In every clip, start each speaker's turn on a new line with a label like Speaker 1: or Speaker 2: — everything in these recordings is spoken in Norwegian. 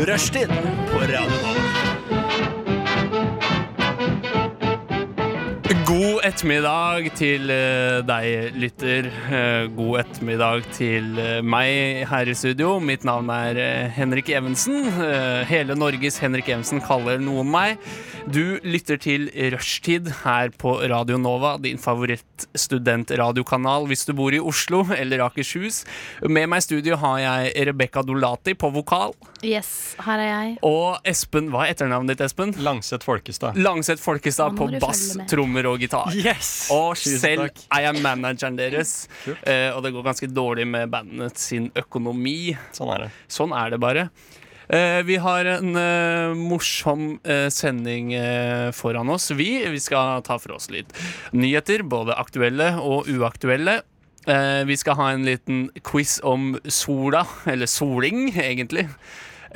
Speaker 1: Rushtid på Radio Nova.
Speaker 2: God ettermiddag til eh, deg, lytter. Eh, God ettermiddag til eh, meg her i studio. Mitt navn er eh, Henrik Evensen. Eh, Hele Norges Henrik Evensen kaller noen meg. Du lytter til Rushtid her på Radio Nova, din favorittstudentradiokanal hvis du bor i Oslo eller Akershus. Med meg i studio har jeg Rebekka Dolati på vokal.
Speaker 3: Yes, her er jeg.
Speaker 2: Og Espen, hva er etternavnet ditt, Espen?
Speaker 4: Langseth Folkestad.
Speaker 2: Langseth
Speaker 3: Nå
Speaker 2: Folkestad
Speaker 3: må
Speaker 2: på
Speaker 3: du følge
Speaker 2: bass,
Speaker 3: med.
Speaker 2: trommer og gitar.
Speaker 4: Yes!
Speaker 2: Og
Speaker 4: Tusen
Speaker 2: selv
Speaker 4: takk.
Speaker 2: er jeg manageren deres.
Speaker 4: Kult.
Speaker 2: Eh, og det går ganske dårlig med bandet sin økonomi.
Speaker 4: Sånn er det.
Speaker 2: Sånn er det bare. Eh, vi har en eh, morsom eh, sending eh, foran oss. Vi, vi skal ta for oss litt nyheter, både aktuelle og uaktuelle. Eh, vi skal ha en liten quiz om sola, eller soling, egentlig.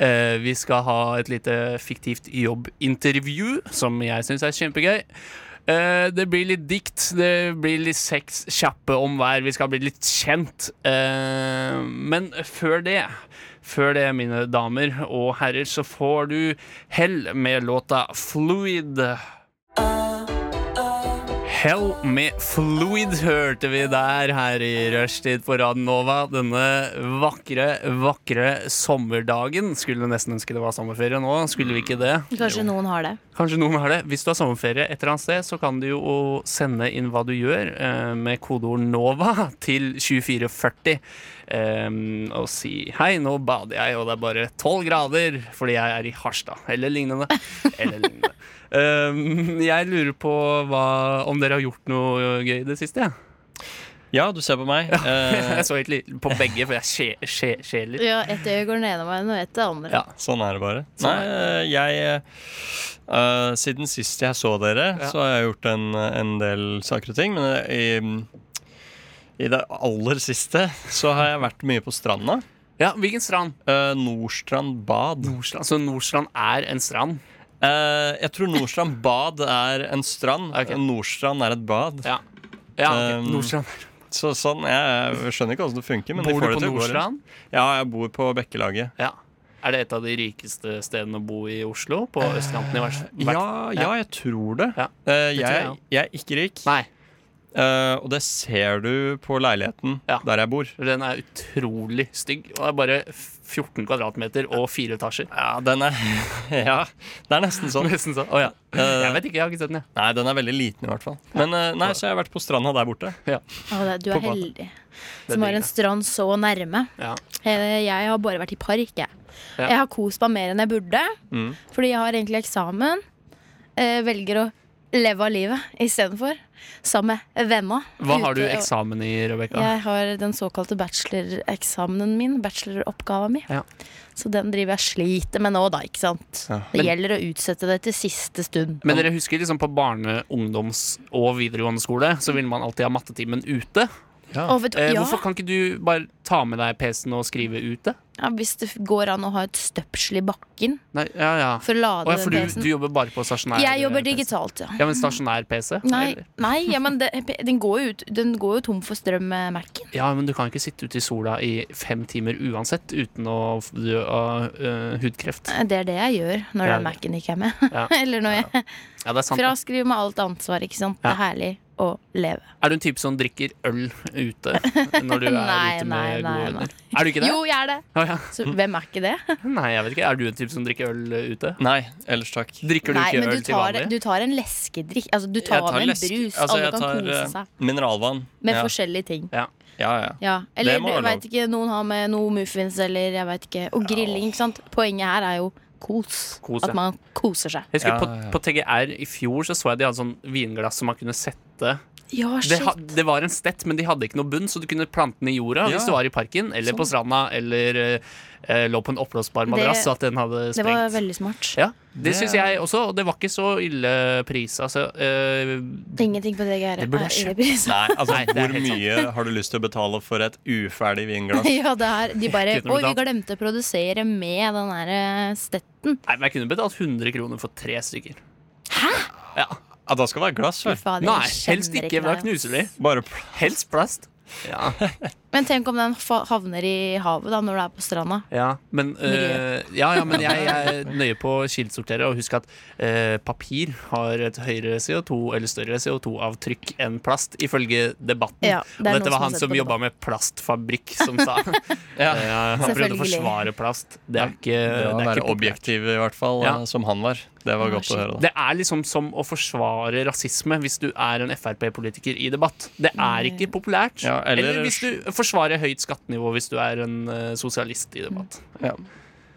Speaker 2: Eh, vi skal ha et lite fiktivt jobbintervju, som jeg syns er kjempegøy. Eh, det blir litt dikt, det blir litt sex, kjappe om hver. Vi skal bli litt kjent. Eh, men før det, før det, mine damer og herrer, så får du hell med låta 'Fluid'. Hell med Fluid hørte vi der her i rushtid på Radionova. Denne vakre, vakre sommerdagen. Skulle nesten ønske det var sommerferie nå, skulle vi ikke det?
Speaker 3: Kanskje noen har det.
Speaker 2: Kanskje noen har det. Hvis du har sommerferie et eller annet sted, så kan du jo sende inn hva du gjør eh, med kodeord NOVA til 2440 eh, og si 'hei, nå bader jeg, og det er bare 12 grader fordi jeg er i Harstad', eller lignende. Eller lignende. Eh, jeg lurer på hva, om dere har gjort noe gøy i det siste? Ja.
Speaker 4: Ja, du ser på meg. Eh,
Speaker 2: Jeg så egentlig på begge, for jeg skje- skje- skjeler.
Speaker 3: Ja, Et øye går den ene veien og et det andre.
Speaker 2: Ja.
Speaker 4: sånn er det bare.
Speaker 2: Sånn
Speaker 4: Nei, eh, jeg eh, Siden sist jeg så dere,
Speaker 2: Ja.
Speaker 4: så har jeg gjort en, en del saker og ting. Men i, i det aller siste så har jeg vært mye på stranda.
Speaker 2: ja, hvilken strand?
Speaker 4: Eh, Nordstrand bad.
Speaker 2: Nordstrand. Så Nordstrand er en strand?
Speaker 4: Eh, jeg tror Nordstrand bad er en strand. Eh,
Speaker 2: Ok.
Speaker 4: Nordstrand er et bad.
Speaker 2: Ja. ja ok.
Speaker 4: Um,
Speaker 2: Nordstrand.
Speaker 4: Så sånn, jeg, jeg skjønner ikke hvordan det funker. Men de
Speaker 2: Bor du
Speaker 4: får det
Speaker 2: på
Speaker 4: til å gå rundt.
Speaker 2: Nordstrand?
Speaker 4: Ja, jeg bor på Bekkelaget.
Speaker 2: Ja. Er det et av de rikeste stedene å bo i Oslo? På østkanten i hvert hvert-
Speaker 4: Eh, Ja, ja, jeg tror det.
Speaker 2: Ja.
Speaker 4: Eh,
Speaker 2: Det tror jeg
Speaker 4: jeg,
Speaker 2: også.
Speaker 4: jeg er ikke rik,
Speaker 2: Nei,
Speaker 4: eh, og det ser du på leiligheten
Speaker 2: Ja.
Speaker 4: der jeg bor.
Speaker 2: den er utrolig stygg. Og det er bare 14 kvadratmeter og fire etasjer.
Speaker 4: Ja, den er Ja, det er nesten sånn.
Speaker 2: Nesten sånn. Å ja. Jeg vet ikke, jeg har ikke sett den, jeg.
Speaker 4: Nei, den er veldig liten i hvert fall. Men eh, nei, så jeg har vært på stranda der borte.
Speaker 3: Å, det, du
Speaker 4: På
Speaker 3: er
Speaker 4: badet.
Speaker 3: heldig som har
Speaker 2: digger
Speaker 3: en strand så nærme.
Speaker 2: Ja.
Speaker 3: Eh, Jeg har bare vært i park, jeg.
Speaker 2: Ja.
Speaker 3: Jeg har kost meg mer enn jeg burde,
Speaker 4: Mm.
Speaker 3: fordi jeg har egentlig eksamen. Eh, Velger å leve av livet istedenfor. Sammen med venner.
Speaker 2: Hva har du
Speaker 3: Ute og-
Speaker 2: eksamen i, Rebekka?
Speaker 3: Jeg har den såkalte bacheloreksamenen min. Bacheloroppgaven min.
Speaker 2: Ja.
Speaker 3: Så den driver jeg sliter med nå, da. ikke sant?
Speaker 4: Ja.
Speaker 3: Det
Speaker 2: Men-
Speaker 3: gjelder å utsette det til siste stund.
Speaker 2: Men dere husker liksom på barne-, ungdoms- og videregående skole, så ville man alltid ha mattetimen ute.
Speaker 3: Å, vet du,
Speaker 2: Eh,
Speaker 3: ja.
Speaker 2: Hvorfor kan ikke du bare ta med deg PC-en og skrive ute?
Speaker 3: Ja, hvis det går an å ha et støpsel i bakken
Speaker 2: Nei, ja, ja.
Speaker 3: for å
Speaker 2: Å,
Speaker 3: lade
Speaker 2: ja for du,
Speaker 3: PC-en.
Speaker 2: du jobber bare på stasjonær
Speaker 3: Jeg jobber
Speaker 2: PC.
Speaker 3: digitalt, ja.
Speaker 2: Ja, men stasjonær PC?
Speaker 3: Nei,
Speaker 2: eller?
Speaker 3: nei ja, men det, den, går jo ut, den går jo tom for strøm med Mac-en.
Speaker 2: Ja, men du kan ikke sitte ute i sola i fem timer uansett uten å f- dø av eh, hudkreft.
Speaker 3: Det er det jeg gjør når
Speaker 2: Ja.
Speaker 3: den Mac-en ikke er med.
Speaker 2: Ja.
Speaker 3: Eller når jeg
Speaker 2: Ja, det Er sant det.
Speaker 3: fraskriver meg alt ansvar, ikke sant. Det
Speaker 2: Ja.
Speaker 3: er herlig å leve.
Speaker 2: Er du en type som drikker øl ute når du er
Speaker 3: Nei, nei,
Speaker 2: ute med
Speaker 3: nei,
Speaker 2: gode
Speaker 3: nei.
Speaker 2: venner? Er du ikke det? Mm.
Speaker 3: Jo, jeg er det!
Speaker 2: Å, ja.
Speaker 3: Så hvem er ikke det?
Speaker 2: Nei, jeg vet ikke. Er du en type som drikker øl eh, ute?
Speaker 4: Nei, ellers takk.
Speaker 2: Drikker du
Speaker 3: Nei,
Speaker 2: ikke
Speaker 3: men
Speaker 2: øl
Speaker 3: du
Speaker 2: til
Speaker 3: tar,
Speaker 2: vanlig?
Speaker 3: du tar en leskedrikk. Altså, du tar, med en
Speaker 4: lesk-
Speaker 3: brus.
Speaker 4: altså,
Speaker 3: Alle
Speaker 4: jeg
Speaker 3: kan
Speaker 4: tar,
Speaker 3: kose
Speaker 4: eh,
Speaker 3: seg
Speaker 4: Mineralvann.
Speaker 3: med
Speaker 4: ja.
Speaker 3: forskjellige ting.
Speaker 4: ja, ja.
Speaker 3: Ja. Eller
Speaker 4: Det må være
Speaker 3: jeg
Speaker 4: lov.
Speaker 3: vet ikke, noen har med noe muffins eller jeg vet ikke. Og grilling, ikke sant. Poenget her er jo kos.
Speaker 2: Kos, ja.
Speaker 3: At man koser seg.
Speaker 2: Jeg husker
Speaker 4: Ja,
Speaker 2: på,
Speaker 4: ja.
Speaker 2: på TGR i fjor så så jeg de hadde sånn vinglass som man kunne sette
Speaker 3: Ja,
Speaker 2: det,
Speaker 3: shit.
Speaker 2: ha, det var en stett, men de hadde ikke noe bunn, så du kunne plante den i jorda
Speaker 4: Ja.
Speaker 2: hvis du var i parken eller på
Speaker 3: Sånn.
Speaker 2: stranda eller eh, lå på en oppblåsbar madrass, så at den hadde
Speaker 3: Det var
Speaker 2: sprengt.
Speaker 3: veldig smart.
Speaker 2: Ja, det
Speaker 4: Det
Speaker 2: syns
Speaker 4: er-
Speaker 2: jeg også, og det var ikke så ille pris. Altså, eh,
Speaker 3: Ingenting på det greiet.
Speaker 2: Det burde jeg
Speaker 3: er
Speaker 2: kjøpt.
Speaker 3: irrepris.
Speaker 4: Nei, altså,
Speaker 2: Nei, det er
Speaker 4: hvor
Speaker 2: helt sant.
Speaker 4: mye har du lyst til å betale for et uferdig vinglass?
Speaker 3: Ja, det er De bare
Speaker 2: Kunne
Speaker 3: Oi, vi
Speaker 2: betalt.
Speaker 3: glemte å produsere med den der eh, stetten.
Speaker 2: nei, men jeg kunne betalt 100 kroner for tre stykker. Hæ? Ja.
Speaker 4: Ja, da skal det være glass,
Speaker 3: Fy
Speaker 4: vel.
Speaker 3: fader,
Speaker 2: Nei,
Speaker 3: jeg
Speaker 2: helst
Speaker 3: kjenner
Speaker 2: ikke, for da
Speaker 3: deg, ass.
Speaker 2: knuser de.
Speaker 4: Bare pl-
Speaker 2: Helst plast. Ja.
Speaker 3: Men tenk om den fa- havner i havet da når du er på stranda.
Speaker 2: Ja, men, eh, ja, ja, men jeg, jeg er nøye på å kildesortere. Og husk at eh, papir har et høyere CO2 eller større CO2-avtrykk enn plast, ifølge debatten.
Speaker 3: Ja,
Speaker 2: og
Speaker 3: det er noen
Speaker 2: dette var
Speaker 3: har
Speaker 2: han
Speaker 3: sett
Speaker 2: som
Speaker 3: på
Speaker 2: jobba med plastfabrikk, som sa.
Speaker 4: Ja.
Speaker 2: Eh, Han prøvde å
Speaker 3: Selvfølgelig.
Speaker 2: forsvare plast. Det er ikke,
Speaker 4: Det å
Speaker 2: det er
Speaker 4: være
Speaker 2: ikke populært.
Speaker 4: objektiv, i hvert fall,
Speaker 2: Ja.
Speaker 4: eh, som han var. Det var
Speaker 3: Ja,
Speaker 4: godt å
Speaker 3: shit.
Speaker 4: høre. da
Speaker 2: Det er liksom som å forsvare rasisme hvis du er en Frp-politiker i debatt. Det er ikke populært.
Speaker 4: Ja, eller-
Speaker 2: eller... hvis du forsvarer høyt skattenivå hvis du er en eh, sosialist i debatt.
Speaker 4: Ja.
Speaker 3: debatten.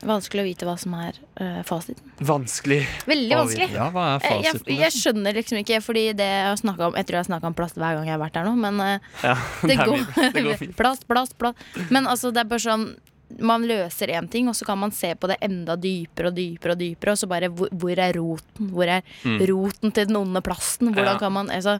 Speaker 3: Vanskelig å vite hva som er eh, fasiten.
Speaker 2: Vanskelig.
Speaker 3: Veldig
Speaker 2: Å
Speaker 3: vanskelig.
Speaker 4: ja, hva er
Speaker 3: Eh, Jeg,
Speaker 4: fasiten?
Speaker 3: jeg skjønner liksom ikke, fordi det jeg har snakket om Jeg tror jeg har snakka om plast hver gang jeg har vært der nå, men eh,
Speaker 2: Ja,
Speaker 3: det,
Speaker 2: er
Speaker 3: går,
Speaker 2: mye- det går fint.
Speaker 3: Plast, plast, plast. Men altså, det er bare sånn man løser én ting, og så kan man se på det enda dypere og dypere. Og dypere Og så bare hvor, hvor er roten? Hvor er
Speaker 4: Mm.
Speaker 3: roten til den onde plasten? Hvordan
Speaker 2: Ja.
Speaker 3: kan man altså,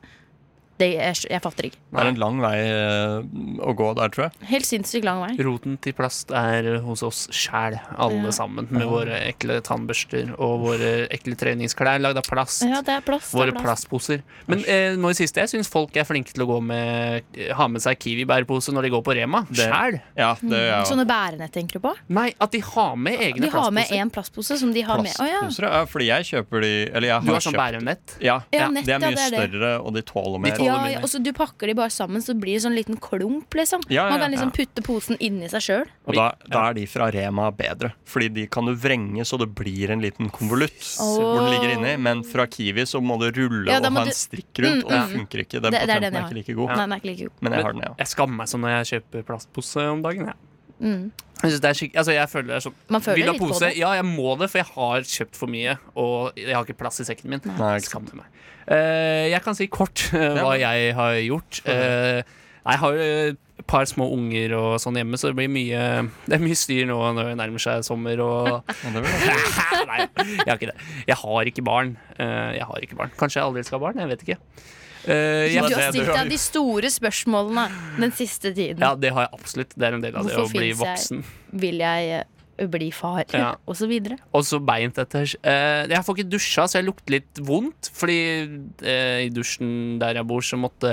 Speaker 3: det, jeg, jeg fatter ikke.
Speaker 4: Det er en lang vei eh, å gå der, tror jeg.
Speaker 3: Helt sinnssykt lang vei.
Speaker 2: Roten til plast er hos oss sjæl, alle
Speaker 3: Ja.
Speaker 2: sammen. Med våre ekle tannbørster og våre ekle treningsklær lagd av plast.
Speaker 3: Ja, det er plast. Det
Speaker 2: Våre
Speaker 3: er plast.
Speaker 2: plastposer. Men eh, nå i siste, jeg syns folk er flinke til å gå med ha med seg Kiwi-bærepose når de går på Rema.
Speaker 4: Det-
Speaker 2: Sjæl!
Speaker 4: Ja, det er
Speaker 3: Mm.
Speaker 4: jo
Speaker 3: Sånne bærenett tenker du på?
Speaker 2: Nei, at de har med egne
Speaker 3: De har med
Speaker 2: plastposer.
Speaker 3: én plastpose som de har med Å ja.
Speaker 4: plastposer. Ja, fordi jeg kjøper de Eller jeg
Speaker 2: Du
Speaker 4: har,
Speaker 2: har sånn
Speaker 4: kjøpt
Speaker 2: bærenett.
Speaker 4: ja,
Speaker 3: Ja,
Speaker 4: De
Speaker 3: nett,
Speaker 4: er
Speaker 3: ja,
Speaker 4: mye
Speaker 3: det er det.
Speaker 4: større, og de tåler mer.
Speaker 2: tåler-
Speaker 3: Ja,
Speaker 2: Tolv
Speaker 3: ja,
Speaker 2: mil.
Speaker 3: og så Du pakker de bare sammen, så blir det sånn liten klump. liksom
Speaker 4: Ja, ja,
Speaker 3: Man kan
Speaker 4: ja.
Speaker 3: liksom putte posen inni seg sjøl.
Speaker 4: Og da, da er de fra Rema bedre, Fordi de kan du vrenge så det blir en liten konvolutt. Hvor den ligger inni Men fra Kiwi så må du rulle
Speaker 3: Ja, da
Speaker 4: og
Speaker 3: må
Speaker 4: ha
Speaker 3: du- Mm,
Speaker 4: en strikk rundt, og det funker ikke.
Speaker 3: Det-
Speaker 4: Den
Speaker 3: det er den
Speaker 4: patenten
Speaker 3: jeg
Speaker 4: er
Speaker 3: har.
Speaker 4: ikke like god.
Speaker 3: Nei, den er ikke like god.
Speaker 4: Men jeg har den,
Speaker 2: Men
Speaker 4: ja.
Speaker 2: jeg skammer meg sånn når jeg kjøper plastpose om dagen. Jeg.
Speaker 3: Mm.
Speaker 2: Jeg, synes det er skikk- altså jeg føler det er sånn
Speaker 3: Man føler
Speaker 2: Vil du ha
Speaker 3: litt på
Speaker 2: pose?
Speaker 3: det.
Speaker 2: Ja, jeg må det, for jeg har kjøpt for mye. Og jeg har ikke plass i sekken min.
Speaker 4: Nei, ikke sant.
Speaker 2: Skammer meg. Eh, jeg kan si kort eh, hva jeg har gjort. Eh, jeg har jo et par små unger og sånn hjemme, så det blir mye Det er mye styr nå når det nærmer seg sommer og
Speaker 4: Ja, det vil jeg.
Speaker 2: Nei, jeg har ikke det. Jeg har ikke barn. Eh, jeg har ikke barn. Kanskje jeg aldri skal ha barn? Jeg vet ikke. Eh,
Speaker 3: Du
Speaker 2: jeg-
Speaker 3: har stilt deg de store spørsmålene den siste tiden.
Speaker 2: Ja, det har jeg absolutt. Det er en del av
Speaker 3: Hvorfor
Speaker 2: det å bli
Speaker 3: finnes
Speaker 2: voksen.
Speaker 3: Vil jeg eh, bli far?
Speaker 2: Ja.
Speaker 3: Og så videre.
Speaker 2: Og så beint etter. Eh, jeg får ikke dusja, så jeg lukter litt vondt. Fordi eh, i dusjen der jeg bor, så måtte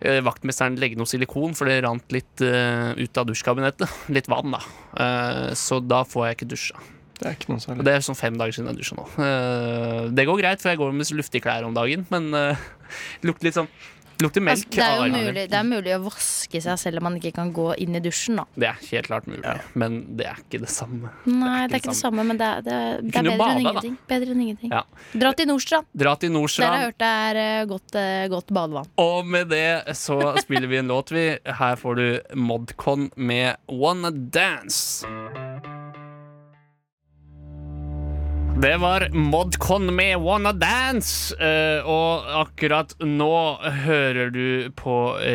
Speaker 2: eh, vaktmesteren legge noe silikon, for det rant litt eh, ut av dusjkabinettet. Litt vann, da. Eh, så da får jeg ikke dusja.
Speaker 4: Det er ikke noe
Speaker 2: Og
Speaker 4: særlig.
Speaker 2: det er sånn fem dager siden jeg dusja nå. Eh, det går greit, for jeg går med så luftige klær om dagen, men eh, lukter litt sånn Lukter melk.
Speaker 3: Altså, det, er
Speaker 2: av
Speaker 3: jo
Speaker 2: armene.
Speaker 3: mulig, det er mulig å vaske seg selv om man ikke kan gå inn i dusjen. Da.
Speaker 2: Det er helt klart mulig, men det er ikke det samme.
Speaker 3: Nei, det er ikke det samme, men det er, det er, det er bedre,
Speaker 2: kunne jo
Speaker 3: enn
Speaker 2: bade, da.
Speaker 3: ingenting. bedre enn ingenting.
Speaker 2: Ja.
Speaker 3: Dra til Nordstrand.
Speaker 2: Dra til
Speaker 3: Der har
Speaker 2: Nordstrand.
Speaker 3: jeg hørt det er eh, godt, eh, godt badevann.
Speaker 2: Og med det så spiller vi en låt, vi. Her får du Modcon med Wanna Dance. Det var Modcon med Wanna Dance. eh, og akkurat nå hører du på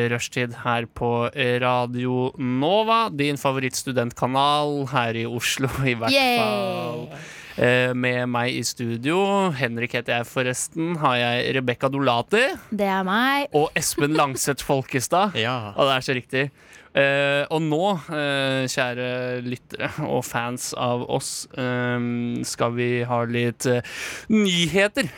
Speaker 2: Rushtid her på Radio Nova. Din favorittstudentkanal her i Oslo, i hvert fall.
Speaker 3: Yay!
Speaker 2: Eh, med meg i studio, Henrik heter jeg forresten, har jeg Rebekka Dolati
Speaker 3: Det er meg.
Speaker 2: og Espen Langseth Folkestad.
Speaker 4: Ja.
Speaker 2: Og det er så riktig. Eh, og nå, eh, kjære lyttere og fans av oss, eh, skal vi ha litt eh, nyheter.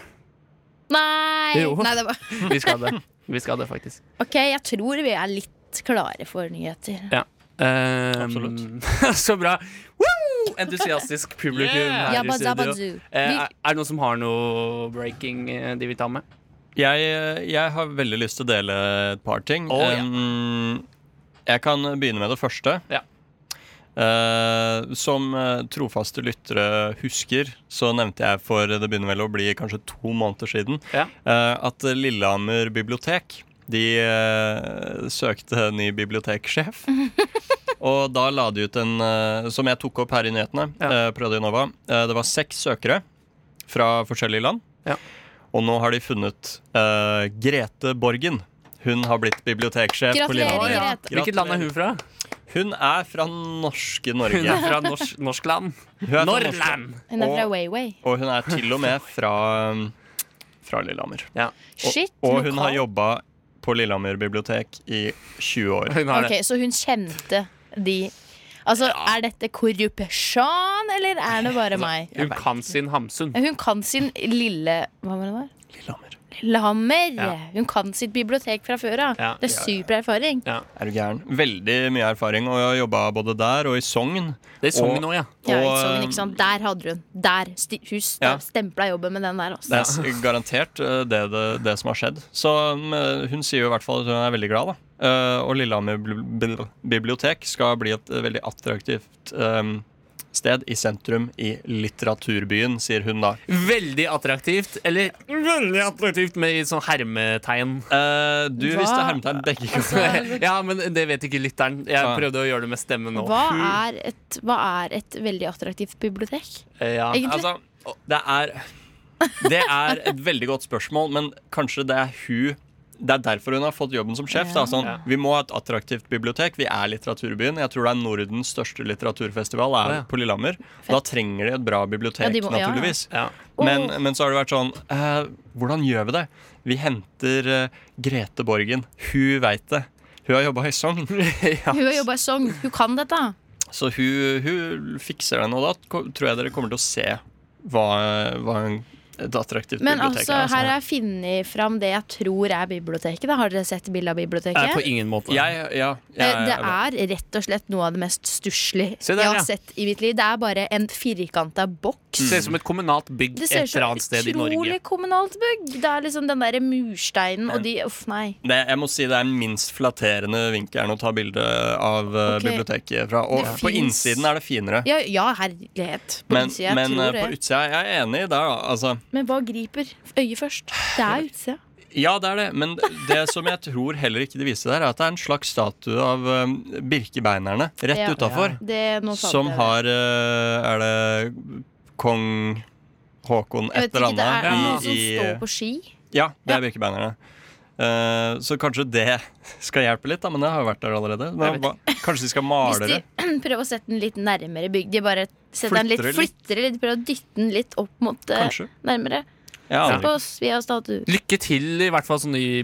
Speaker 3: Nei!
Speaker 2: Jo.
Speaker 3: Nei det var...
Speaker 2: Vi skal det. Vi skal det, faktisk.
Speaker 3: Ok, jeg tror vi er litt klare for nyheter.
Speaker 2: Ja. Eh,
Speaker 4: Absolutt.
Speaker 2: så bra. Woo! Entusiastisk publikum her
Speaker 4: Yeah!
Speaker 2: i
Speaker 3: Jabba dabba
Speaker 2: studio.
Speaker 3: zoo.
Speaker 2: Eh,
Speaker 3: Vi-
Speaker 2: er er det noen som har noe breaking eh, de vil ta med?
Speaker 4: Jeg, jeg har veldig lyst til å dele et par ting.
Speaker 2: Å, ja.
Speaker 4: Um, jeg kan begynne med det første.
Speaker 2: Ja.
Speaker 4: Eh, som eh, trofaste lyttere husker, så nevnte jeg for det begynner vel å bli kanskje to måneder siden,
Speaker 2: Ja.
Speaker 4: eh, at Lillehammer bibliotek de eh, søkte ny biblioteksjef. Og da la de ut en eh, som jeg tok opp her i nyhetene.
Speaker 2: Ja.
Speaker 4: eh, på Radio Nova. Eh, det var seks søkere fra forskjellige land.
Speaker 2: Ja.
Speaker 4: Og nå har de funnet eh, Grete Borgen. Hun har blitt biblioteksjef. på
Speaker 3: Gratulerer,
Speaker 4: Lillehammer.
Speaker 3: Grete.
Speaker 2: Hvilket land er hun fra?
Speaker 4: Hun er fra norske
Speaker 2: Hun
Speaker 4: Norge.
Speaker 2: er fra norsk, norsk land.
Speaker 4: Hun er fra norske-
Speaker 2: Norrland!
Speaker 3: Hun er fra
Speaker 4: Og-
Speaker 3: Wayway.
Speaker 4: Og hun er til og med fra, um, fra Lillehammer.
Speaker 2: Ja.
Speaker 4: Og,
Speaker 3: Shit,
Speaker 4: og hun har
Speaker 3: lokal.
Speaker 4: jobba på Lillehammer bibliotek i 20 år.
Speaker 2: Hun har det.
Speaker 3: Ok, Så hun kjente de Altså, Er dette korrupsjon, eller er det bare meg?
Speaker 2: Hun kan sin Hamsun.
Speaker 3: Hun kan sin lille Hva var det der?
Speaker 4: Lillehammer.
Speaker 3: Lillehammer.
Speaker 2: Ja.
Speaker 3: Hun kan sitt bibliotek fra før av.
Speaker 2: Ja.
Speaker 3: Det er super erfaring.
Speaker 2: Ja.
Speaker 4: Er du gæren? Veldig mye erfaring, og jeg har jobba både der og i Sogn.
Speaker 2: Det er Sogn
Speaker 4: Og-
Speaker 2: nå, ja.
Speaker 3: Ja,
Speaker 4: Og,
Speaker 3: ikke sånn,
Speaker 4: eh,
Speaker 3: ikke sant? Der hadde hun. Der. Sti, hun
Speaker 4: Ja.
Speaker 3: stempla jobben med den der.
Speaker 4: Det
Speaker 3: Altså.
Speaker 4: er s- garantert eh, det, det, det som har skjedd. Så mm, eh, hun sier jo i hvert fall at hun er veldig glad, da. Eh, Og Lillehammer bl- bl- bibliotek skal bli et eh, veldig attraktivt eh, sted i sentrum i litteraturbyen, sier hun da.
Speaker 2: Veldig attraktivt. Eller veldig attraktivt med i sånn hermetegn.
Speaker 4: Eh, du
Speaker 3: Hva?
Speaker 4: visste hermetegn begge ganger.
Speaker 2: Ja, men det vet ikke lytteren. Jeg
Speaker 4: Ah.
Speaker 2: prøvde å gjøre det med stemmen nå.
Speaker 3: Hva er, et, hva er et veldig attraktivt bibliotek?
Speaker 2: Eh, Ja.
Speaker 3: Egentlig-
Speaker 4: Altså, det er Det er et veldig godt spørsmål, men kanskje det er hun det er derfor hun har fått jobben som sjef. Da. Sånn,
Speaker 2: Ja.
Speaker 4: Vi må ha et attraktivt bibliotek. Vi er litteraturbyen. Jeg tror det er Nordens største litteraturfestival er
Speaker 2: Å, ja.
Speaker 4: på Lillehammer. Da trenger de et bra bibliotek,
Speaker 3: Ja, de må- ja, ja.
Speaker 4: naturligvis.
Speaker 2: Ja.
Speaker 4: Men,
Speaker 3: Åh.
Speaker 4: men så har det vært sånn eh, Hvordan gjør vi det? Vi henter eh, Grete Borgen. Hun veit det. Hun har jobba i Sogn.
Speaker 3: Hun har jobba i Sogn. Hun kan dette.
Speaker 4: Så hun, hun fikser det nå, da ko- tror jeg dere kommer til å se hva, hva en- et attraktivt
Speaker 3: Men
Speaker 4: bibliotek
Speaker 3: altså,
Speaker 4: er. altså.
Speaker 3: her har jeg funnet fram det jeg tror er biblioteket. Da. Har dere sett bilde av
Speaker 2: Nei, eh, på
Speaker 3: biblioteket?
Speaker 2: ingen måte.
Speaker 4: Jeg, ja,
Speaker 3: Eh,
Speaker 4: jeg,
Speaker 3: Det er rett og slett noe av det mest stusslige
Speaker 2: Se
Speaker 3: jeg
Speaker 2: der,
Speaker 3: har
Speaker 2: ja.
Speaker 3: sett i mitt liv. Det er bare en firkanta boks.
Speaker 4: Mm.
Speaker 2: Ser ut som et kommunalt bygg
Speaker 3: Det
Speaker 2: et
Speaker 3: ser ut
Speaker 2: eller
Speaker 3: som
Speaker 2: annet sted i
Speaker 3: utrolig
Speaker 2: Norge.
Speaker 3: kommunalt bygg. Det er liksom den derre mursteinen og de Uff, nei.
Speaker 4: det, jeg må si det er den minst flatterende vinkelen å ta bilde av eh,
Speaker 3: Ok.
Speaker 4: biblioteket fra. Og
Speaker 3: Det
Speaker 4: på
Speaker 3: finnes-
Speaker 4: innsiden er det finere.
Speaker 3: Ja, ja herlighet. På
Speaker 4: Men,
Speaker 3: utsida, jeg
Speaker 4: men
Speaker 3: tror
Speaker 4: eh, på
Speaker 3: det.
Speaker 4: utsida Jeg er enig der, da. Altså,
Speaker 3: Men hva griper øyet først? Det er utsida.
Speaker 4: ja, det er det. Men det som jeg tror heller ikke de viste der, er at det er en slags statue av eh, Birkebeinerne rett
Speaker 3: Ja.
Speaker 4: utafor.
Speaker 3: Det- nå sa
Speaker 4: Som
Speaker 3: dere det.
Speaker 4: har eh, Er det kong Håkon
Speaker 3: Jeg
Speaker 4: et
Speaker 3: vet
Speaker 4: eller
Speaker 3: ikke, det er det noen
Speaker 4: annet?
Speaker 3: som står på ski?
Speaker 4: ja, det er Birkebeinerne. Eh, så kanskje det skal hjelpe litt, da, men det har jo vært der allerede. Men,
Speaker 2: Jeg vet
Speaker 4: hva, kanskje de skal
Speaker 3: Hvis
Speaker 4: male
Speaker 3: de
Speaker 4: det?
Speaker 3: prøver å sette den litt nærmere bygg. De bare setter den litt,
Speaker 4: Flytter det litt.
Speaker 3: flytter det litt, prøver å dytte den litt opp mot eh,
Speaker 4: Kanskje.
Speaker 3: nærmere.
Speaker 4: Jeg
Speaker 3: Se
Speaker 4: aner
Speaker 3: på
Speaker 4: ikke.
Speaker 3: oss, vi har statue.
Speaker 2: Lykke til, i hvert fall som ny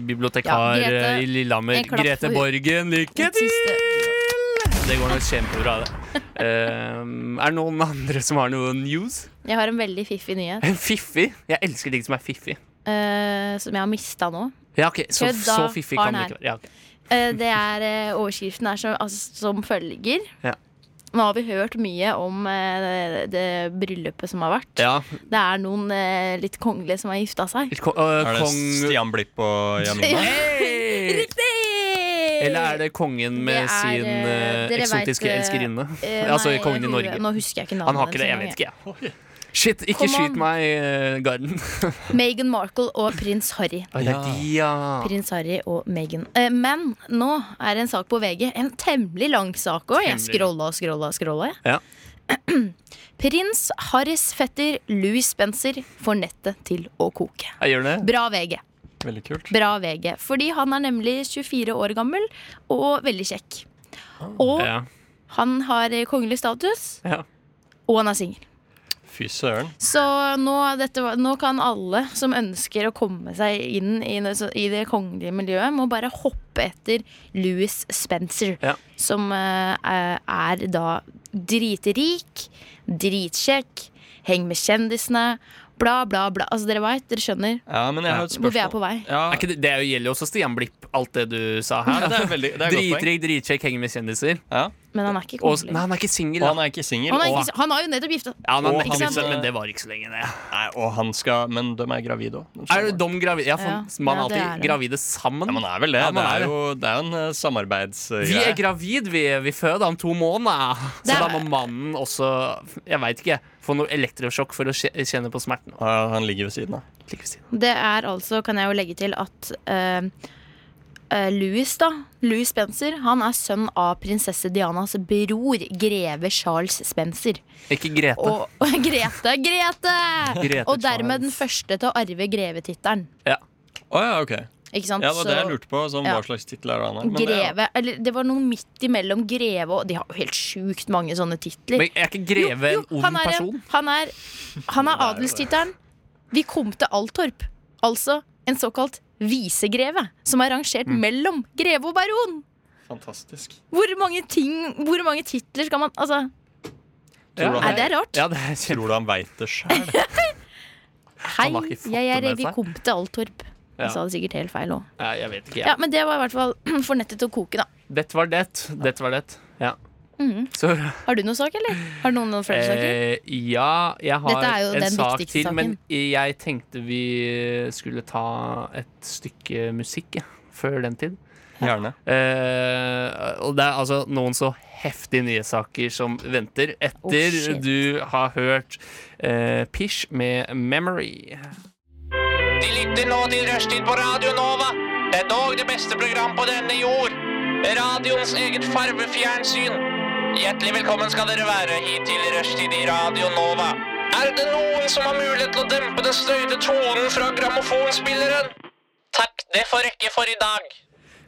Speaker 3: Ja,
Speaker 2: bibliotekar
Speaker 3: Grete,
Speaker 2: eh, i Lillehammer.
Speaker 3: en klapp
Speaker 2: Grete
Speaker 3: for-
Speaker 2: Borgen, lykke
Speaker 3: Litt
Speaker 2: til!
Speaker 3: siste.
Speaker 2: Det går nok kjempebra, det. Eh, er det noen andre som har noe news?
Speaker 3: Jeg har en veldig fiffig nyhet
Speaker 2: En fiffig? Jeg elsker ting som er fiffig.
Speaker 3: eh, som jeg har mista nå.
Speaker 2: Ja, ok, Så,
Speaker 3: Kødda,
Speaker 2: så fiffig kan det
Speaker 3: har den
Speaker 2: ikke være. Ja, ok.
Speaker 3: Eh, det er, eh, overskriften er som, altså, som følger.
Speaker 2: Ja.
Speaker 3: Nå har vi hørt mye om eh, det, det bryllupet som har vært.
Speaker 2: ja.
Speaker 3: Det er noen eh, litt kongelige som har gifta seg.
Speaker 2: ko- øh,
Speaker 4: Er det
Speaker 2: Kong
Speaker 4: Stian Blipp og Jamina?
Speaker 2: Hey! Eller er det kongen med
Speaker 3: Det er,
Speaker 2: sin
Speaker 3: eh,
Speaker 2: eh,
Speaker 3: dere
Speaker 2: eksotiske
Speaker 3: vet, eh,
Speaker 2: elskerinne?
Speaker 3: Eh,
Speaker 2: altså
Speaker 3: nei,
Speaker 2: kongen i
Speaker 3: hun-
Speaker 2: Norge.
Speaker 3: Nå husker jeg ikke navnet.
Speaker 2: Han har ikke det, jeg vet ikke. jeg. Shit, ikke
Speaker 3: Come
Speaker 2: skyt
Speaker 3: on.
Speaker 2: meg, eh, Garden.
Speaker 3: Meghan Markle og prins Harry.
Speaker 2: Å, det er de, ja.
Speaker 3: Prins Harry og Meghan. Eh, men nå er det en sak på VG. En temmelig lang sak òg. Jeg
Speaker 2: Temmelig.
Speaker 3: scrolla og scrolla og scrolla. jeg.
Speaker 2: Ja.
Speaker 3: Prins Harrys fetter Louis Spencer får nettet til å koke.
Speaker 2: Jeg gjør det.
Speaker 3: Bra VG.
Speaker 4: Veldig kult.
Speaker 3: Bra VG. Fordi han er nemlig 24 år gammel og veldig kjekk. Og
Speaker 2: Ah, Ja.
Speaker 3: han har eh, kongelig status,
Speaker 2: Ja.
Speaker 3: og han er singel.
Speaker 4: Fy søren.
Speaker 3: Så nå, dette, var- nå kan alle som ønsker å komme seg inn i, det- så- i det kongelige miljøet, må bare hoppe etter Louis Spencer.
Speaker 2: Ja.
Speaker 3: Som eh, er er da dritrik, dritkjekk, heng med kjendisene, bla, bla, bla. Altså, dere veit, dere skjønner
Speaker 4: Ja, men jeg har et
Speaker 3: hvor vi er
Speaker 4: spørsmål.
Speaker 3: på vei.
Speaker 4: Ja,
Speaker 2: Er ikke det, det gjelder jo også Stian Blipp, alt det du sa her.
Speaker 4: ja, det er veldig, det er et godt poeng.
Speaker 2: Dritrik, dritkjekk, henger med kjendiser.
Speaker 4: Ja.
Speaker 3: Men han er ikke
Speaker 2: Og,
Speaker 3: kongelig.
Speaker 2: nei, han er ikke
Speaker 4: Og
Speaker 2: singel.
Speaker 4: han
Speaker 2: da.
Speaker 4: er ikke singel.
Speaker 3: Han, er
Speaker 4: Og,
Speaker 3: ikke, han har jo nettopp gifta
Speaker 2: Ja, han er
Speaker 4: Og
Speaker 2: ikke
Speaker 3: han-
Speaker 2: sant, men det var ikke så lenge, det.
Speaker 4: nei, og han skal Men de er gravide òg.
Speaker 2: Er det dom gravide? Ja,
Speaker 3: Ja,
Speaker 2: faen, man er
Speaker 3: ja, det er
Speaker 2: alltid
Speaker 3: det.
Speaker 2: gravide sammen.
Speaker 4: Ja, man er vel det.
Speaker 2: Ja, man
Speaker 4: det,
Speaker 2: er
Speaker 4: er
Speaker 2: det.
Speaker 4: jo, det er jo en eh,
Speaker 2: Vi er
Speaker 4: samarbeidsgreie.
Speaker 2: gravid, vi, vi føder om to måneder. Så
Speaker 3: Det er-
Speaker 2: da må mannen også, jeg veit ikke, få noe elektrosjokk for å kje- kjenne på smerten.
Speaker 4: Ja, han ligger ved siden av.
Speaker 2: Like ved siden av.
Speaker 3: Det er altså, kan jeg jo legge til, at eh, eh, Louis, da, Louis Spencer, han er sønn av prinsesse Dianas bror, greve Charles Spencer.
Speaker 2: Ikke Grete.
Speaker 3: Og, og Grete, Grete!
Speaker 2: Grete
Speaker 3: og dermed
Speaker 2: Charles.
Speaker 3: den første til å arve grevetittelen.
Speaker 2: Ja.
Speaker 4: Å ja, ok.
Speaker 3: Ikke sant?
Speaker 4: Ja, det var det jeg lurte på. Sånn,
Speaker 3: ja.
Speaker 4: Hva slags tittel er det han har?
Speaker 3: Så
Speaker 4: Men det er-
Speaker 3: Greve, eller det var noe midt imellom greve og De har jo helt sjukt mange sånne titler.
Speaker 2: Men er ikke Greve
Speaker 3: Jo, jo,
Speaker 2: en
Speaker 3: han
Speaker 2: ond
Speaker 3: er-
Speaker 2: person?
Speaker 3: Han er, han er adelstittelen. Vi kom til Altorp. Altså en såkalt visegreve, som er rangert mellom greve og baron.
Speaker 4: Fantastisk.
Speaker 3: Hvor mange ting, hvor mange titler skal man Altså,
Speaker 4: Tror du
Speaker 2: Ja.
Speaker 3: er
Speaker 4: han,
Speaker 3: det rart?
Speaker 2: Ja, det er kjempe...
Speaker 4: tror du han veit det sjøl?
Speaker 3: Hei,
Speaker 2: han har ikke
Speaker 3: jeg
Speaker 2: fått det
Speaker 3: er
Speaker 2: med
Speaker 3: Vi
Speaker 2: seg.
Speaker 3: kom til Altorp.
Speaker 2: Ja.
Speaker 3: Jeg sa det sikkert helt feil òg.
Speaker 2: Nei, jeg vet ikke.
Speaker 3: Ja,
Speaker 2: jeg.
Speaker 3: men det var i hvert fall for nettet til å koke, da.
Speaker 2: Dette var det. Dette var det. Ja.
Speaker 3: Mhm.
Speaker 2: Så
Speaker 3: Har du noen sak, eller? Har noen noen flere saker?
Speaker 2: eh, ja, jeg har
Speaker 3: Dette er jo
Speaker 2: en
Speaker 3: den
Speaker 2: sak
Speaker 3: viktigste
Speaker 2: til, men
Speaker 3: saken.
Speaker 2: jeg tenkte vi skulle ta et stykke musikk jeg, før den tid.
Speaker 4: Gjerne.
Speaker 2: Eh, og det er altså noen så heftige nyhetssaker som venter etter
Speaker 3: Oh, shit.
Speaker 2: du har hørt eh, Pish med 'Memory'.
Speaker 5: De lytter nå til Rushtid på Radio Nova. Det er dog det beste program på denne jord. Radioens eget farvefjernsyn. Hjertelig velkommen skal dere være hit til Rushtid i Radio Nova. Er det noen som har mulighet til å dempe den støyte tonen fra grammofonspilleren? Takk, det får rekke for i dag.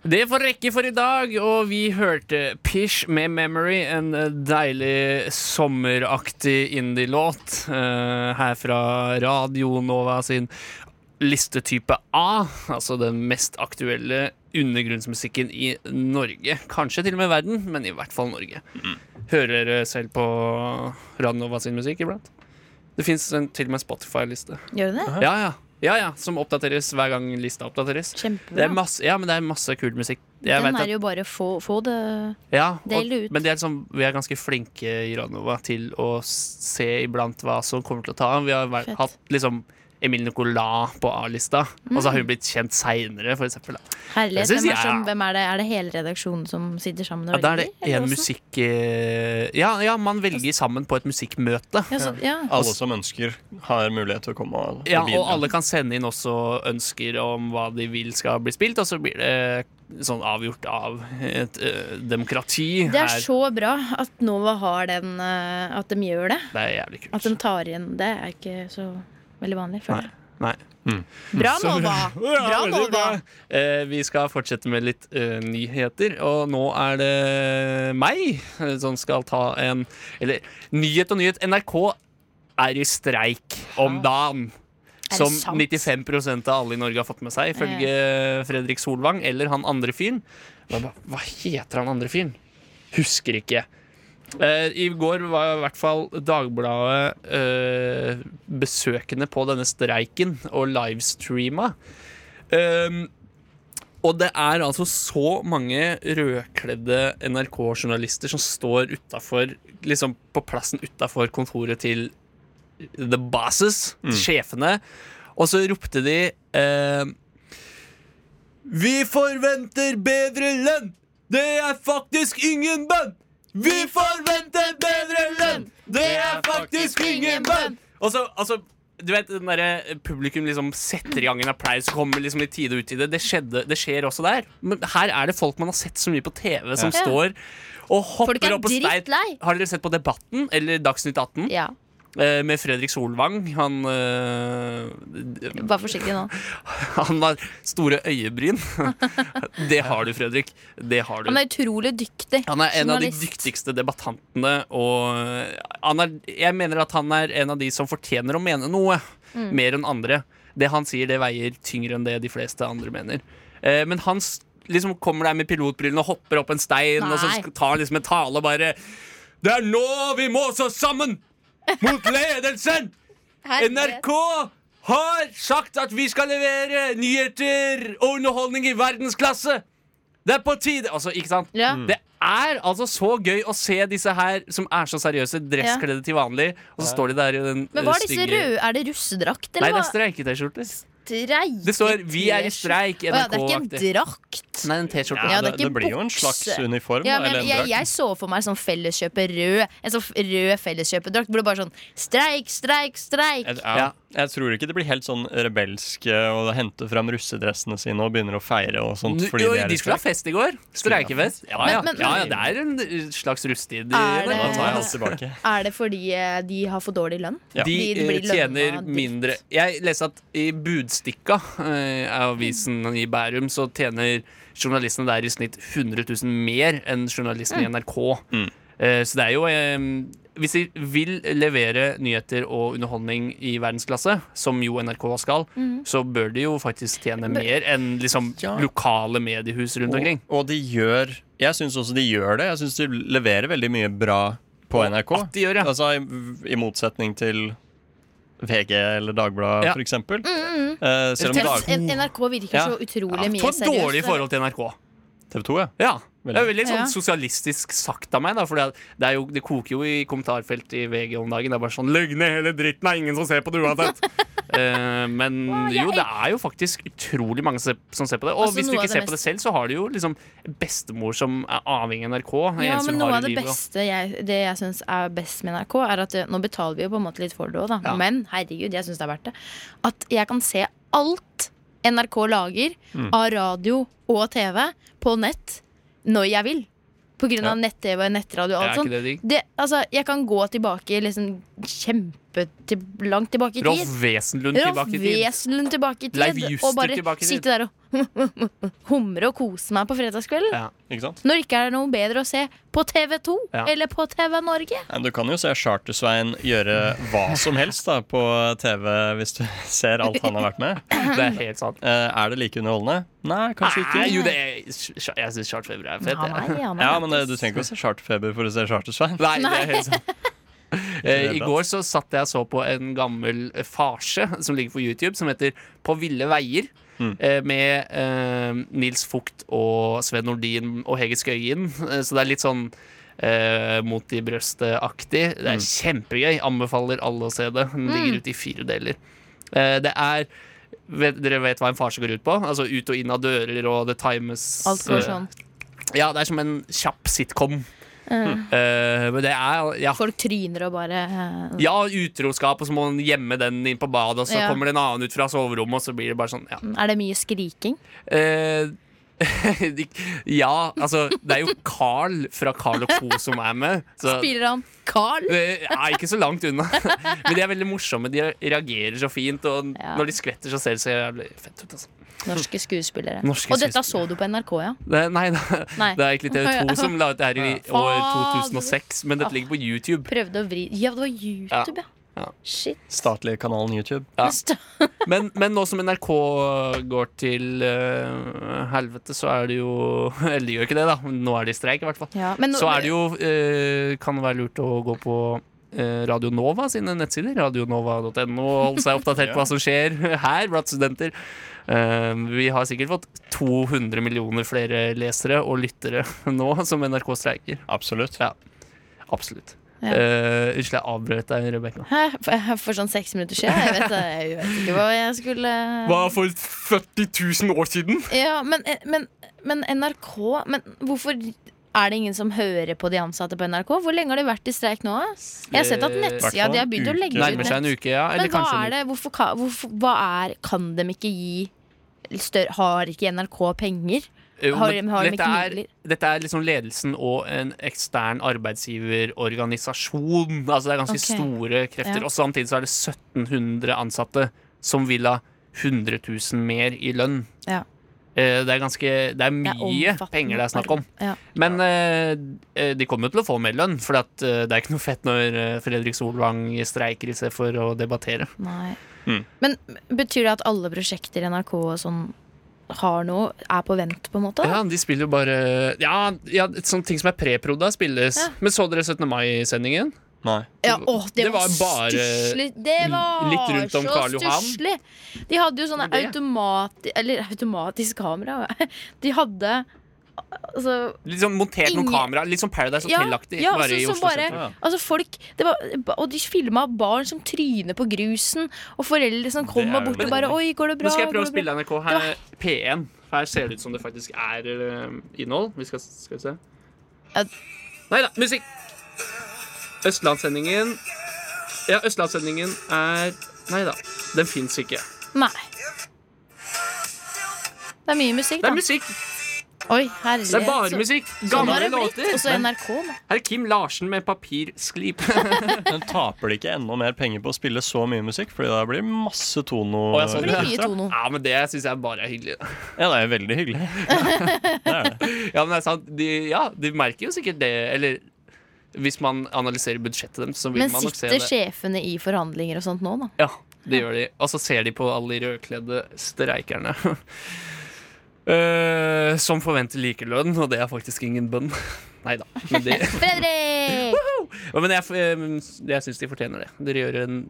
Speaker 2: Det får rekke for i dag, og vi hørte Pish med 'Memory', en eh, deilig sommeraktig indie-låt eh, her fra Radio Nova sin listetype A, altså den mest aktuelle undergrunnsmusikken i Norge. Kanskje til og med verden, men i hvert fall Norge. Hører dere selv på Radio Nova sin musikk iblant? Det fins til og med en Spotify-liste.
Speaker 3: Gjør du det?
Speaker 2: Ja, ja. ja, ja, Som oppdateres hver gang lista oppdateres. Det er
Speaker 3: Kjempebra.
Speaker 2: masse, ja, men det er masse kul musikk. Jeg
Speaker 3: Den
Speaker 2: vet at-
Speaker 3: er jo bare få, få det
Speaker 2: ja,
Speaker 3: Del
Speaker 2: og,
Speaker 3: det ut.
Speaker 2: Men det er liksom, vi er ganske flinke i Ranova til å se iblant hva som kommer til å ta av. Vi har vært,
Speaker 3: Fett.
Speaker 2: hatt liksom Emil Nicolas på A-lista, og
Speaker 3: Mm.
Speaker 2: så har hun blitt kjent seinere, for eksempel. da.
Speaker 3: Herlighet.
Speaker 2: Jeg synes
Speaker 3: Hvem er,
Speaker 2: jeg-
Speaker 3: som, hvem er det? Er det hele redaksjonen som sitter sammen og
Speaker 2: Ja, da er det
Speaker 3: eller
Speaker 2: én
Speaker 3: hvordan?
Speaker 2: musikk eh, ja, ja, man velger sammen på et musikkmøte.
Speaker 3: Ja, så, ja.
Speaker 4: Alle som ønsker, har mulighet til å komme og,
Speaker 2: Altså- Ja,
Speaker 4: bidra.
Speaker 2: og alle kan sende inn også ønsker om hva de vil skal bli spilt, og så blir det sånn avgjort av et eh, demokrati
Speaker 3: Det er
Speaker 2: her.
Speaker 3: så bra at Nova har den eh, At de gjør det.
Speaker 2: Det er jævlig kult.
Speaker 3: At de tar igjen Det er ikke så veldig vanlig. føler jeg.
Speaker 2: Nei.
Speaker 3: Bra,
Speaker 2: Så-
Speaker 3: Nova! Bra,
Speaker 2: Ja, veldig
Speaker 3: Nova!
Speaker 2: bra. Eh, vi skal fortsette med litt eh, nyheter, og nå er det meg eh, som skal ta en Eller nyhet og nyhet. NRK er i streik om dagen.
Speaker 3: det
Speaker 2: Som
Speaker 3: sant?
Speaker 2: 95 av alle i Norge har fått med seg, ifølge Fredrik Solvang eller han andre fyren. Men Hva, hva heter han andre fyren? Husker ikke. Eh, I går var i hvert fall Dagbladet eh, besøkende på denne streiken og livestreama. Um, og det er altså så mange rødkledde NRK-journalister som står utenfor, liksom på plassen utafor kontoret til the bosses, sjefene. Og så ropte de eh, Vi forventer bedre lønn! Det er faktisk ingen bønn! Vi forventer bedre lønn! Det er faktisk ingen bønn! Og så, altså du vet, den der Publikum liksom setter i gang en applaus og kommer liksom litt tide ut i det. Det, skjedde, det skjer også der. Men her er det folk man har sett så mye på TV, som
Speaker 3: Ja.
Speaker 2: står og
Speaker 3: Folk er
Speaker 2: hopper opp på stein.
Speaker 3: drittlei.
Speaker 2: Har dere sett på Debatten eller Dagsnytt 18?
Speaker 3: Ja.
Speaker 2: Eh, med Fredrik Solvang. Han, eh, d-
Speaker 3: Vær forsiktig nå.
Speaker 2: han har store øyebryn. det har du, Fredrik. Det har du.
Speaker 3: Han er utrolig dyktig.
Speaker 2: Han er en av de
Speaker 3: journalist.
Speaker 2: dyktigste debattantene, og eh, han er, jeg mener at han er en av de som fortjener å mene noe
Speaker 3: Mm.
Speaker 2: mer enn andre. Det han sier, det veier tyngre enn det de fleste andre mener. Eh, men han s- liksom kommer der med pilotbrillene og hopper opp en stein, og så
Speaker 3: Nei.
Speaker 2: sk- tar liksom en tale og bare Det er nå vi må stå sammen! Mot ledelsen!
Speaker 3: Herlighet.
Speaker 2: NRK har sagt at vi skal levere nyheter og underholdning i verdensklasse! Det er på tide! Altså, ikke sant?
Speaker 3: Ja.
Speaker 4: Mm.
Speaker 2: Det er altså så gøy å se disse her som er så seriøse, dresskledde til vanlig, og så står de der i den
Speaker 3: Men hva
Speaker 2: eh,
Speaker 3: er disse røde? Er det russedrakt,
Speaker 2: Nei,
Speaker 3: eller
Speaker 2: det
Speaker 3: hva?
Speaker 2: er streike-T-skjorter.
Speaker 3: Streik-
Speaker 2: Det står 'Vi er i streik',
Speaker 3: Å ja, det er ikke en
Speaker 2: NRK-aktig.
Speaker 3: drakt.
Speaker 2: Nei, en T-skjorte.
Speaker 3: Ja,
Speaker 4: Ja,
Speaker 3: det er
Speaker 4: det,
Speaker 3: ikke
Speaker 4: det blir jo en
Speaker 3: bukse.
Speaker 4: slags uniform.
Speaker 3: Ja,
Speaker 4: da,
Speaker 3: men
Speaker 4: eller en
Speaker 3: jeg,
Speaker 4: drakt.
Speaker 3: jeg så for meg sånn felleskjøpet rød. En sånn f- rød felleskjøpedrakt. Hvor det bare sånn streik, streik, streik.
Speaker 4: Jeg, ja.
Speaker 2: Ja.
Speaker 4: jeg tror ikke det blir helt sånn rebelske og hente fram russedressene sine og begynner å feire og sånt. Fordi
Speaker 2: Jo,
Speaker 4: de er
Speaker 2: de
Speaker 4: i
Speaker 2: skulle ha
Speaker 4: strekk.
Speaker 2: fest i går. Streikefest. Ja ja.
Speaker 3: Men- men-
Speaker 2: ja, ja det er en slags rusttid. i
Speaker 3: Er
Speaker 2: NRK.
Speaker 4: Da tar jeg
Speaker 3: Eh.
Speaker 4: alt tilbake.
Speaker 3: Er det fordi eh, de har for dårlig lønn?
Speaker 4: Ja.
Speaker 2: De
Speaker 3: De- de blir
Speaker 2: eh, tjener
Speaker 3: lønna dyrt.
Speaker 2: mindre. Jeg leste at i Budstikka, eh, avisen i Bærum, så tjener journalistene der i snitt 100 000 mer enn
Speaker 3: Mm.
Speaker 2: journalistene i NRK.
Speaker 4: Mm.
Speaker 2: Eh, Så det er jo eh, Hvis de vil levere nyheter og underholdning i verdensklasse, som jo NRK skal,
Speaker 3: Mm.
Speaker 2: så bør de jo faktisk tjene mer enn liksom
Speaker 4: Ja.
Speaker 2: lokale mediehus rundt
Speaker 4: Og,
Speaker 2: omkring.
Speaker 4: og de gjør Jeg syns også de gjør det. Jeg syns de leverer veldig mye bra på NRK.
Speaker 2: At de gjør, ja.
Speaker 4: Altså i, I motsetning til VG eller Dagbladet,
Speaker 2: Ja.
Speaker 4: for eksempel.
Speaker 2: Mm,
Speaker 4: Eh, selv om Dag...
Speaker 2: Selv-
Speaker 3: Men NRK virker
Speaker 4: Ja.
Speaker 3: så utrolig
Speaker 2: Ja,
Speaker 3: mye
Speaker 2: for
Speaker 3: seriøst.
Speaker 2: dårlig forhold til NRK.
Speaker 4: TV 2, ja.
Speaker 2: Ja.
Speaker 4: Veldig.
Speaker 2: Det er veldig sånn
Speaker 3: Ja.
Speaker 2: sosialistisk sagt av meg, da, for det, er- det, er jo, det koker jo i kommentarfelt i VG om dagen. Det er bare sånn 'Legg ned hele dritten, det er ingen som ser på det uansett'. Eh, men jo, det er jo faktisk utrolig mange som som ser på det. Og
Speaker 3: Altså,
Speaker 2: hvis du
Speaker 3: noe av
Speaker 2: ikke
Speaker 3: det
Speaker 2: ser på det
Speaker 3: mest-
Speaker 2: selv, så har du jo liksom bestemor som er avhengig av NRK. er
Speaker 3: Ja,
Speaker 2: eneste
Speaker 3: men
Speaker 2: hun
Speaker 3: noe
Speaker 2: har i
Speaker 3: av det
Speaker 2: livet, da.
Speaker 3: beste jeg, det jeg syns er best med NRK, er at eh, nå betaler vi jo på en måte litt for det òg, da.
Speaker 2: Ja.
Speaker 3: Men herregud, jeg syns det er verdt det. At jeg kan se alt NRK lager
Speaker 2: Mm.
Speaker 3: av radio og TV på nett når jeg vil. På grunn av nett-TV og nettradio og sånn.
Speaker 2: Er
Speaker 3: alt
Speaker 2: ikke
Speaker 3: sånt.
Speaker 2: det digg?
Speaker 3: Det, altså, jeg kan gå tilbake, liksom kjempe til, langt tilbake i tid.
Speaker 2: Rolf Wesenlund tilbake i tid.
Speaker 3: Wesenlund tilbake i tid.
Speaker 2: Leif Juster
Speaker 3: og bare
Speaker 2: tilbake i tid.
Speaker 3: sitte der og humre og kose meg på fredagskvelden.
Speaker 2: Ja.
Speaker 4: Ikke sant?
Speaker 3: Når det ikke er noe bedre å se på TV2
Speaker 2: Ja.
Speaker 3: eller på TV Norge.
Speaker 4: Nei, men Du kan jo se Charter-Svein gjøre hva som helst da, på TV hvis du ser alt han har vært med.
Speaker 2: Det er helt sant.
Speaker 4: Eh, er det like underholdende? Nei, kanskje ikke.
Speaker 2: Nei, jo, det er, jeg syns Charles Weber er fett.
Speaker 3: Han
Speaker 2: jeg.
Speaker 3: er, han er
Speaker 4: Ja, men eh, Du
Speaker 3: faktisk-
Speaker 4: trenger ikke å se Charterfeber for å se Charter-Svein.
Speaker 2: Nei, det er helt sant. Eh,
Speaker 4: det
Speaker 2: I
Speaker 4: hele
Speaker 2: går så satt jeg og så på en gammel eh, farse som ligger på YouTube, som heter På ville veier. eh, Med eh, Nils Fugt og Sven Nordin og Hege Skøyen. Eh, Så det er litt sånn eh, mot i brøstet-aktig. Det er kjempegøy. Anbefaler alle å se det.
Speaker 3: Mm.
Speaker 2: Den ligger ute i fire deler. Eh, Det er vet, Dere vet hva en farse går ut på? Altså ut og inn av dører, og det times
Speaker 3: Alt går
Speaker 2: eh,
Speaker 3: sånn.
Speaker 2: Ja, det er som en kjapp sitcom.
Speaker 3: Mm.
Speaker 2: Eh, men det er ja,
Speaker 3: Folk tryner og bare eh,
Speaker 2: ja, utroskap, og så må man gjemme den inn på badet, og så
Speaker 3: Ja.
Speaker 2: kommer det en annen ut fra soverommet, og så blir det bare sånn, ja.
Speaker 3: Er det mye skriking?
Speaker 2: Eh, de- ja, altså, det er jo Carl fra Carl og Co. som er med. Så,
Speaker 3: Spiller han Carl?
Speaker 2: Eh, Nei, ikke så langt unna. Men de er veldig morsomme. De reagerer så fint, og
Speaker 3: Ja.
Speaker 2: når de skvetter, så ser det så jævlig fett ut. Altså.
Speaker 3: Norske skuespillere.
Speaker 2: Norske
Speaker 3: og dette så
Speaker 2: skuespillere.
Speaker 3: du på NRK, ja?
Speaker 2: Det, nei, det,
Speaker 3: Nei.
Speaker 2: det er egentlig TV2 som la ut det her i år
Speaker 3: Fader.
Speaker 2: 2006, men dette ligger på YouTube.
Speaker 3: Prøvde å vri Ja, det var YouTube, ja.
Speaker 2: Ja.
Speaker 3: Shit. altså.
Speaker 4: Statlige kanalen YouTube.
Speaker 2: Ja. Men, men nå som NRK går til eh, helvete, så er det jo Eller de gjør ikke det, da. men Nå er de i streik, i hvert fall.
Speaker 3: Ja, men nå-
Speaker 2: Så er det jo eh, Kan det være lurt å gå på eh, Radio Nova sine nettsider, radionova.no, og holde seg oppdatert på hva som skjer her blant studenter. Eh, vi har sikkert fått 200 millioner flere lesere og lyttere nå som NRK streiker.
Speaker 4: Absolutt.
Speaker 2: Ja. Absolutt.
Speaker 3: Ja.
Speaker 2: Eh, Unnskyld, jeg avbrøt deg, Rebekka.
Speaker 3: Hæ? For, for sånn seks minutter siden? Jeg vet, jeg vet ikke hva jeg skulle
Speaker 2: for 40 000 år siden?
Speaker 3: Ja, men, eh, men, men NRK men Hvorfor er det ingen som hører på de ansatte på NRK? Hvor lenge har de vært i streik nå? da? Jeg har sett
Speaker 2: Eh,
Speaker 3: at nettsida
Speaker 4: Hvertfall
Speaker 3: de har begynt å
Speaker 4: en uke.
Speaker 3: legge ut
Speaker 2: Nærmer seg en
Speaker 3: nett.
Speaker 2: uke, ja. Eller
Speaker 3: Men hva
Speaker 2: kanskje en
Speaker 3: er det? Hvorfor, ka- hvorfor, hva er, kan de ikke gi større, Har ikke NRK penger?
Speaker 2: uke. Jo,
Speaker 3: Har
Speaker 2: men
Speaker 3: de- har de
Speaker 2: Eh, dette,
Speaker 3: ikke
Speaker 2: er,
Speaker 3: midler?
Speaker 2: dette er liksom ledelsen og en ekstern arbeidsgiverorganisasjon. Altså det er ganske
Speaker 3: Ok.
Speaker 2: store krefter.
Speaker 3: Ja.
Speaker 2: Og samtidig så er det 1700 ansatte som vil ha 100 000 mer i lønn.
Speaker 3: Ja.
Speaker 2: Eh, Det er ganske Det er
Speaker 3: Det er
Speaker 2: mye
Speaker 3: omfattende
Speaker 2: penger det er snakk om.
Speaker 3: arbeid. Ja.
Speaker 2: Men eh, de kommer jo til å få mer lønn, for at, eh, det er ikke noe fett når eh, Fredrik Solvang streiker i stedet for å debattere.
Speaker 3: Nei.
Speaker 4: Mm.
Speaker 3: Men betyr det at alle prosjekter i NRK og sånn har noe, er på vent, på en måte? da?
Speaker 2: Ja, de spiller jo bare Ja, ja sånne ting som er preproda, spilles.
Speaker 3: Ja.
Speaker 2: Men så dere 17. mai-sendingen?
Speaker 4: Nei.
Speaker 3: Ja, åh, det,
Speaker 2: Det
Speaker 3: var,
Speaker 2: var bare
Speaker 3: stusslig! Det var
Speaker 2: litt rundt om
Speaker 3: så
Speaker 2: Karl Johan.
Speaker 3: stusslig! De hadde jo sånne
Speaker 2: Men det-
Speaker 3: automat... Eller automatisk kamera. De hadde Altså,
Speaker 2: Litt sånn montert
Speaker 3: Ingen-
Speaker 2: med kamera. Litt sånn Paradise
Speaker 3: Ja,
Speaker 2: Hotel-aktig.
Speaker 3: ja,
Speaker 2: bare
Speaker 3: sånn
Speaker 2: i
Speaker 3: som
Speaker 2: Oslo
Speaker 3: bare-
Speaker 2: sentrum.
Speaker 4: Ja.
Speaker 3: altså folk det var, Og de filma barn som tryner på grusen, og foreldre som
Speaker 4: er
Speaker 3: kommer
Speaker 4: jo
Speaker 3: bort
Speaker 4: det.
Speaker 3: og bare Oi, går det bra?
Speaker 2: Nå skal jeg
Speaker 3: Går
Speaker 2: prøve
Speaker 3: det
Speaker 2: å spille NRK
Speaker 3: Det
Speaker 2: her. P1. Her ser det ut som det faktisk er eh, innhold. Vi skal, skal vi se.
Speaker 3: Ja.
Speaker 2: Nei da, musikk! Østlandssendingen Ja, Østlandssendingen er Nei da, den fins ikke.
Speaker 3: bra? Nei. Det er mye musikk,
Speaker 2: Det
Speaker 3: da.
Speaker 2: er musikk!
Speaker 3: Oi, herlighet.
Speaker 2: Det er bare
Speaker 3: så-
Speaker 2: musikk!
Speaker 3: Sånn
Speaker 2: Gamle
Speaker 3: har det blitt.
Speaker 2: låter.
Speaker 3: Og så NRK, da.
Speaker 2: Her er Kim Larsen med papirsklip.
Speaker 4: Men taper de ikke enda mer penger på å spille så mye musikk? Fordi da blir det masse tono.
Speaker 2: Å, jeg så
Speaker 3: Det blir mye tono.
Speaker 2: Ja, men det syns jeg bare er hyggelig.
Speaker 4: Ja, det er jo veldig hyggelig. Det er det.
Speaker 2: Ja, men det er sant. De, ja, de merker jo sikkert det. Eller hvis man analyserer budsjettet deres, så vil
Speaker 3: Men
Speaker 2: man nok se
Speaker 3: sitter
Speaker 2: det.
Speaker 3: sjefene i forhandlinger og sånt nå, da?
Speaker 2: Ja, det gjør de. Og så ser de på alle de rødkledde streikerne. Eh, som forventer likelønn, og det er faktisk ingen bønn. Nei da. Men, det,
Speaker 3: Fredrik!
Speaker 2: eh, men jeg, uh, jeg syns de fortjener det. Dere gjør en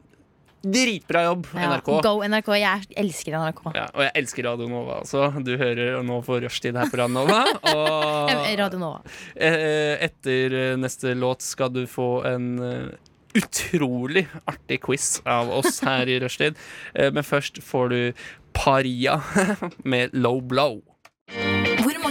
Speaker 2: Dritbra jobb,
Speaker 3: Ja,
Speaker 2: NRK.
Speaker 3: Go NRK. Jeg elsker NRK.
Speaker 2: Ja, og jeg elsker Radio Nova også. Du hører nå på rushtid her på Radio Nova.
Speaker 3: Eh,
Speaker 2: Og
Speaker 3: Radio Nova.
Speaker 2: eh, etter eh, neste låt skal du få en eh, utrolig artig quiz av oss her i rushtid. Eh, Men først får du Paria med Low Blow.
Speaker 6: Hvor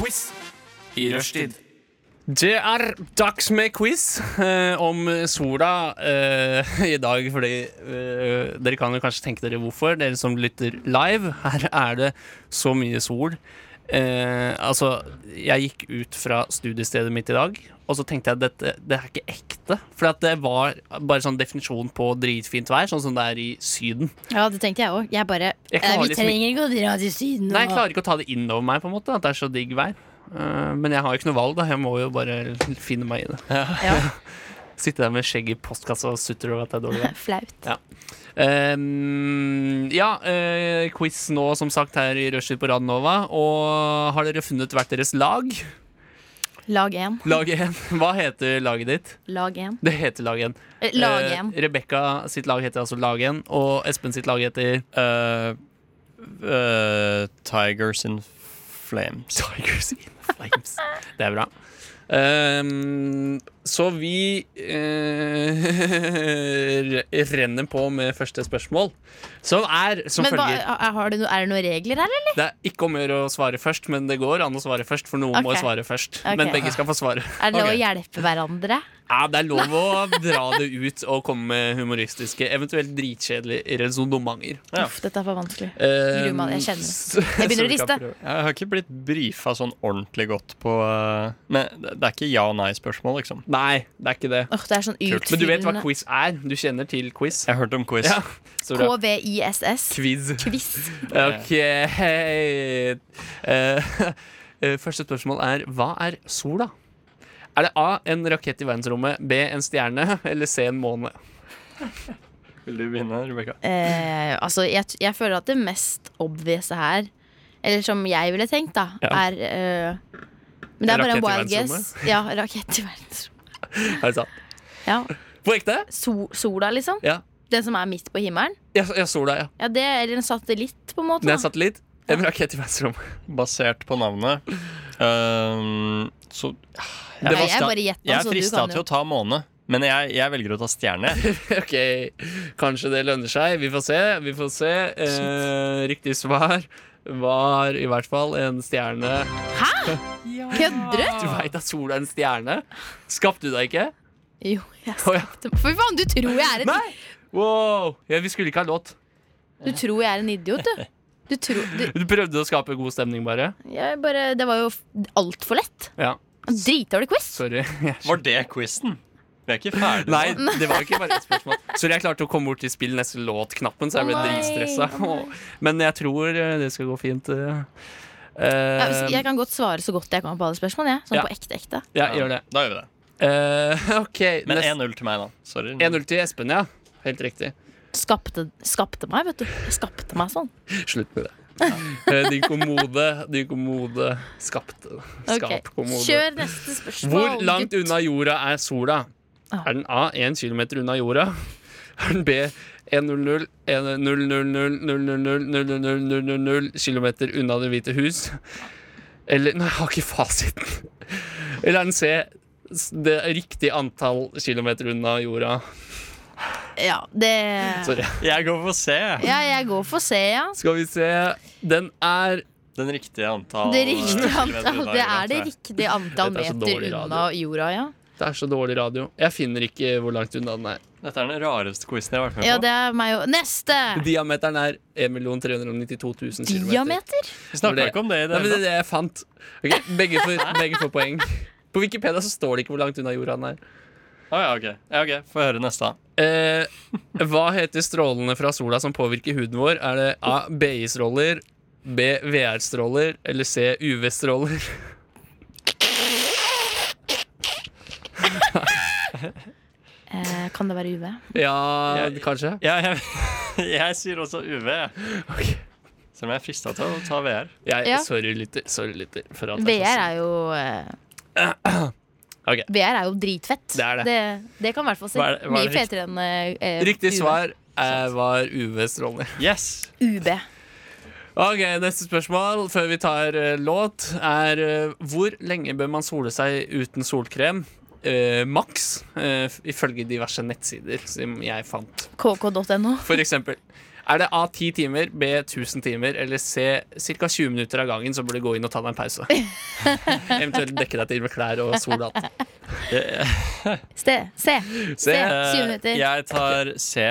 Speaker 2: Quiz i rushtid. Det er dags med quiz eh, om sola eh, i dag, fordi eh, dere kan jo kanskje tenke dere hvorfor, dere som lytter live. Her er det så mye sol. Eh, altså, jeg gikk ut fra studiestedet mitt i dag, og så tenkte jeg at dette det er ikke ekte. For at det var bare sånn definisjon på dritfint vær, sånn som det er i Syden.
Speaker 3: Ja, det tenkte jeg òg. Jeg bare
Speaker 2: Jeg
Speaker 3: eh,
Speaker 2: klarer
Speaker 3: Vi
Speaker 2: liksom
Speaker 3: trenger ikke å dra til Syden.
Speaker 2: Nei, jeg
Speaker 3: og-
Speaker 2: klarer ikke å ta det inn over meg, på en måte, at det er så digg vær. Eh, men jeg har jo ikke noe valg, da. Jeg må jo bare finne meg i det.
Speaker 3: Ja,
Speaker 2: Sitte der med skjegg i postkassa og sutter over at det er dårlig vær.
Speaker 3: Flaut.
Speaker 2: Ehm, ja, eh, quiz nå, som sagt, her i Rushtid på Radnova. Og har dere funnet hvert deres lag?
Speaker 3: Lag én.
Speaker 2: Lag 1. Hva heter laget ditt?
Speaker 3: Lag én.
Speaker 2: Det heter lag 1.
Speaker 3: Eh, Lag én.
Speaker 2: Rebekka sitt lag heter altså lag 1, og Espen sitt lag heter
Speaker 4: Eh, eh, Tigers in Flames.
Speaker 2: Tigers in Flames. Det er bra. Ehm, så vi eh, renner på med første spørsmål, som er som
Speaker 3: Men hva,
Speaker 2: følger.
Speaker 3: er- har du no, er det noen regler her, eller?
Speaker 2: Det er ikke om å gjøre å svare først, men det går an å svare først. For noen må
Speaker 3: Ok.
Speaker 2: jo svare først.
Speaker 3: Ok.
Speaker 2: Men begge skal få svare.
Speaker 3: Er det lov
Speaker 4: Ok.
Speaker 3: å hjelpe hverandre?
Speaker 2: Ja, det er lov å dra det ut og komme med humoristiske, eventuelt dritkjedelige resonnementer.
Speaker 4: Ja.
Speaker 3: Uff, dette er for vanskelig.
Speaker 2: Eh,
Speaker 3: Gruer meg, jeg kjenner det.
Speaker 2: så-
Speaker 3: Jeg begynner å
Speaker 2: så vi kan
Speaker 3: riste.
Speaker 2: prøve.
Speaker 4: Jeg har ikke blitt brifa sånn ordentlig godt på eh, Men det det er ikke ja- og nei-spørsmål, liksom.
Speaker 2: Nei, det er ikke det.
Speaker 3: Åh, det er sånn utfyllende.
Speaker 2: Men du vet hva quiz er? Du kjenner til quiz?
Speaker 4: Jeg hørte om quiz.
Speaker 2: Ja, så bra.
Speaker 3: KVISS.
Speaker 2: Quiz.
Speaker 3: Quiz.
Speaker 2: Ok. Eh, eh, første spørsmål er hva er sola? Er det A en rakett i verdensrommet, B en stjerne eller C en måne?
Speaker 4: Vil du begynne, Rebekka?
Speaker 3: Eh, altså, jeg, t- jeg føler at det mest obvious her, eller som jeg ville tenkt, da,
Speaker 2: Ja.
Speaker 3: er eh, Men det er bare en
Speaker 2: Rakett i
Speaker 3: wild guess. Ja, rakett i verdensrommet.
Speaker 2: Er det sant?
Speaker 3: Ja.
Speaker 2: På ekte?
Speaker 3: Sol, sola, liksom.
Speaker 2: Ja.
Speaker 3: Den som er midt på himmelen.
Speaker 2: Jeg, jeg så deg, ja.
Speaker 3: Ja, det, eller en satellitt, på en måte.
Speaker 2: Det
Speaker 3: da.
Speaker 2: er en satellitt. En rakett i verdensrommet.
Speaker 4: Basert på navnet eh, Så
Speaker 2: Det
Speaker 3: Nei,
Speaker 2: var
Speaker 3: jeg
Speaker 2: sta-
Speaker 3: bare gjetter,
Speaker 4: Jeg er
Speaker 3: så du
Speaker 4: frista
Speaker 3: kan
Speaker 4: til
Speaker 3: jo.
Speaker 4: å ta måne, men jeg, jeg velger å ta stjerne.
Speaker 2: Ok, Kanskje det lønner seg. Vi får se. Vi får se. Eh, riktig svar var i hvert fall en stjerne.
Speaker 3: Kødder du?
Speaker 2: Du veit at sola er en stjerne? Skapte du deg ikke?
Speaker 3: Jo, jeg
Speaker 2: Å, ja.
Speaker 3: skapte meg. Fy faen, du tror jeg er en,
Speaker 2: Nei! Wow! Ja, vi skulle ikke ha låt.
Speaker 3: du tror jeg er en idiot, du. Du tror du,
Speaker 2: Du prøvde å skape god stemning, bare.
Speaker 3: jeg bare, Det var jo f- altfor lett.
Speaker 2: Ja,
Speaker 3: Dritdårlig quiz.
Speaker 2: sorry.
Speaker 4: Var det quizen? Vi er ikke ferdige.
Speaker 2: Nei, det var ikke bare et spørsmål. Sorry, jeg klarte å komme bort til spill neste låt-knappen, så jeg ble
Speaker 3: Å, nei.
Speaker 2: dritstressa.
Speaker 3: Å, nei.
Speaker 2: Men jeg tror eh, det skal gå fint. eh. Eh,
Speaker 3: Ja, hvis- jeg kan godt svare så godt jeg kan på alle spørsmål. Jeg. Sånn
Speaker 2: Ja.
Speaker 3: på ekte, ekte.
Speaker 2: ja, gjør det.
Speaker 4: Da gjør vi det.
Speaker 2: Eh, ok,
Speaker 4: Men
Speaker 2: nest-
Speaker 4: 1-0 til meg, da. Sorry.
Speaker 2: 1-0 til Espen, ja. Helt riktig.
Speaker 3: Skapte, skapte meg, vet du. Jeg Skapte meg sånn.
Speaker 2: Slutt med det. Eh, Din kommode, din kommode skapte Skap
Speaker 3: Ok,
Speaker 2: kommode.
Speaker 3: Kjør neste spørsmål.
Speaker 2: Hvor langt
Speaker 3: gutt.
Speaker 2: unna jorda er sola?
Speaker 3: Ah.
Speaker 2: Er den A 1 km unna jorda? Er den B 100 km unna Det hvite hus? Eller Nei, jeg har ikke fasiten. Eller er den C s- det riktige antall kilometer unna jorda?
Speaker 3: Ja, det
Speaker 2: Sorry.
Speaker 4: Jeg går for C.
Speaker 3: Ja, jeg går for C, ja.
Speaker 2: Skal vi se. Den er
Speaker 4: Den riktige
Speaker 2: Ah,
Speaker 4: antall
Speaker 3: Det riktige
Speaker 4: eh, kilometer
Speaker 3: antall,
Speaker 4: unna
Speaker 3: det
Speaker 4: jorda,
Speaker 3: er det
Speaker 4: tror jeg.
Speaker 3: riktige antall
Speaker 2: Dette er så
Speaker 3: meter
Speaker 2: dårlig radio.
Speaker 3: unna jorda, ja.
Speaker 2: Det er så dårlig radio. Jeg finner ikke hvor langt unna den er.
Speaker 4: Dette er den rareste quizen jeg har vært med
Speaker 3: Ja,
Speaker 4: på.
Speaker 3: det er meg jo Neste!
Speaker 2: Diameteren er 1.392.000 km.
Speaker 3: Diameter?
Speaker 4: Vi snakka ikke om det i det
Speaker 2: Nei, men det
Speaker 4: hele
Speaker 2: er det
Speaker 4: tatt.
Speaker 2: jeg fant. Ok, begge, får, begge får poeng. På Wikipedia så står det ikke hvor langt unna jorda den er.
Speaker 4: Å ja, OK. Ja, ok. Få høre neste.
Speaker 2: Eh, hva heter strålene fra sola som påvirker huden vår? Er det A. BI-stråler, B. VR-stråler eller C. UV-stråler?
Speaker 3: Eh, kan det være UV?
Speaker 2: Ja, kanskje.
Speaker 4: Ja, jeg, jeg sier også UV. Selv om jeg er frista til å ta VR.
Speaker 2: Jeg,
Speaker 3: Ja.
Speaker 2: Sorry, lytter. Sorry, lytter. For sånn. at jeg
Speaker 3: VR
Speaker 2: kaster-
Speaker 3: er jo eh,
Speaker 2: Ok.
Speaker 3: VR er jo dritfett.
Speaker 2: Det er det.
Speaker 3: Det, det kan i hvert fall si.
Speaker 4: Hva er det- hva er
Speaker 3: Mye
Speaker 4: det
Speaker 3: fetere enn eh,
Speaker 2: Riktig
Speaker 3: UV.
Speaker 2: svar eh, var UV-stråler.
Speaker 4: Yes!
Speaker 3: UB.
Speaker 2: Ok, Neste spørsmål før vi tar eh, låt, er eh, hvor lenge bør man sole seg uten solkrem? Eh, Maks, eh, ifølge diverse nettsider som jeg fant.
Speaker 3: KK.no.
Speaker 2: For eksempel. Er det A 10 timer, B 1000 timer eller C ca. 20 minutter av gangen, så burde du gå inn og ta deg en pause? Eventuelt dekke deg til med klær og solhatt.
Speaker 3: Ste- Se. Se.
Speaker 2: Se.
Speaker 3: Syv
Speaker 4: Eh,
Speaker 3: minutter.
Speaker 4: Jeg tar C.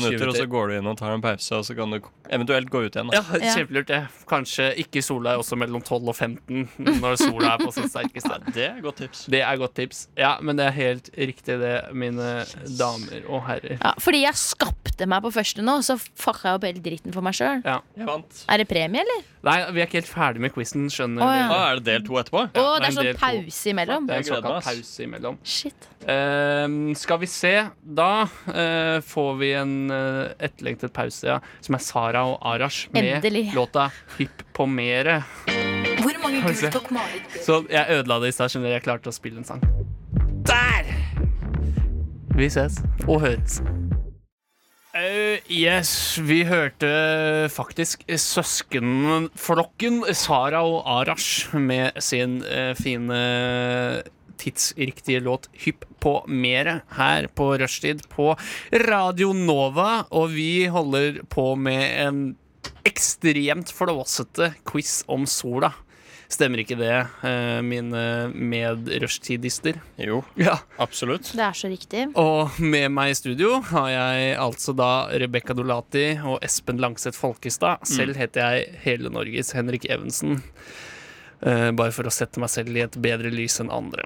Speaker 2: 20
Speaker 4: minutter, og så
Speaker 2: minutter.
Speaker 4: går du inn og tar en pause, og så kan du eventuelt gå ut igjen.
Speaker 2: Ja,
Speaker 4: Da.
Speaker 2: kjempelurt, det. Kanskje ikke sola er også mellom 12 og 15 når sola er på sitt sterkeste.
Speaker 4: Det er et godt tips.
Speaker 2: Det er godt tips. Ja, men det er helt riktig, det, mine damer og herrer.
Speaker 3: Ja, fordi jeg skapte meg på første nå, så fucka jeg opp hele dritten for meg sjøl.
Speaker 2: Ja.
Speaker 4: Jeg vant.
Speaker 3: Er det premie, eller?
Speaker 2: Nei, vi er ikke helt ferdig med quizen, skjønner
Speaker 3: Å,
Speaker 4: Ah,
Speaker 2: dere.
Speaker 3: ja.
Speaker 4: er det del to etterpå?
Speaker 3: Å, det
Speaker 2: Ja,
Speaker 3: er
Speaker 2: det er
Speaker 3: sånn
Speaker 2: en del
Speaker 3: pause imellom.
Speaker 2: Det er en
Speaker 4: Jeg gleder meg,
Speaker 2: såkalt
Speaker 4: ass.
Speaker 2: pause imellom.
Speaker 3: Shit.
Speaker 2: Ehm, skal vi se. Da eh, får vi en eh, etterlengtet pause, ja, som er Sara og Arash med
Speaker 3: Endelig.
Speaker 2: låta 'Hypp på mere'.
Speaker 6: Hvor mange
Speaker 2: vi se.
Speaker 6: gull tok Marit Bjørgen?
Speaker 2: Så jeg ødela det i stad, skjønner du. Jeg klarte å spille en sang. Der! Vi ses og høres. Au, Eh, yes, vi hørte faktisk søskenflokken Sara og Arash med sin eh, fine tidsriktige låt 'Hypp på mere' her på rushtid på Radio Nova, og vi holder på med en ekstremt flåsete quiz om sola. Stemmer ikke det, eh, mine medrushtidister?
Speaker 4: Jo,
Speaker 2: Ja.
Speaker 4: absolutt.
Speaker 3: Det er så riktig.
Speaker 2: Og med meg i studio har jeg altså da Rebekka Dolati og Espen Langseth Folkestad. Selv heter jeg hele Norges Henrik Evensen. Eh, bare for å sette meg selv i et bedre lys enn andre.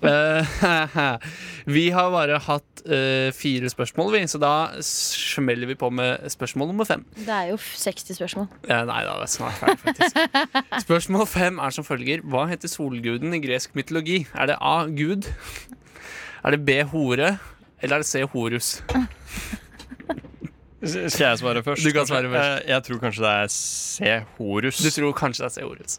Speaker 2: Eh, vi har bare hatt eh, fire spørsmål, vi, så da smeller vi på med spørsmål nummer fem.
Speaker 3: Det er jo f- 60 spørsmål.
Speaker 2: Eh, nei da, det er snart ferdig, faktisk. Spørsmål fem er som følger. Hva heter solguden i gresk mytologi? Er det A. Gud? Er det B. Hore? Eller er det C. Horus?
Speaker 4: S- Skal jeg svare først?
Speaker 2: Du kan svare først.
Speaker 4: Eh, Jeg tror kanskje det er C. Horus.
Speaker 2: Du tror kanskje det er C. Horus.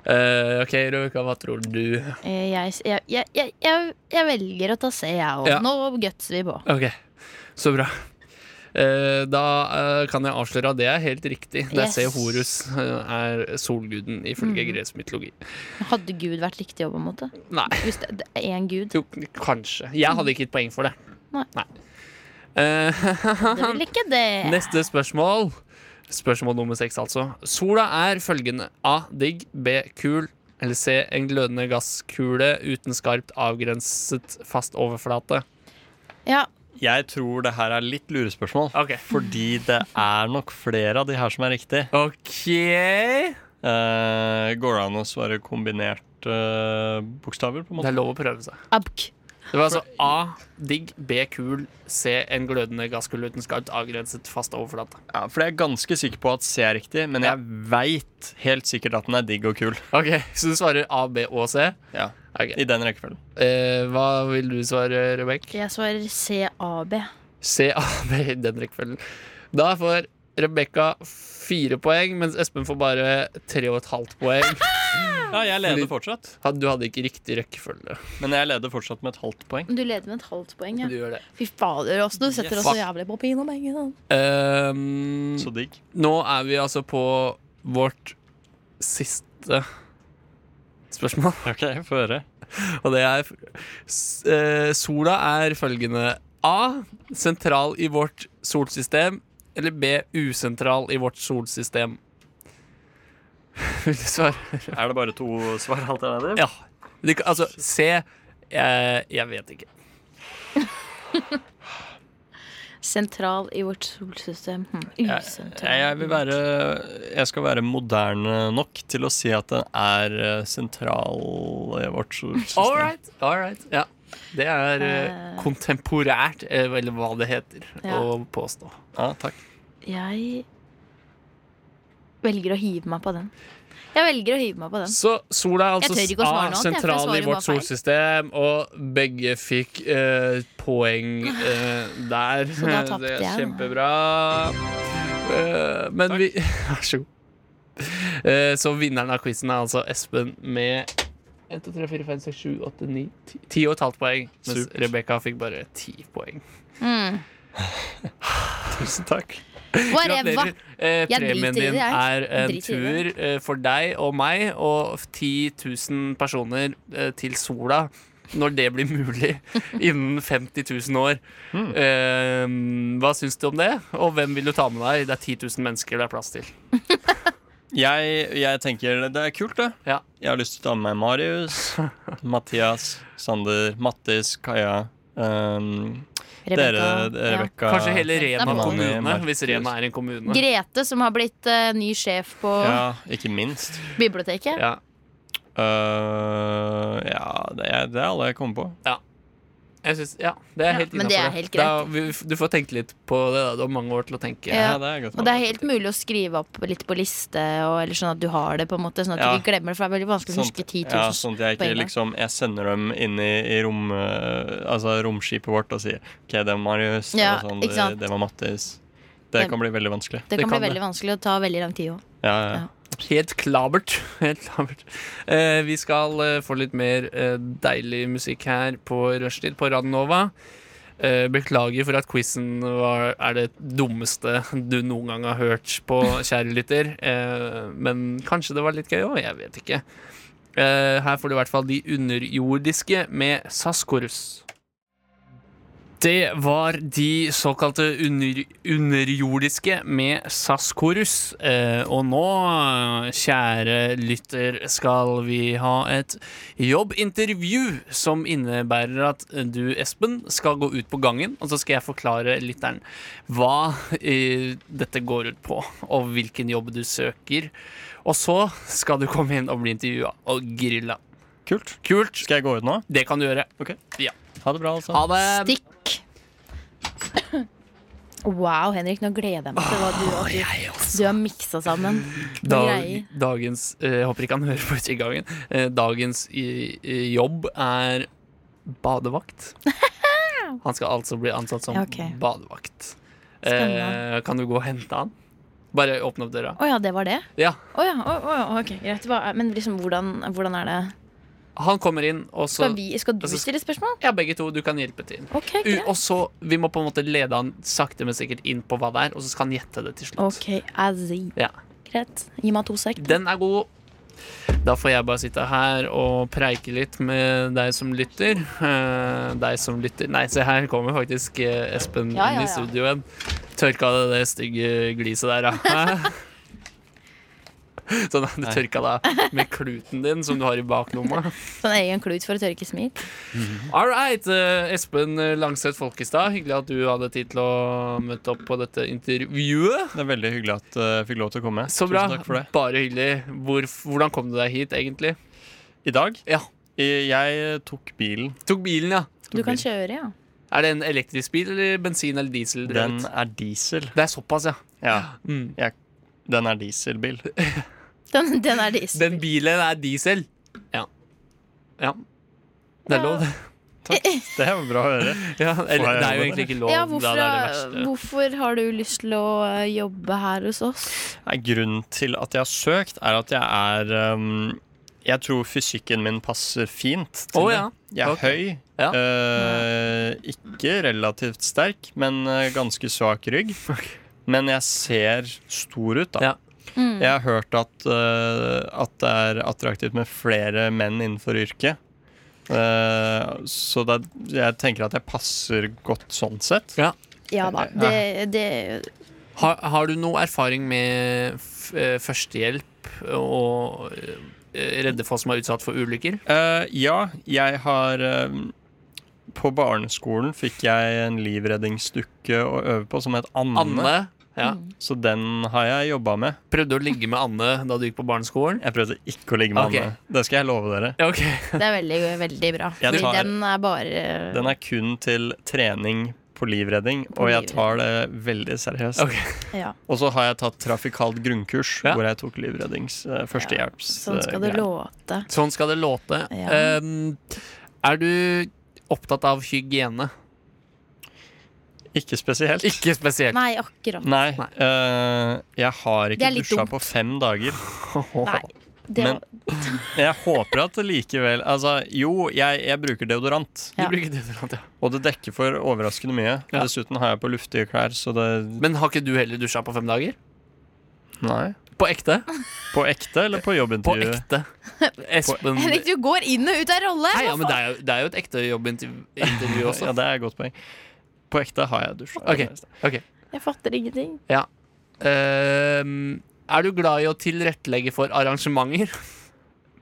Speaker 2: Eh, OK, Rebekka, hva tror du?
Speaker 3: Eh, Jeg, jeg, jeg, jeg, jeg, jeg velger å ta C, jeg òg.
Speaker 2: Ja.
Speaker 3: Nå gutser vi på.
Speaker 2: OK, så bra. Eh, da eh, kan jeg avsløre at det er helt riktig. Det er
Speaker 3: Yes. Mm.
Speaker 2: C. Horus eh, er solguden ifølge gresk mytologi.
Speaker 3: Hadde Gud vært riktig òg, på en måte?
Speaker 2: Nei.
Speaker 3: Hvis det det er én Gud?
Speaker 2: Jo, kanskje. Jeg hadde ikke gitt poeng for det.
Speaker 3: Nei.
Speaker 2: Eh,
Speaker 3: Det vil ikke det.
Speaker 2: Neste spørsmål. Spørsmål nummer seks, altså. Sola er følgende A. Digg. B. Kul. Eller C. En glødende gasskule uten skarpt avgrenset fast overflate.
Speaker 3: Ja,
Speaker 4: Jeg tror det her er litt lurespørsmål.
Speaker 2: Ok.
Speaker 4: Fordi det er nok flere av de her som er riktig.
Speaker 2: Ok
Speaker 4: Eh, går det an å svare kombinert eh, bokstaver, på en
Speaker 2: Det
Speaker 4: måte?
Speaker 2: er lov å prøve seg.
Speaker 3: abk.
Speaker 2: Det var altså A. Digg. B. Kul. C. En glødende gasskule uten skarpt avgrenset fast overflate.
Speaker 4: Ja, for jeg er ganske sikker på at C er riktig, men
Speaker 2: Ja.
Speaker 4: jeg veit helt sikkert at den er digg og kul.
Speaker 2: Ok, Så du svarer A, B og C?
Speaker 4: Ja.
Speaker 2: Ok.
Speaker 4: I den rekkefølgen.
Speaker 2: Eh, hva vil du svare, Rebekk?
Speaker 3: Jeg svarer CAB.
Speaker 2: C, A, B i den rekkefølgen. Da får Rebekka fire poeng, mens Espen får bare tre og et halvt poeng.
Speaker 4: Ja, jeg leder fortsatt.
Speaker 2: Han- Du hadde ikke riktig rekkefølge.
Speaker 4: Men jeg leder fortsatt med et halvt poeng.
Speaker 3: Du leder med et halvt poeng.
Speaker 2: Du
Speaker 3: Ja.
Speaker 2: gjør det.
Speaker 3: Fy fader, også, du setter
Speaker 4: Yes.
Speaker 3: oss så jævlig på pinadeggen.
Speaker 2: Ehm,
Speaker 4: Så digg.
Speaker 2: nå er vi altså på vårt siste spørsmål,
Speaker 4: OK, få høre.
Speaker 2: og det er s- eh, Sola er følgende A. Sentral i vårt solsystem. Eller B. Usentral i vårt solsystem. Vil du svare?
Speaker 4: Er det bare to svaralternativ?
Speaker 2: Ja. Det, kan- altså, C jeg, jeg vet ikke.
Speaker 3: Sentral i vårt solsystem. Hm.
Speaker 4: Jeg,
Speaker 3: Usentral.
Speaker 4: jeg, vil være, jeg skal være moderne nok til å si at den er eh, sentral i vårt solsystem.
Speaker 2: All right. Ja. Det er eh,
Speaker 3: Eh.
Speaker 2: kontemporært, eh, eller hva det heter,
Speaker 3: Ja.
Speaker 2: å påstå.
Speaker 4: Ja, takk.
Speaker 3: Jeg velger å hive meg på den. Jeg velger å hive meg på den.
Speaker 2: Så sola er altså
Speaker 3: Jeg tør ikke å svare
Speaker 2: ah,
Speaker 3: nå, for jeg
Speaker 2: sentral i
Speaker 3: svarer
Speaker 2: vårt
Speaker 3: bare feil.
Speaker 2: solsystem, og begge fikk eh, poeng eh, der.
Speaker 3: Så da tapte
Speaker 2: det er
Speaker 3: jeg, da.
Speaker 2: kjempebra. Eh, men vi Vær så god. Eh, så vinneren av quizen er altså Espen med 1, 2, 3, 4, 5, 6, 7, 8, 9, 10, 10 og et halvt poeng. Mens
Speaker 4: Supert.
Speaker 2: Rebekka fikk bare 10 poeng.
Speaker 3: Mm.
Speaker 4: Tusen takk.
Speaker 3: Whatever.
Speaker 2: Eh,
Speaker 3: Jeg
Speaker 2: premien
Speaker 3: driter i
Speaker 2: din
Speaker 3: det,
Speaker 2: er
Speaker 3: jeg.
Speaker 2: en
Speaker 3: Driter i
Speaker 2: tur eh, for deg og meg og 10 000 personer eh, til sola. Når det blir mulig innen 50 000 år. Eh, hva syns du om det? Og hvem vil du ta med deg? Det er 10 000 mennesker det er plass til.
Speaker 4: Jeg, jeg tenker det er kult, det.
Speaker 2: Ja.
Speaker 4: Jeg har lyst til å ta med meg Marius, Mathias, Sander, Mattis, Kaja. Um, dere, Rebekka.
Speaker 2: Kanskje hele
Speaker 3: Det er
Speaker 2: Rena
Speaker 3: bra.
Speaker 2: kommune,
Speaker 4: Markus.
Speaker 2: hvis Rena er en kommune.
Speaker 3: Ja. Grete, som har blitt eh, ny sjef på
Speaker 4: Ja, ikke minst.
Speaker 3: biblioteket.
Speaker 2: Ja.
Speaker 4: Uh, ja, det er, det er alle jeg kommer på.
Speaker 2: Jeg synes, ja, det er
Speaker 3: Ja,
Speaker 2: helt
Speaker 3: men
Speaker 2: innafor.
Speaker 3: det er helt
Speaker 2: du får tenke litt på det. Da. Du har mange år til å tenke.
Speaker 3: Ja.
Speaker 4: det er godt
Speaker 3: Og det er helt mulig å skrive opp litt på liste, og, eller sånn at du har det, på en måte sånn at
Speaker 4: Ja.
Speaker 3: du ikke glemmer det. For det er veldig vanskelig å
Speaker 4: Sånn-
Speaker 3: huske 10 000.
Speaker 4: ja, sånn at jeg
Speaker 3: på
Speaker 4: ikke
Speaker 3: en gang.
Speaker 4: liksom Jeg sender dem inn i, i rom, eh, altså romskipet vårt og sier OK, det var Marius,
Speaker 3: Ja,
Speaker 4: det, var sånn,
Speaker 3: ikke
Speaker 4: det,
Speaker 3: sant?
Speaker 4: det var Mattis. Det
Speaker 3: Det-
Speaker 4: kan bli veldig vanskelig.
Speaker 3: det
Speaker 2: det
Speaker 3: kan
Speaker 2: kan
Speaker 3: bli veldig vanskelig og ta veldig lang tid òg.
Speaker 4: Ja, ja.
Speaker 3: Ja.
Speaker 2: Helt klabert. Helt klabert. Eh, vi skal eh, få litt mer eh, deilig musikk her på rushtid på Radionova. Eh, beklager for at quizen var, er det dummeste du noen gang har hørt på, kjære lytter. Eh, men kanskje det var litt gøy òg, jeg vet ikke. Eh, her får du i hvert fall De underjordiske med Saskorus. Det var de såkalte under, underjordiske med Saskorus. Eh, og nå, kjære lytter, skal vi ha et jobbintervju som innebærer at du, Espen, skal gå ut på gangen, og så skal jeg forklare lytteren hva eh, dette går ut på, og hvilken jobb du søker. Og så skal du komme inn og bli intervjua og grilla.
Speaker 4: Kult.
Speaker 2: Kult.
Speaker 4: Skal jeg gå ut nå?
Speaker 2: Det kan du gjøre.
Speaker 4: Ok.
Speaker 2: Ja.
Speaker 4: Ha det bra, altså.
Speaker 2: Ha det.
Speaker 3: Stikk. Wow, Henrik, nå gleder jeg meg til hva du, at du, du har miksa sammen.
Speaker 2: Dag,
Speaker 3: greier.
Speaker 2: dagens eh, Jeg håper ikke han hører på utgangen. Uh, dagens i, i jobb er badevakt. Han skal altså bli ansatt som
Speaker 3: Ja, ok.
Speaker 2: badevakt.
Speaker 3: Spennende.
Speaker 2: Eh, kan du gå og hente han? Bare åpne opp døra.
Speaker 3: Å ja, det var det?
Speaker 2: Ja,
Speaker 3: Å ja, å, å, ja, ok, greit. Hva, er- men liksom, hvordan, hvordan er det
Speaker 2: Han kommer inn, og så
Speaker 3: Skal, vi, skal du
Speaker 2: altså,
Speaker 3: stille spørsmål?
Speaker 2: Ja, begge to. Du kan hjelpe til.
Speaker 3: Ok,
Speaker 2: U
Speaker 3: greit.
Speaker 2: og så Vi må på en måte lede han sakte, men sikkert inn på hva det er, og så skal han gjette det til slutt.
Speaker 3: Ok, azzy.
Speaker 2: Ja.
Speaker 3: Greit. Gi meg to sek.
Speaker 2: Den er god. Da får jeg bare sitte her og preike litt med deg som lytter. Eh, deg som lytter Nei, se her kommer faktisk eh, Espen
Speaker 3: Ja, ja,
Speaker 2: inn i
Speaker 3: ja.
Speaker 2: studioen. Tørka det det stygge gliset der, ja. Hæ? Sånn, du tørka deg med kluten din som du har i baklomma.
Speaker 3: Sånn egen klut for å tørke smil.
Speaker 2: All right, eh, Espen Langseth Folkestad, hyggelig at du hadde tid til å møte opp på dette intervjuet.
Speaker 4: Det er veldig hyggelig at eh, jeg fikk lov til å komme.
Speaker 2: Så bra.
Speaker 4: Tusen takk for det.
Speaker 2: Bare hyggelig. Hvor, hvordan kom du deg hit, egentlig?
Speaker 4: I dag
Speaker 2: Ja,
Speaker 4: i- jeg tok bilen.
Speaker 2: Tok bilen, ja.
Speaker 3: Du
Speaker 4: Tok
Speaker 3: kan
Speaker 4: bilen.
Speaker 3: kjøre, ja.
Speaker 2: Er det en elektrisk bil eller bensin eller diesel?
Speaker 4: Den
Speaker 2: drevet?
Speaker 4: er diesel.
Speaker 2: Det er såpass, ja.
Speaker 4: Ja,
Speaker 2: Mm.
Speaker 4: jeg, den er dieselbil.
Speaker 3: Den, den er dis.
Speaker 2: Den bilen er diesel. Ja. Ja. Det
Speaker 3: Ja.
Speaker 2: er lov, det.
Speaker 4: Det var bra å høre.
Speaker 2: Ja, eller, det er
Speaker 4: jeg
Speaker 2: jo
Speaker 4: jobbe
Speaker 2: egentlig ikke lov.
Speaker 3: Ja,
Speaker 2: da,
Speaker 3: hvorfor,
Speaker 2: det er det verste.
Speaker 3: hvorfor har du lyst til å eh, jobbe her hos oss?
Speaker 4: Nei, grunnen til at jeg har søkt, er at jeg er um, Jeg tror fysikken min passer fint til
Speaker 2: Å,
Speaker 4: det.
Speaker 2: ja.
Speaker 4: Jeg er
Speaker 2: Ok.
Speaker 4: høy.
Speaker 2: Ja.
Speaker 4: eh, ikke relativt sterk, men eh, ganske svak rygg. Men jeg ser stor ut, da.
Speaker 2: Ja.
Speaker 3: Mm.
Speaker 4: Jeg har hørt at, eh, at det er attraktivt med flere menn innenfor yrket. Eh, så det, er- jeg tenker at jeg passer godt sånn sett.
Speaker 3: Ja da. Det, det
Speaker 2: Har, har du noe erfaring med f eh, førstehjelp og eh, redde folk som er utsatt for ulykker?
Speaker 4: Eh, ja, jeg har eh, På barneskolen fikk jeg en livredningsdukke å øve på som het Anne.
Speaker 2: Anne? Ja.
Speaker 4: Så den har jeg jobba med.
Speaker 2: Prøvde du å ligge med Anne da du gikk på barneskolen?
Speaker 4: Jeg prøvde ikke å ligge med
Speaker 2: Ok.
Speaker 4: Anne. Det skal jeg love dere.
Speaker 2: Ja, ok
Speaker 3: Det er veldig, veldig bra.
Speaker 4: Jeg
Speaker 3: Fordi
Speaker 4: tar-
Speaker 3: den er bare
Speaker 4: Den er kun til trening på livredning, og jeg tar det veldig seriøst.
Speaker 2: Ok.
Speaker 3: ja,
Speaker 4: Og så har jeg tatt trafikalt grunnkurs,
Speaker 2: Ja.
Speaker 4: hvor jeg tok livreddings eh, førstehjelps.
Speaker 3: Sånn skal
Speaker 4: eh,
Speaker 3: det
Speaker 4: greier.
Speaker 3: låte.
Speaker 2: Sånn skal det låte.
Speaker 3: Ja.
Speaker 2: Um, er du opptatt av hygiene?
Speaker 4: Ikke spesielt.
Speaker 2: Ikke spesielt.
Speaker 3: Nei, akkurat.
Speaker 4: Nei.
Speaker 2: Nei.
Speaker 4: eh, jeg
Speaker 3: Det
Speaker 4: har
Speaker 3: er
Speaker 4: ikke
Speaker 3: litt
Speaker 4: dusja
Speaker 3: dumt.
Speaker 4: på fem dager.
Speaker 3: Nei. Det,
Speaker 4: Men- Jeg håper at det likevel Altså, jo, jeg, jeg bruker deodorant.
Speaker 2: Du
Speaker 3: Ja.
Speaker 2: bruker deodorant, ja.
Speaker 4: Og det dekker for overraskende mye.
Speaker 2: Ja.
Speaker 4: Dessuten har jeg på luftige klær, så det
Speaker 2: Men har ikke du heller dusja på fem dager?
Speaker 4: Nei.
Speaker 2: På ekte?
Speaker 4: På ekte eller på
Speaker 2: På
Speaker 4: jobbintervjuet?
Speaker 2: ekte. Espen
Speaker 3: Henrik, du går inn og ut av rolle!
Speaker 2: Nei, ja, men
Speaker 3: Hva
Speaker 2: det er, jo, det er jo et ekte jobbintervju også.
Speaker 4: Ja, det er et godt poeng. På ekte har jeg dusja.
Speaker 2: Ok. Ok.
Speaker 3: faen? Jeg fatter ingenting.
Speaker 2: Ja. Um, er du glad i å tilrettelegge for arrangementer?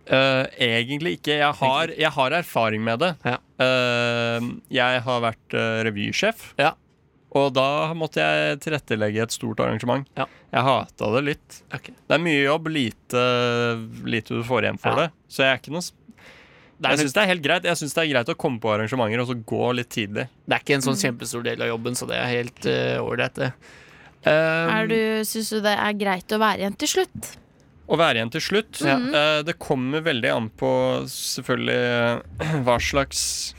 Speaker 4: Eh, egentlig ikke. Jeg har, jeg har erfaring med det.
Speaker 2: Ja.
Speaker 4: Eh, jeg har vært eh, revysjef,
Speaker 2: Ja.
Speaker 4: og da måtte jeg tilrettelegge et stort arrangement.
Speaker 2: Ja.
Speaker 4: Jeg hata det litt.
Speaker 2: Ok.
Speaker 4: Det er mye jobb, lite, lite du får igjen for
Speaker 2: Ja.
Speaker 4: det. Så jeg er ikke noe s- Jeg syns det er helt greit Jeg synes det er greit å komme på arrangementer og så gå litt tidlig.
Speaker 2: Det er ikke en sånn kjempestor del av jobben, så det er helt eh, ålreit, det. Um,
Speaker 3: Er du, Syns du det er greit å være igjen til slutt?
Speaker 4: Å være igjen til slutt. Eh, det kommer veldig an på selvfølgelig eh, hva slags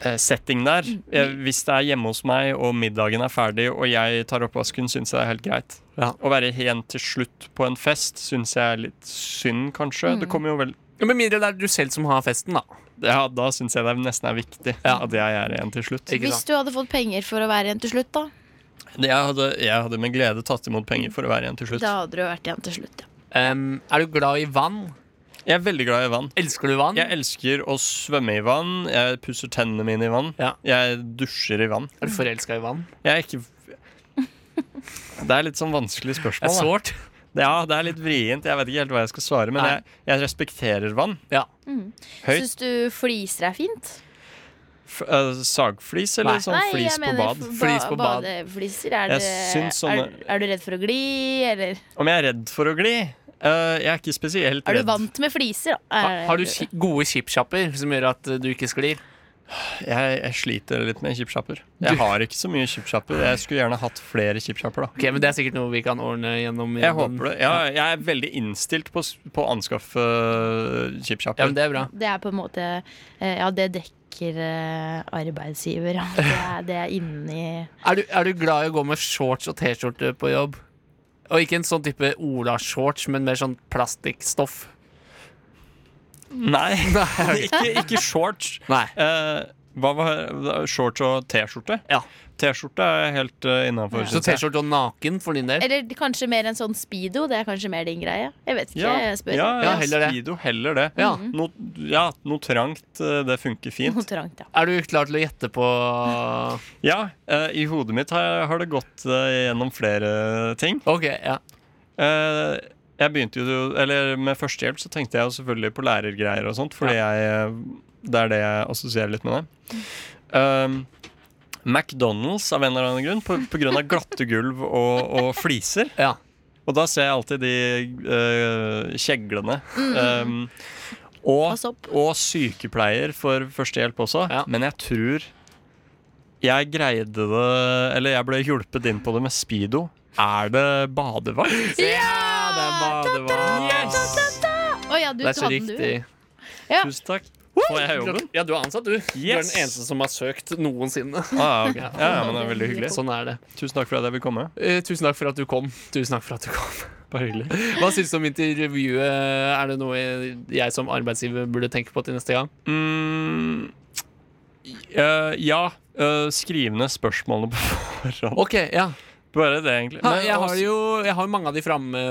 Speaker 4: eh, setting det er. Eh, hvis det er hjemme hos meg og middagen er ferdig og jeg tar oppvasken, syns jeg det er helt greit.
Speaker 2: Ja.
Speaker 4: Å være igjen til slutt på en fest syns jeg er litt synd, kanskje. Det kommer jo vel
Speaker 2: Ja, Med mindre det er du selv som har festen, da.
Speaker 4: Ja, da syns jeg det nesten er viktig at jeg er igjen til slutt.
Speaker 2: Ikke
Speaker 3: Hvis
Speaker 2: sant?
Speaker 3: du hadde fått penger for å være igjen til slutt, da?
Speaker 4: Jeg hadde, jeg hadde med glede tatt imot penger for å være igjen til slutt.
Speaker 3: Da hadde du vært igjen til slutt, ja.
Speaker 2: Um, er du glad i vann?
Speaker 4: Jeg er veldig glad i vann.
Speaker 2: Elsker du vann?
Speaker 4: Jeg elsker å svømme i vann. Jeg pusser tennene mine i vann.
Speaker 2: Ja.
Speaker 4: Jeg dusjer i vann.
Speaker 2: Er du forelska i vann?
Speaker 4: Jeg er ikke Det er litt sånn vanskelig
Speaker 2: Det er
Speaker 4: spørsmål. da.
Speaker 2: sårt.
Speaker 4: Det- Ja, det er litt vrient. Jeg vet ikke helt hva jeg skal svare, men
Speaker 2: Nei.
Speaker 4: jeg, jeg respekterer vann.
Speaker 2: Ja.
Speaker 4: Høyt.
Speaker 3: Syns du fliser er fint?
Speaker 4: F øh, sagflis
Speaker 2: Nei.
Speaker 4: eller sånn flis på bad?
Speaker 3: f-
Speaker 2: Flis på bad.
Speaker 3: Badefliser. Er,
Speaker 4: Jeg
Speaker 3: det,
Speaker 4: syns sånne-
Speaker 3: er, er du redd for å gli, eller
Speaker 4: Om jeg er redd for å gli? Øh, jeg er ikke spesielt
Speaker 3: Er
Speaker 4: redd.
Speaker 3: du vant med fliser? da?
Speaker 2: Ha,
Speaker 3: Er-
Speaker 2: har du ki- gode chipchapper som gjør at eh, du ikke sklir?
Speaker 4: Jeg, jeg sliter litt med chipshopper. Jeg har ikke så mye chipshopper. Jeg skulle gjerne hatt flere chipshopper, da.
Speaker 2: Ok, men Det er sikkert noe vi kan ordne gjennom
Speaker 4: Jeg håper det. Ja, jeg er veldig innstilt på, s- på å anskaffe øh, chipshopper.
Speaker 2: Ja, men Det er bra.
Speaker 3: Det er på en måte eh, Ja, det dekker eh, arbeidsgiver. Ja. Det er, det er inni
Speaker 2: Er du, er du glad i å gå med shorts og T-skjorte på jobb? Og ikke en sånn type Ola-shorts, men mer sånn plastikkstoff.
Speaker 4: Nei, ikke, ikke shorts.
Speaker 2: Nei.
Speaker 4: Eh, hva var shorts og T-skjorte?
Speaker 2: Ja.
Speaker 4: T-skjorte er helt uh, innafor.
Speaker 2: Så T-skjorte og naken for din del?
Speaker 3: Eller kanskje mer en sånn speedo. Det er kanskje mer din greie. Jeg vet ikke.
Speaker 4: Ja,
Speaker 3: jeg Mhm.
Speaker 4: ja,
Speaker 3: spør.
Speaker 4: ja,
Speaker 2: Ja, heller det.
Speaker 4: Speedo, heller det.
Speaker 2: Ja.
Speaker 4: No, ja, noe trangt, eh, det funker
Speaker 3: Noe
Speaker 4: fint.
Speaker 3: trangt, ja.
Speaker 2: Er du klar til å gjette på
Speaker 4: Ja, eh, i hodet mitt har, har det gått eh, gjennom flere ting.
Speaker 2: OK, ja.
Speaker 4: Eh, jeg begynte jo, eller Med førstehjelp så tenkte jeg jo selvfølgelig på lærergreier og sånt, fordi jeg, eh, det er det jeg assosierer litt med det.
Speaker 3: Mm.
Speaker 4: Um, McDonald's av en eller annen grunn, på, på grunn av glatte gulv og, og fliser.
Speaker 2: ja.
Speaker 4: Og da ser jeg alltid de eh, kjeglene. Um, og,
Speaker 3: Mm. Pass opp.
Speaker 4: og sykepleier for førstehjelp også.
Speaker 2: Ja.
Speaker 4: Men jeg tror jeg greide det Eller jeg ble hjulpet inn på det med speedo. Er det badevakt?
Speaker 2: det er badevakt!
Speaker 3: Å ja, du
Speaker 2: Det er så
Speaker 3: tok den,
Speaker 2: riktig.
Speaker 3: du. Ja.
Speaker 4: Tusen takk. Får jeg jobben?
Speaker 2: Ja, du er ansatt, du. Du er
Speaker 4: Yes.
Speaker 2: den eneste som har søkt noensinne.
Speaker 4: Ah, ok. ja, ja, men det er veldig hyggelig.
Speaker 2: Sånn er det.
Speaker 4: Tusen takk for at jeg vil komme.
Speaker 2: Eh, tusen takk for at du kom. Tusen takk for at du kom.
Speaker 4: Bare hyggelig.
Speaker 2: Hva syns du om intervjuet? Er det noe jeg som arbeidsgiver burde tenke på til neste gang?
Speaker 4: Mm, eh, ja, eh, skriv ned spørsmålene på forhånd.
Speaker 2: OK, ja.
Speaker 4: Bare det, egentlig.
Speaker 2: Ha,
Speaker 4: Men
Speaker 2: jeg har
Speaker 4: også-
Speaker 2: jo jeg har jo mange av de framme,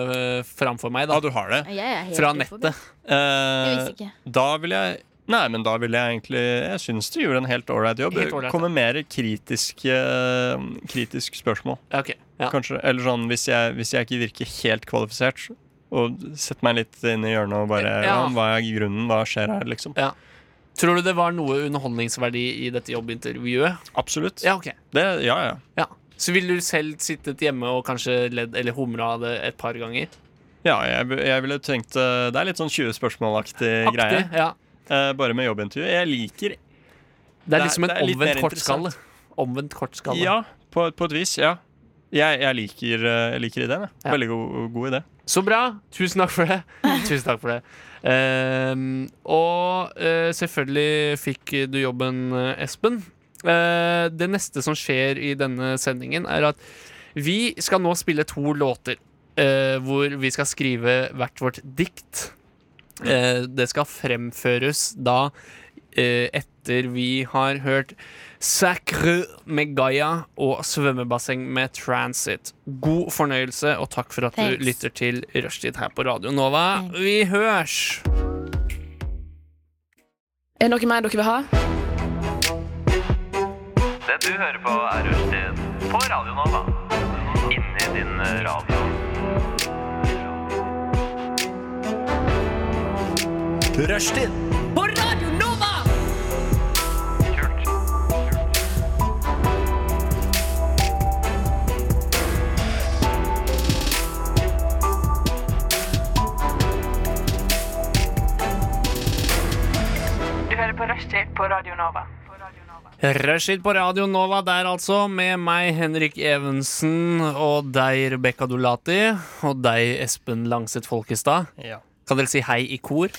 Speaker 2: framfor meg, da.
Speaker 4: Ja, du har det.
Speaker 3: Jeg er helt
Speaker 2: Fra
Speaker 3: uforberedt.
Speaker 2: nettet.
Speaker 3: Jeg
Speaker 4: Eh,
Speaker 3: visste ikke.
Speaker 4: da vil jeg Nei, men da vil jeg egentlig Jeg syns du gjorde en helt ålreit jobb.
Speaker 2: Helt
Speaker 4: Det
Speaker 2: ålreit, ja.
Speaker 4: kommer mer kritiske, eh, kritiske spørsmål,
Speaker 2: Ja, ok. ja.
Speaker 4: kanskje. Eller sånn hvis jeg, hvis jeg ikke virker helt kvalifisert, og setter meg litt inn i hjørnet og bare ja.
Speaker 2: Ja.
Speaker 4: Hva er grunnen? Hva skjer her, liksom?
Speaker 2: Ja. Tror du det var noe underholdningsverdi i dette jobbintervjuet?
Speaker 4: Absolutt.
Speaker 2: Ja, ok.
Speaker 4: Det, ja, ja.
Speaker 2: Ja. Så ville du selv sittet hjemme og kanskje ledd eller humra av det et par ganger?
Speaker 4: Ja, jeg, jeg ville tenkt eh, Det er litt sånn 20 spørsmål-aktig greie.
Speaker 2: Aktig, ja.
Speaker 4: Eh, bare med jobbintervju. Jeg liker
Speaker 2: Det
Speaker 4: Det
Speaker 2: er
Speaker 4: er-
Speaker 2: liksom en
Speaker 4: det er litt mer
Speaker 2: omvendt kortskalle. Omvendt kortskalle.
Speaker 4: Ja, på, på et vis. Ja. Jeg, jeg, liker, eh, jeg liker ideen. jeg.
Speaker 2: Ja.
Speaker 4: Veldig god, god idé.
Speaker 2: Så bra! Tusen takk for det. Tusen takk for det. Ehm, og eh, selvfølgelig fikk du jobben, eh, Espen. Eh, det neste som skjer i denne sendingen, er at vi skal nå spille to låter. eh, hvor vi skal skrive hvert vårt dikt. Eh, det skal fremføres da eh, etter vi har hørt Sacre med Gaia og svømmebasseng med Transit. God fornøyelse, og takk for at
Speaker 3: Thanks.
Speaker 2: du lytter til Rushtid her på Radio Nova.
Speaker 3: Thanks.
Speaker 2: Vi hørs!
Speaker 7: Er det noe mer dere vil ha?
Speaker 8: Det du hører på er Rushtid på Radio Nova. Inni din eh, radio.
Speaker 1: Rushtid
Speaker 8: Kult.
Speaker 9: Du hører på Rushtid på Radio Nova. På Radio Nova.
Speaker 2: Rushtid på Radio Nova der, altså, med meg, Henrik Evensen, og deg, Rebekka Dolati, og deg, Espen Langseth Folkestad. Kan dere si hei i kor?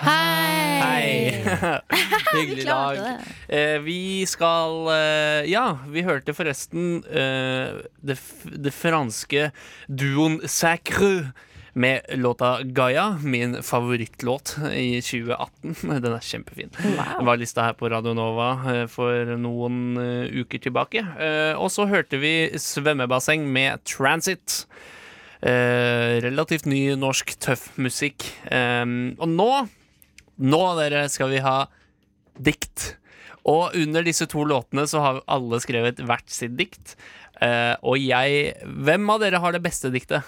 Speaker 3: Hei!
Speaker 2: Hyggelig
Speaker 3: klarte
Speaker 2: dag. Eh, vi skal eh, Ja, vi hørte forresten eh, det, f det franske duoen Sacre med låta Gaia, min favorittlåt i 2018. Den er kjempefin. Det var lista her på Radio Nova eh, for noen eh, uker tilbake. Eh, Og så hørte vi svømmebasseng med Transit. Eh, relativt ny norsk tøff musikk. Eh, og nå, nå dere, skal vi ha dikt. Og under disse to låtene så har alle skrevet hvert sitt dikt. Eh, og jeg Hvem av dere har det beste diktet?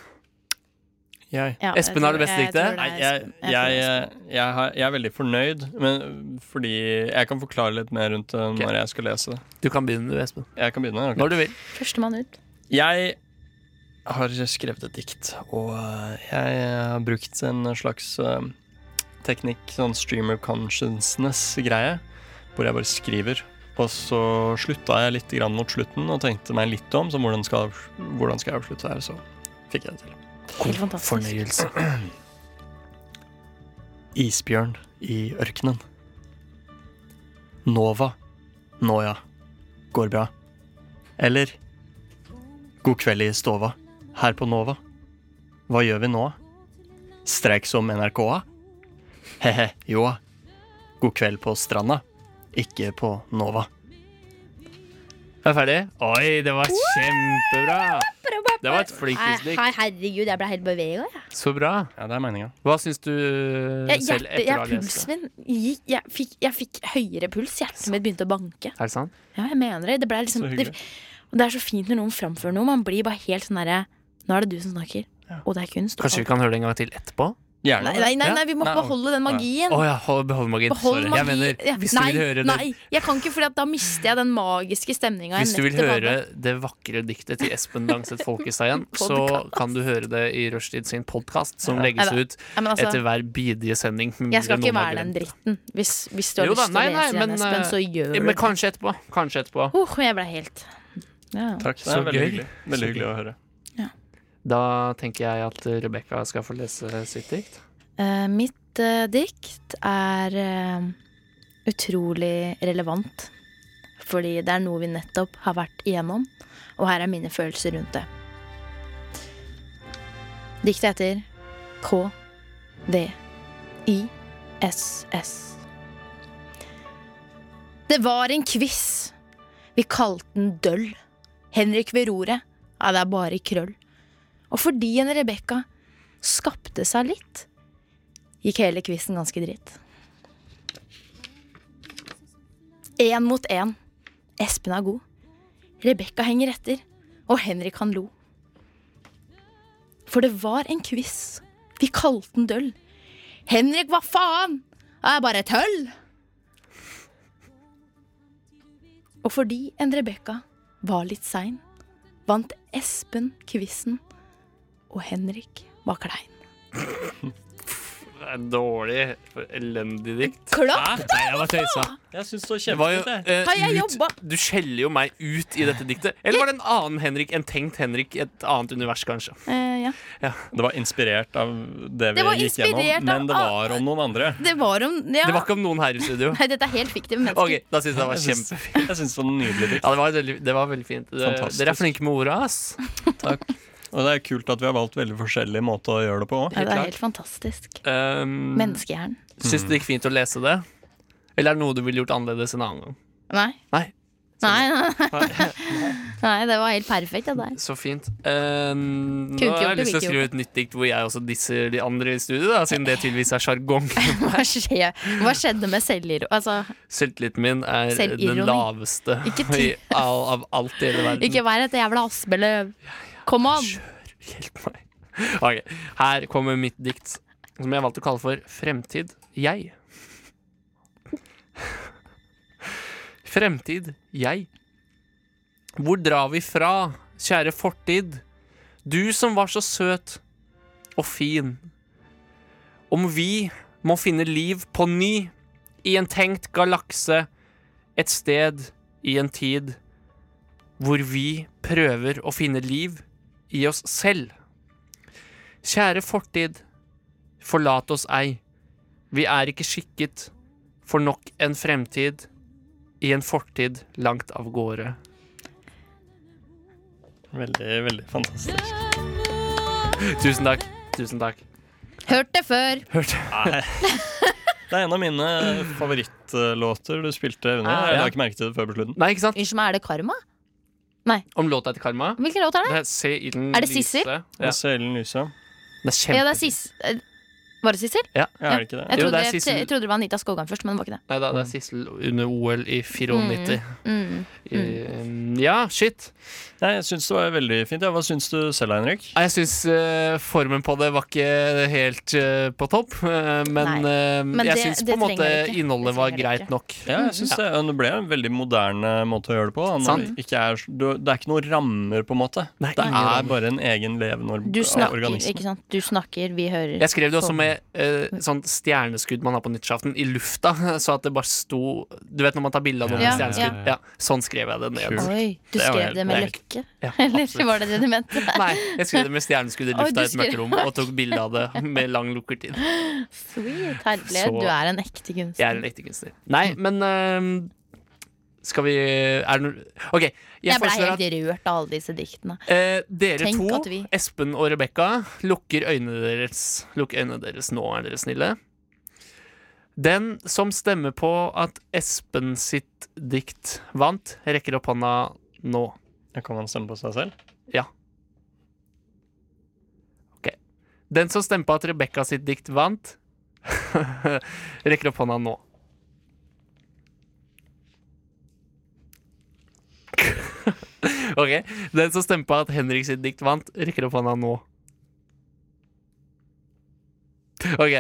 Speaker 4: Jeg,
Speaker 3: Ja, jeg
Speaker 2: Espen har
Speaker 3: tror-
Speaker 2: det beste
Speaker 3: jeg tror
Speaker 2: diktet.
Speaker 3: det er
Speaker 4: Nei, jeg,
Speaker 3: Espen. tror
Speaker 4: jeg,
Speaker 3: det er
Speaker 4: jeg,
Speaker 3: Espen.
Speaker 4: har- jeg er veldig fornøyd, men fordi jeg kan forklare litt mer rundt det når jeg skal lese det.
Speaker 2: Du kan begynne, du, Espen.
Speaker 4: Jeg kan begynne. ok?
Speaker 2: Når du vil.
Speaker 3: Førstemann ut.
Speaker 4: Jeg har skrevet et dikt, og eh, jeg har brukt en slags eh, teknikk, sånn streamer consciousness-greie, hvor jeg bare skriver. Og så slutta jeg litt grann mot slutten og tenkte meg litt om, så hvordan skal, hvordan skal jeg avslutte her, så fikk jeg det til.
Speaker 3: Helt fantastisk.
Speaker 2: Fornøyelse.
Speaker 4: Isbjørn i ørkenen. Nova. Nå ja. Går bra. Eller God kveld i stova. Her på Nova. Hva gjør vi nå? Streik som NRK-a? He-he, joa. God kveld på stranda. Ikke på Nova.
Speaker 2: Er jeg ferdig? Oi, det var kjempebra! Det var et
Speaker 3: Hei,
Speaker 2: flinkisdikt.
Speaker 3: hei, herregud, jeg ble helt bevega. Jeg.
Speaker 2: Så bra.
Speaker 4: Ja, det er meninga.
Speaker 2: Hva syns du
Speaker 3: Jeg,
Speaker 2: selv
Speaker 3: hjerte,
Speaker 2: etter å ha
Speaker 3: jeg,
Speaker 2: lest det?
Speaker 3: pulsen min gikk, jeg, fikk, jeg fikk høyere puls. Hjertet mitt begynte å banke.
Speaker 2: Er det sant?
Speaker 3: Ja, jeg mener det. Det, ble liksom,
Speaker 4: Så
Speaker 3: det,
Speaker 4: hyggelig.
Speaker 3: og det er så fint når noen framfører noe. Man blir bare helt sånn derre Nå er det du som snakker, og det er kunst. og
Speaker 2: Kanskje
Speaker 3: alt.
Speaker 2: vi kan høre det en gang til etterpå?
Speaker 4: Gjerne.
Speaker 3: Nei, nei, nei, nei, vi må
Speaker 4: Nei,
Speaker 3: beholde den magien.
Speaker 2: Å ja, hold- behold magien.
Speaker 3: Behold
Speaker 2: Sorry.
Speaker 3: magi.
Speaker 2: Jeg mener,
Speaker 3: Ja,
Speaker 2: hvis
Speaker 3: nei,
Speaker 2: du vil høre det
Speaker 3: Nei, jeg kan ikke, for da mister jeg den magiske stemninga.
Speaker 2: Hvis du vil høre det vakre diktet til Espen Langseth Folkestad igjen, så
Speaker 3: Podcast.
Speaker 2: kan du høre det i Rushtid sin podkast, som legges
Speaker 3: Nei,
Speaker 2: ut
Speaker 3: ja, men altså,
Speaker 2: etter hver bidige sending. med mindre
Speaker 3: Jeg skal ikke
Speaker 2: noen har
Speaker 3: være den
Speaker 2: glemt det.
Speaker 3: dritten. Hvis, hvis du har
Speaker 2: Jo da,
Speaker 3: lyst til å
Speaker 2: nei, nei,
Speaker 3: lese den,
Speaker 2: men,
Speaker 3: Espen,
Speaker 2: eh,
Speaker 3: så gjør du
Speaker 2: Men
Speaker 3: det.
Speaker 2: kanskje etterpå. Kanskje etterpå.
Speaker 3: Oh, jeg ble helt ja.
Speaker 4: Takk. Det
Speaker 2: Så
Speaker 4: er veldig
Speaker 2: gøy.
Speaker 4: hyggelig. Veldig
Speaker 2: Så
Speaker 4: hyggelig å høre.
Speaker 2: Da tenker jeg at Rebekka skal få lese sitt dikt.
Speaker 3: Eh, Mitt eh, dikt er eh, utrolig relevant. Fordi det er noe vi nettopp har vært igjennom, og her er mine følelser rundt det. Diktet heter K. D. I. S. S. Det var en quiz. Vi kalte den Døll. Henrik ved roret. Ja, det er bare krøll. Og fordi en Rebekka skapte seg litt, gikk hele quizen ganske dritt. Én mot én. Espen er god. Rebekka henger etter, og Henrik han lo. For det var en quiz. Vi kalte den Døll. Henrik, hva faen? Det er bare tøll! Og fordi en Rebekka var litt sein, vant Espen quizen, og Henrik var klein.
Speaker 2: Det er dårlig, elendig dikt.
Speaker 4: Ah,
Speaker 3: Klapp!
Speaker 2: Hæ? Nei, jeg var tøysa.
Speaker 4: Jeg syns
Speaker 2: Det
Speaker 4: det var
Speaker 2: var jo,
Speaker 4: kjempefint, jeg.
Speaker 2: eh,
Speaker 3: Har jeg
Speaker 2: ut,
Speaker 3: jobba?
Speaker 2: du skjeller jo meg ut i dette diktet. Eller var det en annen Henrik, en tenkt Henrik, et annet univers, kanskje?
Speaker 3: Eh, ja.
Speaker 4: Det var inspirert av det vi
Speaker 3: Det var
Speaker 4: gikk gjennom,
Speaker 3: inspirert av-
Speaker 4: men det var om noen andre.
Speaker 3: Det var om ja.
Speaker 2: Det var ikke om noen her i studio.
Speaker 3: Nei, dette er helt fiktive mennesker.
Speaker 2: Ok, da synes jeg det var
Speaker 4: Jeg syns
Speaker 2: kjempefint.
Speaker 4: jeg syns det var nydelig dikt.
Speaker 2: Ja, det var veldig, det var veldig fint. Det,
Speaker 4: Fantastisk.
Speaker 2: dere er flinke med orda, ass.
Speaker 4: Og det er kult at vi har valgt veldig forskjellige måter å gjøre det på òg.
Speaker 3: Ja, det er helt fantastisk.
Speaker 2: Um,
Speaker 3: Menneskehjernen.
Speaker 2: Syns du det gikk fint å lese det? Eller er det noe du ville gjort annerledes en annen gang?
Speaker 3: Nei.
Speaker 2: Nei.
Speaker 3: Nei, nei, nei, det var helt perfekt. Det der.
Speaker 2: Så fint. Um, nå
Speaker 3: Kunne ikke
Speaker 2: har jeg
Speaker 3: gjort det,
Speaker 2: lyst til å
Speaker 3: ville ikke
Speaker 2: skrive
Speaker 3: gjort
Speaker 2: et nytt dikt hvor jeg også disser de andre i studio, da, siden det tydeligvis er sjargong.
Speaker 3: Hva, skje, hva skjedde med selvironi? Altså,
Speaker 2: Selvtilliten min er den
Speaker 3: Selvironi.
Speaker 2: laveste
Speaker 3: Ikke
Speaker 2: i
Speaker 3: ti-
Speaker 2: all, av alt i hele verden.
Speaker 3: ikke vær et jævla aspeløv. Come on!
Speaker 2: Hjelp meg. Ok, Her kommer mitt dikt, som jeg valgte å kalle for Fremtid jeg. Fremtid jeg. Hvor drar vi fra, kjære fortid? Du som var så søt og fin. Om vi må finne liv på ny i en tenkt galakse, et sted i en tid hvor vi prøver å finne liv i oss selv. Kjære fortid, forlat oss ei. Vi er ikke skikket for nok en fremtid i en fortid langt av gårde.
Speaker 4: Veldig, veldig fantastisk.
Speaker 2: Tusen takk. Tusen takk.
Speaker 3: Hørt det før!
Speaker 4: Det er en av mine favorittlåter du spilte under.
Speaker 2: Ah,
Speaker 4: Jeg
Speaker 2: ja.
Speaker 4: la ikke merke til det før på slutten.
Speaker 2: Nei, ikke sant?
Speaker 3: Unnskyld meg, er det karma?
Speaker 2: Om låta til Karma.
Speaker 3: Hvilken låt er det?
Speaker 2: Det er, Se ilden
Speaker 3: Er det Sissel?
Speaker 2: lyse.
Speaker 4: Ja.
Speaker 2: Ja.
Speaker 4: Selen Lyse.
Speaker 2: Det er
Speaker 3: Ja, det
Speaker 2: kjempe...
Speaker 3: er Sis... eh, Var det Sissel?
Speaker 4: Ja, er det ikke det?
Speaker 3: Jeg
Speaker 2: Jo,
Speaker 3: trodde,
Speaker 2: det er
Speaker 3: jeg,
Speaker 2: Sissel.
Speaker 3: jeg trodde det var Anita Skovgan først, men det var ikke det.
Speaker 2: Nei, da, det er Sissel under OL i 94.
Speaker 3: Mm.
Speaker 2: I- Eh, Ja, shit.
Speaker 4: Nei, jeg syns det var veldig fint. Ja, hva syns du selv, Henrik?
Speaker 2: Nei, Jeg syns eh, formen på det var ikke helt eh, på topp, eh, men, eh,
Speaker 3: men
Speaker 2: jeg
Speaker 3: det-
Speaker 2: syns på
Speaker 3: det
Speaker 2: en måte
Speaker 3: trenger det ikke.
Speaker 2: innholdet
Speaker 3: Det
Speaker 2: var
Speaker 3: trenger det
Speaker 2: greit
Speaker 3: ikke.
Speaker 2: nok.
Speaker 4: Ja, jeg synes det, og det ble en veldig moderne måte å gjøre det på. Da. Når
Speaker 2: Sant.
Speaker 4: det, ikke er, du, det er ikke noen rammer, på en måte.
Speaker 2: Det er
Speaker 4: det
Speaker 2: ingen
Speaker 4: er
Speaker 2: rammer.
Speaker 4: bare en egen levende or
Speaker 3: Du snakker,
Speaker 4: organisme.
Speaker 3: ikke sant? Du snakker, vi hører.
Speaker 2: Jeg skrev det også
Speaker 3: på.
Speaker 2: med eh, sånn stjerneskudd man har på nyttårsaften, i lufta. Så at det bare sto Du vet når man tar bilde av noen
Speaker 3: Ja,
Speaker 2: med stjerneskudd? Ja. Sånn skrev jeg det ned.
Speaker 4: Kult.
Speaker 3: Oi, du
Speaker 4: Det var
Speaker 3: skrev
Speaker 4: helt-
Speaker 3: det
Speaker 4: det
Speaker 3: med
Speaker 4: er
Speaker 3: løkke?
Speaker 2: Ja,
Speaker 3: Eller var det det du mente?
Speaker 2: Nei, jeg skrev det med stjerneskudd i
Speaker 3: Oi, du
Speaker 2: lufta i et mørkt
Speaker 3: skrev-
Speaker 2: rom og tok bilde av det med lang lukkertid.
Speaker 3: Sweet, herlig.
Speaker 2: Så-
Speaker 3: Du er en ekte kunstner.
Speaker 2: Jeg er en ekte kunstner. Nei, men eh, skal vi Er det noe OK. Jeg,
Speaker 3: Jeg ble
Speaker 2: foreslår at
Speaker 3: helt rørt av alle disse diktene.
Speaker 2: Eh, dere
Speaker 3: Tenk
Speaker 2: to,
Speaker 3: at vi-
Speaker 2: Espen og Rebekka, lukker øynene deres. Lukk øynene deres nå, er dere snille. Den som stemmer på at Espen sitt dikt vant, rekker opp hånda nå.
Speaker 4: Kan man stemme på seg selv?
Speaker 2: Den som stemmer på at Rebekka sitt dikt vant, rekker opp hånda nå. OK. Den som stemmer på at Henrik sitt dikt vant, rekker opp hånda nå. OK.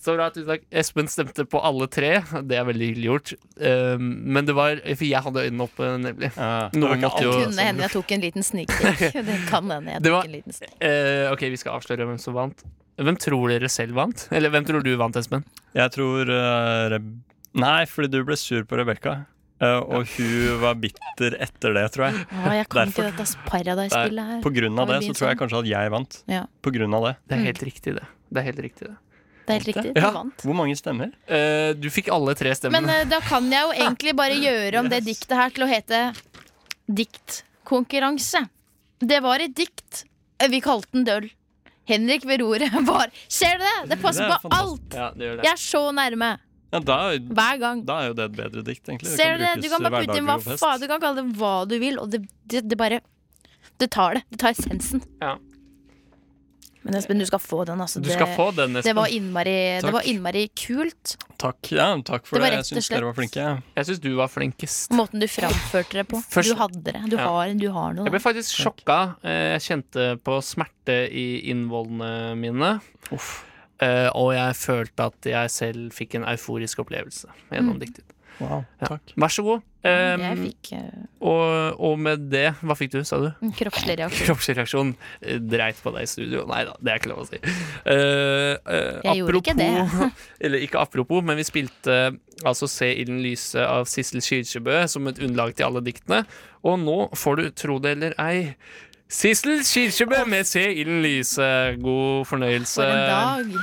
Speaker 2: Så bra. Tusen takk. Espen stemte på alle tre. Det er veldig hyggelig gjort. Um, men det var For jeg hadde øynene oppe, nemlig.
Speaker 4: Ja, Eh, det
Speaker 2: Noen
Speaker 4: var ikke
Speaker 2: måtte
Speaker 4: alt.
Speaker 2: jo-
Speaker 3: Det kunne hende jeg tok en liten snikdikk. Det kan hende jeg
Speaker 2: Det var-
Speaker 3: tok en liten snikdikk.
Speaker 2: Eh, OK, vi skal avsløre hvem som vant. Hvem tror dere selv vant? Eller hvem tror du vant, Espen?
Speaker 4: Jeg tror eh, Reb... Nei, fordi du ble sur på Rebekka. eh, og hun var bitter etter det, tror jeg.
Speaker 3: Å, jeg kan
Speaker 4: Derfor-
Speaker 3: ikke dette ass, Paradise-spillet her.
Speaker 4: På grunn
Speaker 3: Det
Speaker 4: av det
Speaker 3: var
Speaker 4: så
Speaker 3: mye
Speaker 4: tror jeg kanskje at jeg vant.
Speaker 3: Ja.
Speaker 4: På grunn av det.
Speaker 2: Det
Speaker 3: Mm.
Speaker 2: er helt riktig, det. Det er helt riktig, det.
Speaker 3: Det er helt riktig.
Speaker 2: Ja.
Speaker 3: Du vant.
Speaker 4: Hvor mange stemmer?
Speaker 2: Eh, du fikk alle tre stemmene.
Speaker 3: Men eh, da kan jeg jo egentlig bare gjøre om det diktet her til å hete diktkonkurranse. Det var et dikt. Eh, Vi kalte den Døll. Henrik ved roret var Ser du det? Det passer
Speaker 4: Det er
Speaker 3: på
Speaker 4: fantastisk.
Speaker 3: alt!
Speaker 2: ja, det gjør
Speaker 3: Jeg
Speaker 2: det.
Speaker 3: er så nærme
Speaker 4: Ja, da,
Speaker 3: hver gang.
Speaker 4: da er jo det et bedre dikt, egentlig.
Speaker 3: Ser du det? Du
Speaker 4: brukes
Speaker 3: kan bare putte inn hva
Speaker 4: hverdaglig og fest.
Speaker 3: faen Du kan kalle det hva du vil, og det, det, det bare Det tar det. Det tar essensen.
Speaker 2: Ja.
Speaker 3: Men Espen, du skal få den, altså.
Speaker 2: Du
Speaker 3: det,
Speaker 2: skal få den,
Speaker 3: det,
Speaker 2: Espen.
Speaker 3: var innmari, det
Speaker 4: Takk.
Speaker 3: var innmari kult.
Speaker 4: Takk, ja, takk for
Speaker 3: Det
Speaker 4: det.
Speaker 3: var rett
Speaker 4: Jeg
Speaker 3: og
Speaker 4: syns dere var
Speaker 3: slett-
Speaker 4: flinke. ja.
Speaker 2: Jeg syns du var flinkest.
Speaker 3: Måten du framførte det på.
Speaker 2: Først-
Speaker 3: du hadde det. Du,
Speaker 2: Ja.
Speaker 3: har, du har noe.
Speaker 2: Jeg ble faktisk sjokka. Eh, Jeg kjente på smerte i innvollene mine. Eh, Og jeg følte at jeg selv fikk en euforisk opplevelse gjennom diktet.
Speaker 4: Wow,
Speaker 2: Ja.
Speaker 4: takk.
Speaker 2: Vær så god. Eh, Ehm,
Speaker 3: Mm. Jeg fikk eh,
Speaker 2: og, og med det Hva fikk du, sa du?
Speaker 3: en kroppslig reaksjon.
Speaker 2: Kroppslig reaksjon. eh, Dreit på deg i studio. Nei da, det er ikke lov å si. Eh, eh,
Speaker 3: Jeg gjorde ikke
Speaker 2: apropos- eller ikke apropos, men vi spilte altså Se i den lyse av Sissel Kyrkjebø som et underlag til alle diktene. Og nå får du tro det eller ei. Sissel Kyrkjebø med Se i den lyse. God fornøyelse.
Speaker 3: For en dag.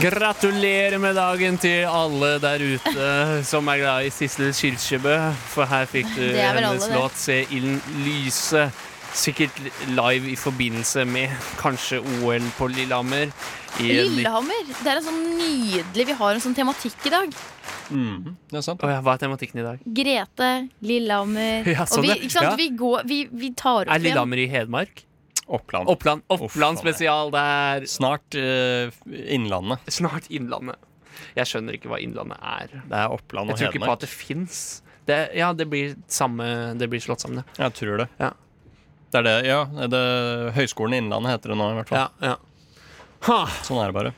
Speaker 2: Gratulerer med dagen til alle der ute som er glad i Sissel Kyrkjebø, for her fikk du
Speaker 3: Det er vel alle,
Speaker 2: hennes
Speaker 3: det.
Speaker 2: låt 'Se ilden lyse'. Sikkert live i forbindelse med kanskje OL på Lillehammer. I en ny-
Speaker 3: Lillehammer! Det er en sånn nydelig Vi har en sånn tematikk i dag.
Speaker 4: Mhm. Det er sant.
Speaker 2: Å ja, hva er tematikken i dag?
Speaker 3: Grete, Lillehammer
Speaker 2: Ja, sånn,
Speaker 3: Og vi,
Speaker 2: ja.
Speaker 3: ikke sant?
Speaker 2: Ja.
Speaker 3: Vi, går, vi, vi tar
Speaker 2: Er
Speaker 3: opp igjen.
Speaker 2: Lillehammer i Hedmark?
Speaker 4: Oppland.
Speaker 2: Oppland,
Speaker 4: Oppland,
Speaker 2: Oppland
Speaker 4: ja.
Speaker 2: spesial. Det er
Speaker 4: Snart eh, Innlandet.
Speaker 2: snart Innlandet. Jeg skjønner ikke hva Innlandet er.
Speaker 4: Det er Oppland
Speaker 2: Jeg
Speaker 4: og
Speaker 2: tror ikke på at det
Speaker 4: Hedmark.
Speaker 2: fins. Det, ja, det blir, samme, det blir slått sammen, ja.
Speaker 4: Jeg tror det.
Speaker 2: Ja.
Speaker 4: Det er det, ja. Det Høgskolen Innlandet heter det nå, i hvert fall.
Speaker 2: ja, ja. Ha.
Speaker 4: Sånn er det bare.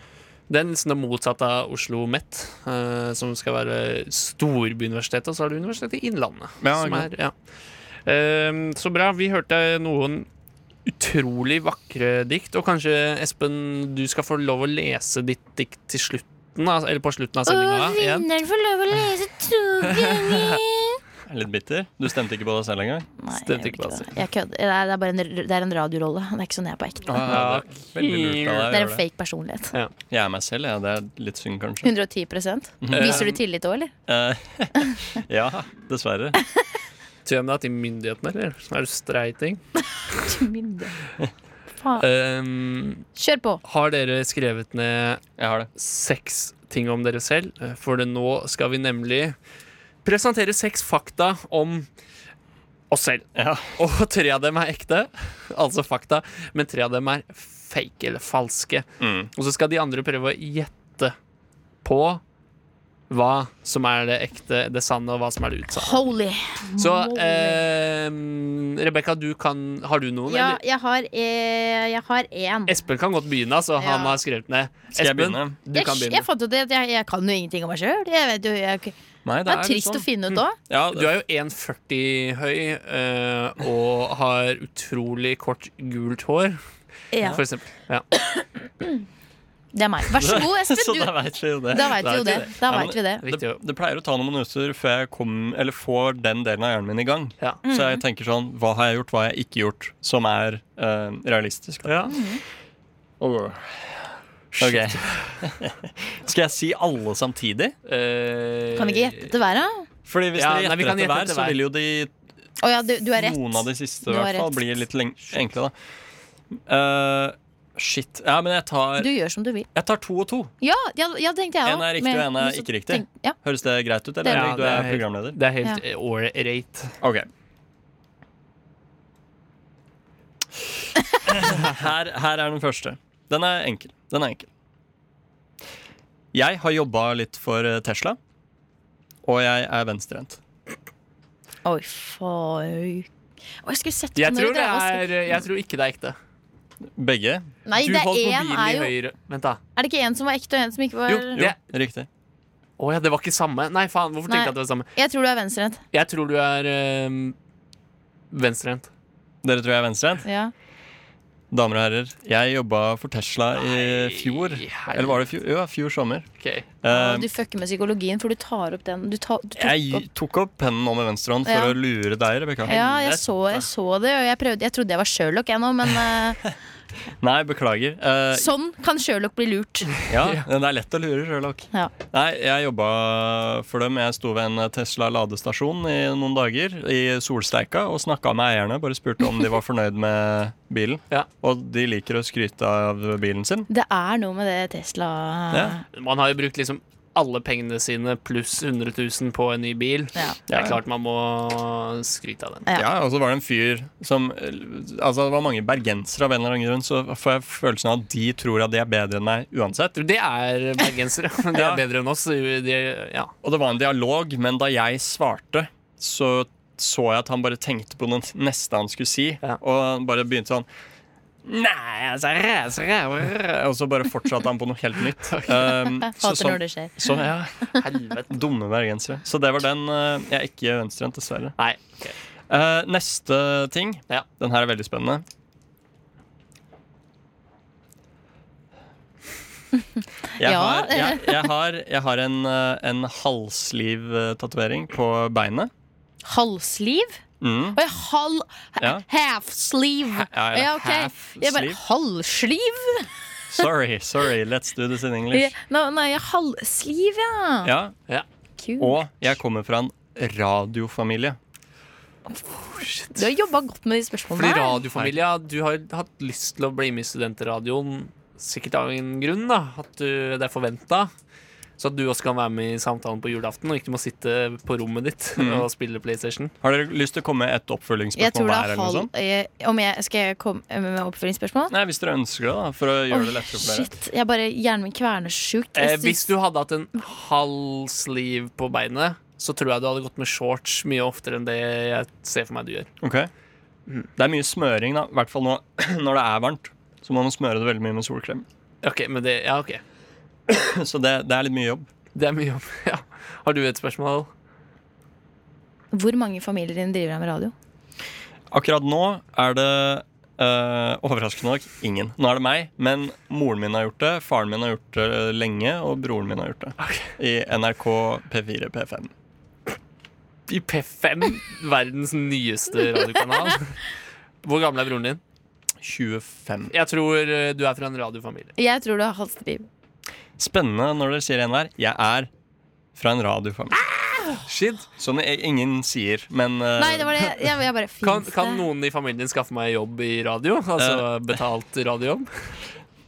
Speaker 2: Det er nesten det motsatte av Oslo Met, eh, som skal være storbyuniversitetet. Og så har du Universitetet i Innlandet.
Speaker 4: Ja,
Speaker 2: som
Speaker 4: ikke
Speaker 2: er, ja. Ehm, så bra. Vi hørte noen utrolig vakre dikt. Og kanskje, Espen, du skal få lov å lese ditt dikt til slutten, av- eller på slutten av sendinga.
Speaker 3: Og
Speaker 2: igjen.
Speaker 3: vinneren får lov å lese to ganger!
Speaker 4: Jeg er Litt bitter. Du stemte ikke på deg selv engang.
Speaker 3: Nei, jeg
Speaker 2: Stemte
Speaker 3: gjorde
Speaker 2: ikke på
Speaker 3: ikke
Speaker 2: det.
Speaker 3: det. Jeg kødder. Det er, det er bare en, r- det er en radiorolle. Det er ikke sånn jeg er på ekte.
Speaker 4: Ah, det er veldig lurt
Speaker 3: Det er en
Speaker 4: av deg å gjøre det.
Speaker 3: fake personlighet.
Speaker 4: Jeg er meg selv, ja. Det er litt synd, kanskje.
Speaker 3: 110 Viser du tillit òg, eller?
Speaker 4: Eh, ja, dessverre.
Speaker 2: Tøm deg til myndighetene, eller? Er du streiting?
Speaker 3: Faen.
Speaker 2: Ehm,
Speaker 3: Kjør på.
Speaker 2: har dere skrevet ned
Speaker 4: Jeg har det.
Speaker 2: seks ting om dere selv, Eh, for det nå skal vi nemlig presentere seks fakta om oss selv.
Speaker 4: Ja.
Speaker 2: Og tre av dem er ekte, altså fakta, men tre av dem er fake eller falske.
Speaker 4: Mm.
Speaker 2: Og så skal de andre prøve å gjette på hva som er det ekte, det sanne, og hva som er det utsanne.
Speaker 3: Holy.
Speaker 2: Så eh, Rebekka, du kan Har du noen,
Speaker 3: Ja,
Speaker 2: eller?
Speaker 3: jeg har eh, Jeg har én.
Speaker 2: Espen kan godt begynne, altså.
Speaker 3: Ja.
Speaker 2: Han har skrevet ned.
Speaker 4: Skal jeg
Speaker 2: Espen,
Speaker 4: begynne?
Speaker 2: du
Speaker 3: Jeg,
Speaker 2: kan
Speaker 3: jeg
Speaker 2: begynne.
Speaker 3: fant ut at jeg, jeg kan jo ingenting om meg sjøl. Det er
Speaker 4: Nei, det er
Speaker 3: trist
Speaker 4: litt
Speaker 3: å
Speaker 4: sånn.
Speaker 3: finne ut òg.
Speaker 4: Ja,
Speaker 2: Du er jo 1,40 høy eh, og har utrolig kort gult hår,
Speaker 3: Ja.
Speaker 2: for eksempel. Ja.
Speaker 3: Det er meg. Vær så god,
Speaker 4: så
Speaker 3: Espen.
Speaker 4: da
Speaker 3: Du,
Speaker 4: veit vi jo det.
Speaker 3: da veit vi jo det. Da
Speaker 4: Ja, men-
Speaker 3: vet vi det.
Speaker 2: Viktig
Speaker 4: Det,
Speaker 2: å-
Speaker 4: det pleier å ta noen minutter før jeg kom, eller får den delen av hjernen min i gang.
Speaker 2: Ja.
Speaker 4: Så
Speaker 3: Mm.
Speaker 4: jeg tenker sånn Hva har jeg gjort, hva har jeg ikke gjort, som er eh, realistisk? Da.
Speaker 2: Ja. Oh.
Speaker 4: Ok. Skal jeg si alle samtidig?
Speaker 2: Eh,
Speaker 3: Kan vi ikke gjette til hver, da?
Speaker 4: Fordi hvis
Speaker 2: Ja,
Speaker 4: dere
Speaker 2: nei, vi kan
Speaker 4: gjetter etter
Speaker 2: gjette
Speaker 4: hver,
Speaker 2: etter
Speaker 4: så
Speaker 2: hver.
Speaker 4: vil jo de
Speaker 3: Å ja, du, du er rett.
Speaker 4: noen av de siste i
Speaker 3: Du har
Speaker 4: hvert fall
Speaker 3: rett.
Speaker 4: bli litt leng- enkle, da. Eh, shit. Ja, men jeg tar,
Speaker 3: Du gjør som du vil.
Speaker 4: jeg tar to og to.
Speaker 3: Ja, ja, ja det tenkte jeg
Speaker 4: En
Speaker 3: også,
Speaker 4: er riktig,
Speaker 3: men-
Speaker 4: og en er
Speaker 3: men så
Speaker 4: ikke riktig.
Speaker 3: tenk- ja.
Speaker 4: Høres det greit ut, eller?
Speaker 3: Det-
Speaker 4: Henrik, du
Speaker 2: Ja, det
Speaker 4: er
Speaker 2: er helt-
Speaker 4: programleder?
Speaker 2: Det er helt ja. ålreit.
Speaker 4: Ok her, her er den første Den er enkel, den er enkel. Jeg har jobbet litt for eh, Tesla Og jeg er venstrehendt.
Speaker 3: Oi, faen. Å, jeg skulle sett på
Speaker 2: Jeg
Speaker 3: når
Speaker 2: tror,
Speaker 3: dere
Speaker 2: det
Speaker 3: drev og skrev-
Speaker 2: er, jeg tror ikke det er ekte.
Speaker 4: Begge?
Speaker 3: Nei,
Speaker 2: du
Speaker 3: det er
Speaker 2: holdt
Speaker 3: én
Speaker 2: mobilen
Speaker 3: er
Speaker 2: i
Speaker 3: jo
Speaker 2: høyre Vent, da.
Speaker 3: Er det ikke én som var ekte, og én som ikke var
Speaker 2: Jo,
Speaker 4: Jo,
Speaker 2: det-
Speaker 4: riktig
Speaker 2: Å ja, det var ikke samme. Nei, faen. Hvorfor
Speaker 3: Nei.
Speaker 2: tenkte jeg at det var samme?
Speaker 3: Jeg tror du er venstrehendt.
Speaker 2: Jeg tror du er eh, venstrehendt.
Speaker 4: Dere tror jeg er venstrehendt?
Speaker 3: Ja.
Speaker 4: Damer og herrer, jeg jobbet for Tesla i fjor
Speaker 2: helvete.
Speaker 4: Eller var det fjor? Jo, fjor sommer
Speaker 2: Ok.
Speaker 3: Ja,
Speaker 2: Um,
Speaker 4: Eh,
Speaker 3: Du fucker med psykologien, for du tar opp den. Du tar, du tok
Speaker 4: Jeg
Speaker 3: opp.
Speaker 4: tok opp pennen nå med venstre hånd For
Speaker 3: Ja.
Speaker 4: å lure deg, Rebecca
Speaker 3: Ja, jeg så, jeg så det, og jeg prøvde Jeg trodde jeg var Sherlock, jeg nå, men eh,
Speaker 4: Nei, beklager Eh,
Speaker 3: sånn kan Sherlock bli lurt.
Speaker 4: Ja, det er lett å lure, Sherlock.
Speaker 3: Ja.
Speaker 4: Nei, jeg jobba for dem. Jeg sto ved en Tesla ladestasjon i noen dager i solsteika og snakka med eierne. Bare spurte om de var fornøyd med bilen.
Speaker 2: Ja.
Speaker 4: Og de liker å skryte av bilen sin.
Speaker 3: Det er noe med det Tesla
Speaker 4: Ja.
Speaker 2: Man har jo brukt liksom alle pengene sine pluss 100 000 på en ny bil.
Speaker 3: Ja.
Speaker 2: Det er klart man må skryte av den.
Speaker 3: Ja.
Speaker 4: Ja, og så var det en fyr som Altså, det var mange bergensere av en eller annen grunn, så får jeg følelsen av at de tror at de er bedre enn meg uansett.
Speaker 2: Det er bergensere. De er
Speaker 4: Ja.
Speaker 2: bedre enn oss. De, ja.
Speaker 4: Og det var en dialog, men da jeg svarte, så så jeg at han bare tenkte på noe neste han skulle si.
Speaker 2: Ja.
Speaker 4: Og han bare begynte sånn Nei, altså ræs, ræv, ræv», Og så bare fortsatte han på noe helt nytt. Um, så,
Speaker 2: sånn.
Speaker 3: Hater
Speaker 4: så,
Speaker 3: når det skjer.
Speaker 4: så ja, helvete Dumme bergensere. Så det var den. eh, jeg er ikke venstrehendt, dessverre.
Speaker 2: Nei. ok.
Speaker 4: Eh, neste ting.
Speaker 2: Ja.
Speaker 4: Den her er veldig spennende. Jeg
Speaker 3: Ja.
Speaker 4: har, jeg, jeg har, jeg har en, eh, en halsliv-tatovering på beinet.
Speaker 3: Halsliv?
Speaker 4: Mm.
Speaker 3: Å ja, hal...
Speaker 4: Ja.
Speaker 3: Half-sleeve.
Speaker 4: Ja, eller
Speaker 3: Ja, ok. Jeg bare
Speaker 4: half-sleeve.
Speaker 3: Halvsliv?
Speaker 4: Sorry, sorry, let's do this in English.
Speaker 3: Nå, nå er jeg halvsliv, ja.
Speaker 4: Ja,
Speaker 3: Kult.
Speaker 4: Og jeg kommer fra en radiofamilie.
Speaker 3: Du har jobba godt med de spørsmålene.
Speaker 2: Fordi
Speaker 3: her.
Speaker 2: radiofamilia, du har jo hatt lyst til å bli med i studentradioen sikkert av en grunn, da. At du, det er forventa. Så at du også kan være med i samtalen på julaften, og ikke må sitte på rommet ditt
Speaker 4: Mm.
Speaker 2: og spille PlayStation.
Speaker 4: Har dere lyst til å komme med et
Speaker 3: Jeg tror
Speaker 4: oppfølgingsspørsmål
Speaker 3: det
Speaker 4: hver?
Speaker 3: er
Speaker 4: eller noe
Speaker 3: halv...
Speaker 4: sånt?
Speaker 3: Jeg, om jeg, skal jeg komme med oppfølgingsspørsmål?
Speaker 4: Nei, Hvis dere ønsker det, da, for å gjøre det
Speaker 3: Oi,
Speaker 4: lettere for dere.
Speaker 3: Shit, jeg bare, Hjernen min kverner sjukt.
Speaker 2: Eh,
Speaker 3: Jeg synes-
Speaker 2: hvis du hadde hatt en halv sleeve på beinet, så tror jeg du hadde gått med shorts mye oftere enn det jeg ser for meg du gjør.
Speaker 4: Ok Det er mye smøring, da. I hvert fall nå, når det er varmt. Så må man smøre det veldig mye med solkrem.
Speaker 2: Ok, men det, ja, ok.
Speaker 4: Så det, det er litt mye jobb.
Speaker 2: Det er mye om ja. Har du et spørsmål?
Speaker 3: Hvor mange familier dine driver med radio?
Speaker 4: Akkurat nå er det eh, overraskende nok ingen. Nå er det meg, men moren min har gjort det, faren min har gjort det lenge, og broren min har gjort det. I NRK P4, P5.
Speaker 2: I P5, verdens nyeste radiokanal. Hvor gammel er broren din?
Speaker 4: 25.
Speaker 2: Jeg tror eh, du er fra en radiofamilie.
Speaker 3: Jeg tror du har halvsliv.
Speaker 4: Eh. Spennende når dere sier en hver. Jeg er fra en radiofamilie.
Speaker 2: Shit.
Speaker 4: Som i- ingen sier, men eh,
Speaker 3: Nei, det var det. Jeg, jeg bare
Speaker 2: Kan,
Speaker 3: finnes
Speaker 2: kan
Speaker 3: det?
Speaker 2: noen i familien din skaffe meg jobb i radio? Altså betalt radiojobb?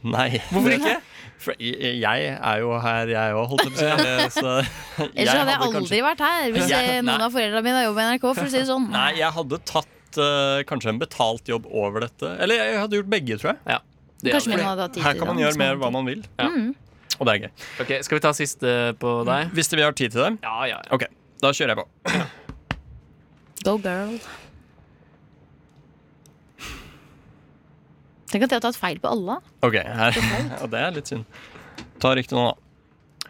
Speaker 4: nei.
Speaker 2: Hvorfor ikke?
Speaker 4: For jeg, jeg er jo her, jeg òg, holdt jeg på å si. Så
Speaker 3: Ellers hadde jeg aldri
Speaker 4: kanskje-
Speaker 3: vært her hvis
Speaker 4: Jeg-
Speaker 3: eh, noen
Speaker 4: nei.
Speaker 3: av foreldrene mine har jobb i NRK. For å si det sånn
Speaker 4: Nei, jeg hadde tatt eh, kanskje en betalt jobb over dette. Eller jeg hadde gjort begge, tror jeg.
Speaker 2: Ja. Det
Speaker 3: Kanskje
Speaker 2: er
Speaker 3: min
Speaker 2: det.
Speaker 3: hadde hatt tid
Speaker 4: Her
Speaker 3: til
Speaker 4: kan man
Speaker 3: det,
Speaker 4: gjøre
Speaker 3: hvis
Speaker 4: mer
Speaker 3: hadde
Speaker 4: hva man vil. Og det er gøy.
Speaker 2: Ok, Skal vi ta siste på deg?
Speaker 4: Hvis vi har tid til det?
Speaker 2: Ja, ja, ja.
Speaker 4: Ok, da kjører jeg på.
Speaker 3: tid. Go girl. Tenk at jeg har tatt feil på alle.
Speaker 4: Ok, her. Ja, det er litt synd. Ta riktig nå, da.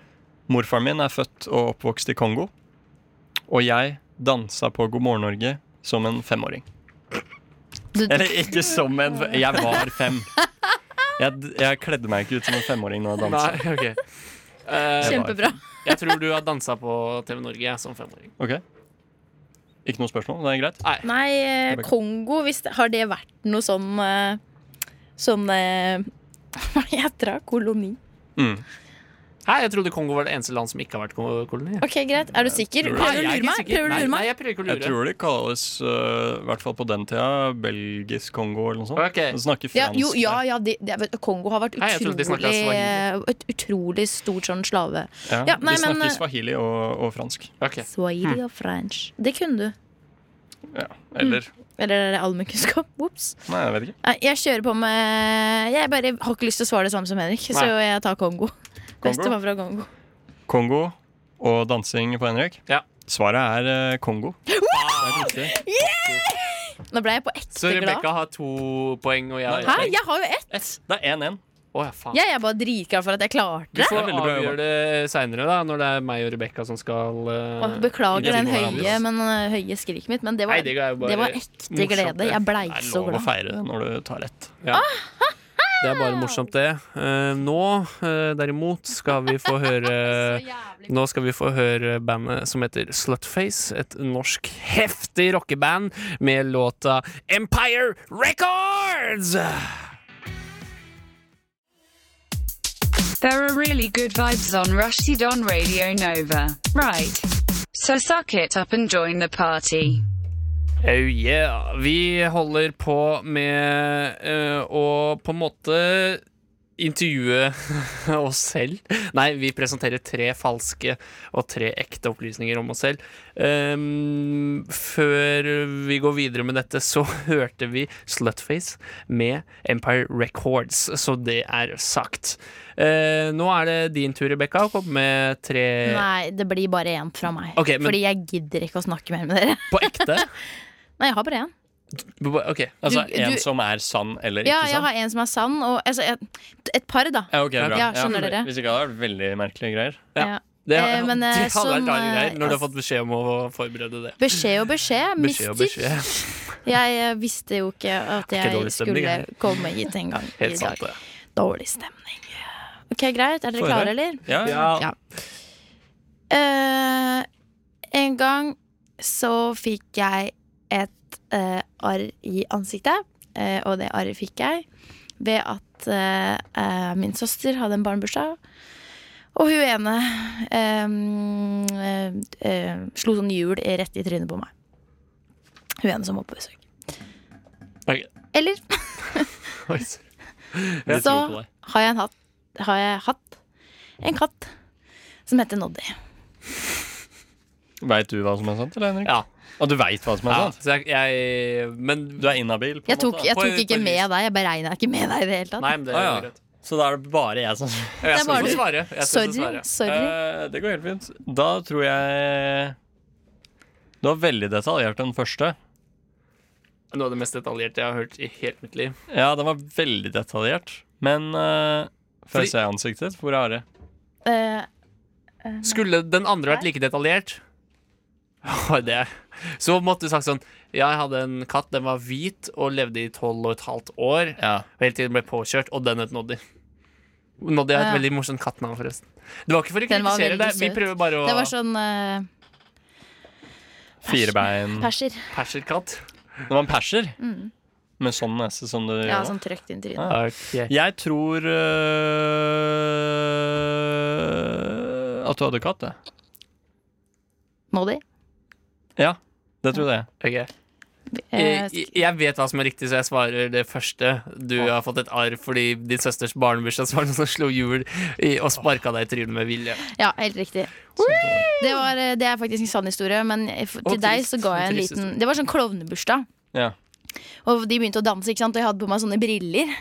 Speaker 4: Morfaren min er født og oppvokst i Kongo. Og jeg dansa på God morgen Norge som en femåring.
Speaker 3: Du,
Speaker 4: Eller ikke som en Jeg var fem. Jeg, jeg kledde meg ikke ut som en femåring når jeg dansa.
Speaker 2: Nei, ok. Eh,
Speaker 3: kjempebra.
Speaker 2: jeg tror du har dansa på TV Norge jeg, som femåring.
Speaker 4: Ok. Ikke noe spørsmål? Det er greit?
Speaker 3: Nei, eh, Kongo, hvis det, har det vært noe sånn eh, Sånn eh, Hva heter det? Koloni?
Speaker 4: Mm.
Speaker 2: Hei, jeg trodde Kongo var det eneste land som ikke har vært ko- koloni.
Speaker 3: Ok, Greit. Er du sikker?
Speaker 4: Tror du-
Speaker 3: Prøver du å
Speaker 2: Nei, jeg er
Speaker 3: lure
Speaker 2: ikke
Speaker 3: meg?
Speaker 2: sikker.
Speaker 3: Prøver du å
Speaker 2: Nei,
Speaker 3: lure
Speaker 2: Nei,
Speaker 3: meg?
Speaker 2: jeg prøver ikke å
Speaker 4: Jeg
Speaker 2: lure.
Speaker 4: tror det kalles, øh, i hvert fall på den tida, belgisk Kongo eller noe sånt.
Speaker 2: Ok.
Speaker 4: De snakker
Speaker 3: Ja,
Speaker 4: fransk.
Speaker 3: jo, ja, ja de, de, vet du, Kongo har vært
Speaker 2: Nei, jeg trodde de snakket
Speaker 3: utrolig, et utrolig stort sånn slave...
Speaker 4: Ja,
Speaker 3: Ja, nei,
Speaker 4: de
Speaker 3: men- eh,
Speaker 4: snakker swahili og, og fransk.
Speaker 2: Ok. Mm.
Speaker 3: Swahili og french. Det kunne du.
Speaker 4: Ja.
Speaker 3: mm.
Speaker 4: Eller
Speaker 3: Eller er det allmennkunnskap? Ops.
Speaker 4: Nei, jeg vet ikke.
Speaker 3: Nei, Jeg kjører på med Jeg bare har ikke lyst til å svare det samme som Henrik, så
Speaker 2: Nei.
Speaker 3: jeg tar Kongo. Bestefar fra Kongo.
Speaker 4: Kongo og dansing på Henrik?
Speaker 2: Ja.
Speaker 4: Svaret er eh, Kongo. Det er riktig.
Speaker 3: Nå ble jeg på
Speaker 2: Så
Speaker 3: ekte glad.
Speaker 2: Rebekka har to poeng, og jeg har ett
Speaker 3: Hæ?
Speaker 2: poeng.
Speaker 3: Jeg har jo ett!
Speaker 4: Det er 1-1.
Speaker 2: Å, ja, faen.
Speaker 3: Jeg er bare dritglad for at jeg klarte
Speaker 2: Du
Speaker 3: det.
Speaker 2: får
Speaker 4: veldig bra
Speaker 2: avgjøre
Speaker 4: jobba.
Speaker 2: det seinere, da, når det er meg og Rebekka som skal eh,
Speaker 3: Og Beklager
Speaker 4: Jeg
Speaker 3: den
Speaker 4: fikk meg
Speaker 3: høye, men, eh, høye skriket mitt, men det var,
Speaker 2: Nei, det er jo bare
Speaker 3: det var ekte
Speaker 2: morsomt,
Speaker 3: glede.
Speaker 2: det.
Speaker 3: Jeg blei
Speaker 4: Det er
Speaker 3: så
Speaker 4: lov å
Speaker 3: glad.
Speaker 4: feire det når du tar rett.
Speaker 3: Ah,
Speaker 2: Ja. Det er bare morsomt, det. Eh, nå, eh, derimot, skal vi få høre Nå skal vi få høre bandet som heter Slutface. Et norsk heftig rockeband med låta Empire Records!
Speaker 10: There are really good vibes on Rushdie on Radio Nova. Right. So suck it up and join the party.
Speaker 2: Oh yeah. Vi holder på med eh, å på en måte intervjue oss selv. Nei, vi presenterer tre falske og tre ekte opplysninger om oss selv. Ehm, før vi går videre med dette, så hørte vi Slutface med Empire Records, så det er sagt. Eh, nå er det din tur, Rebekka, å komme med tre
Speaker 3: Nei, det blir bare én fra meg.
Speaker 2: Ok, men-
Speaker 3: Fordi jeg gidder ikke å snakke mer med dere.
Speaker 2: på ekte.
Speaker 3: Nei, jeg har bare én.
Speaker 2: OK.
Speaker 4: Altså
Speaker 3: Du-
Speaker 4: en
Speaker 3: du-
Speaker 4: som er sann eller
Speaker 3: Ja,
Speaker 4: ikke
Speaker 3: jeg
Speaker 4: sann?
Speaker 3: har en som er sann, og altså, et, et par, da.
Speaker 4: Ja, ok, bra.
Speaker 3: Ja, skjønner dere?
Speaker 4: Hvis ikke hadde det vært veldig merkelige greier.
Speaker 3: Ja.
Speaker 2: Det,
Speaker 3: Eh, men, eh,
Speaker 2: det hadde
Speaker 3: som,
Speaker 2: vært rare
Speaker 3: eh,
Speaker 2: greier når du har fått beskjed om å forberede det.
Speaker 3: Beskjed og beskjed.
Speaker 2: Beskjed og
Speaker 3: Mister.
Speaker 2: beskjed.
Speaker 3: Jeg eh, visste jo ikke at
Speaker 2: Er ikke
Speaker 3: jeg
Speaker 2: dårlig stemning,
Speaker 3: skulle
Speaker 2: eller?
Speaker 3: komme hit en gang i
Speaker 2: Helt sant,
Speaker 3: dag.
Speaker 2: det.
Speaker 3: Dårlig stemning. Ok, greit. Er dere
Speaker 2: Får jeg
Speaker 3: klare,
Speaker 2: det?
Speaker 3: eller?
Speaker 2: Ja. Ja.
Speaker 3: Eh, en gang så fikk jeg et eh, arr i ansiktet, eh, og det arret fikk jeg ved at eh, eh, min søster hadde en barnebursdag. Og hun ene eh, eh, eh, slo sånn hjul rett i trynet på meg. Hun ene som var på besøk.
Speaker 2: Ok.
Speaker 3: Eller
Speaker 2: Oi, sorry. Jeg
Speaker 3: Så
Speaker 2: tror på deg.
Speaker 3: har jeg en hatt Har jeg hatt en katt som heter Noddy.
Speaker 4: Veit du hva som er sant, eller, Henrik?
Speaker 2: Ja.
Speaker 4: Og du veit hva som er
Speaker 2: Ja,
Speaker 4: sant?
Speaker 2: så jeg, jeg, men
Speaker 4: Du er inhabil, på
Speaker 3: Jeg
Speaker 4: en
Speaker 3: tok,
Speaker 4: måte?
Speaker 3: jeg
Speaker 2: På-
Speaker 3: tok
Speaker 2: på
Speaker 3: ikke
Speaker 2: en
Speaker 3: med deg. Jeg beregna ikke med deg i det hele tatt.
Speaker 2: Nei, men det
Speaker 4: Ah,
Speaker 2: er
Speaker 4: ja.
Speaker 2: greit.
Speaker 4: Så da er det bare jeg som
Speaker 2: Jeg
Speaker 3: bare
Speaker 2: skal
Speaker 3: du.
Speaker 2: ikke svare. Jeg skal
Speaker 3: Sorry.
Speaker 2: ikke svare.
Speaker 3: sorry.
Speaker 4: Eh, Det går helt fint. Da tror jeg Du var veldig detaljert, den første.
Speaker 2: Noe av det mest detaljerte jeg har hørt i helt mitt liv.
Speaker 4: Ja, den var veldig detaljert. Men eh, får
Speaker 2: Fordi-
Speaker 4: jeg se ansiktet ditt? Hvor er det?
Speaker 3: Eh,
Speaker 2: Skulle den andre vært like detaljert? Ja, det Så måtte du sagt sånn Jeg hadde en katt, den var hvit og levde i tolv og et halvt år.
Speaker 4: Ja.
Speaker 2: Og hele tiden ble påkjørt, og den het Noddy. Noddy er et
Speaker 3: Ja.
Speaker 2: veldig morsomt kattenavn, forresten. Det var ikke for å
Speaker 3: Den var
Speaker 2: kritisere
Speaker 3: veldig
Speaker 2: deg, vi
Speaker 3: søt.
Speaker 2: prøver bare
Speaker 3: det
Speaker 2: å
Speaker 3: var sånn eh,
Speaker 4: Firebein
Speaker 3: perser.
Speaker 2: Perserkatt.
Speaker 4: Det var en perser
Speaker 3: Mm.
Speaker 4: med sånn nese som du
Speaker 3: Ja,
Speaker 4: gjør nå.
Speaker 3: sånn trøkt inn i trynet.
Speaker 2: Ok.
Speaker 4: Jeg tror eh, øh, at du hadde katt, jeg.
Speaker 3: Noddy.
Speaker 4: Ja, det trodde jeg.
Speaker 2: Ok.
Speaker 3: Eh,
Speaker 2: Jeg, jeg vet hva som er riktig, så jeg svarer det første. Du har fått et arr fordi din søsters barnebursdag så var det noen som slo hjul i, og sparka deg i trynet med vilje.
Speaker 3: ja, helt riktig. Det, var, eh, det er faktisk en sann historie, men eh, for, til
Speaker 2: Og
Speaker 3: deg
Speaker 2: trist.
Speaker 3: så ga jeg en
Speaker 2: Trist
Speaker 3: liten
Speaker 2: historie.
Speaker 3: Det var sånn klovnebursdag.
Speaker 4: Ja.
Speaker 3: Og de begynte å danse, ikke sant? og jeg hadde på meg sånne briller.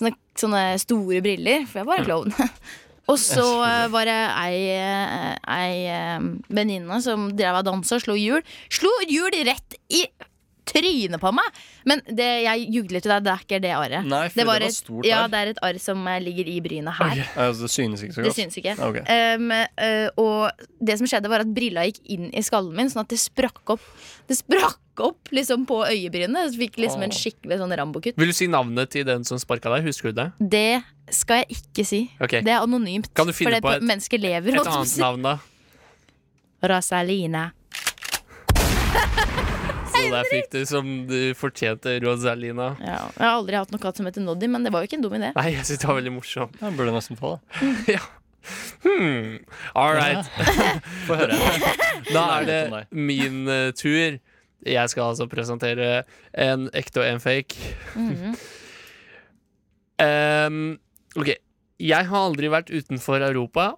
Speaker 3: Sånne, sånne store briller, for jeg var en klovn. Og så eh, var det ei, eh, ei eh, venninne som drev og dansa og slo hjul. Slo hjul rett i trynet på meg! Men det, jeg jugde litt til deg, det er ikke det arret.
Speaker 4: Nei, for det var
Speaker 3: et-
Speaker 4: stort
Speaker 3: Ja,
Speaker 4: arr.
Speaker 3: det er et arr som eh, ligger i brynet her.
Speaker 4: Altså, det synes ikke så
Speaker 3: Det
Speaker 4: godt.
Speaker 3: synes ikke.
Speaker 4: Ok.
Speaker 3: Um, eh, og det som skjedde, var at brilla gikk inn i skallen min, sånn at det sprakk opp. Det sprakk opp liksom på øyebrynet. Så fikk liksom en skikkelig sånn Rambo-kutt.
Speaker 2: Vil du si navnet til den som sparka deg? Husker du det?
Speaker 3: Det skal jeg ikke si.
Speaker 2: Ok.
Speaker 3: Det er anonymt.
Speaker 2: Kan du finne
Speaker 3: for det
Speaker 2: på et-
Speaker 3: mennesket lever.
Speaker 2: Et
Speaker 3: holdt jeg på å
Speaker 2: annet
Speaker 3: si.
Speaker 2: navn, da?
Speaker 3: Rosalina.
Speaker 2: Så der fikk du som du fortjente, Rosalina.
Speaker 3: Ja, jeg har aldri hatt noen katt som heter Noddy, men det var jo ikke en dum idé.
Speaker 2: Nei, jeg syns det var veldig morsomt.
Speaker 4: Jeg burde nesten få det.
Speaker 2: Hmm. All right.
Speaker 4: Få høre.
Speaker 2: Da er det min eh, tur. Jeg skal altså presentere en ekte og en fake.
Speaker 3: Mhm.
Speaker 2: Em, ok, jeg har aldri vært utenfor Europa.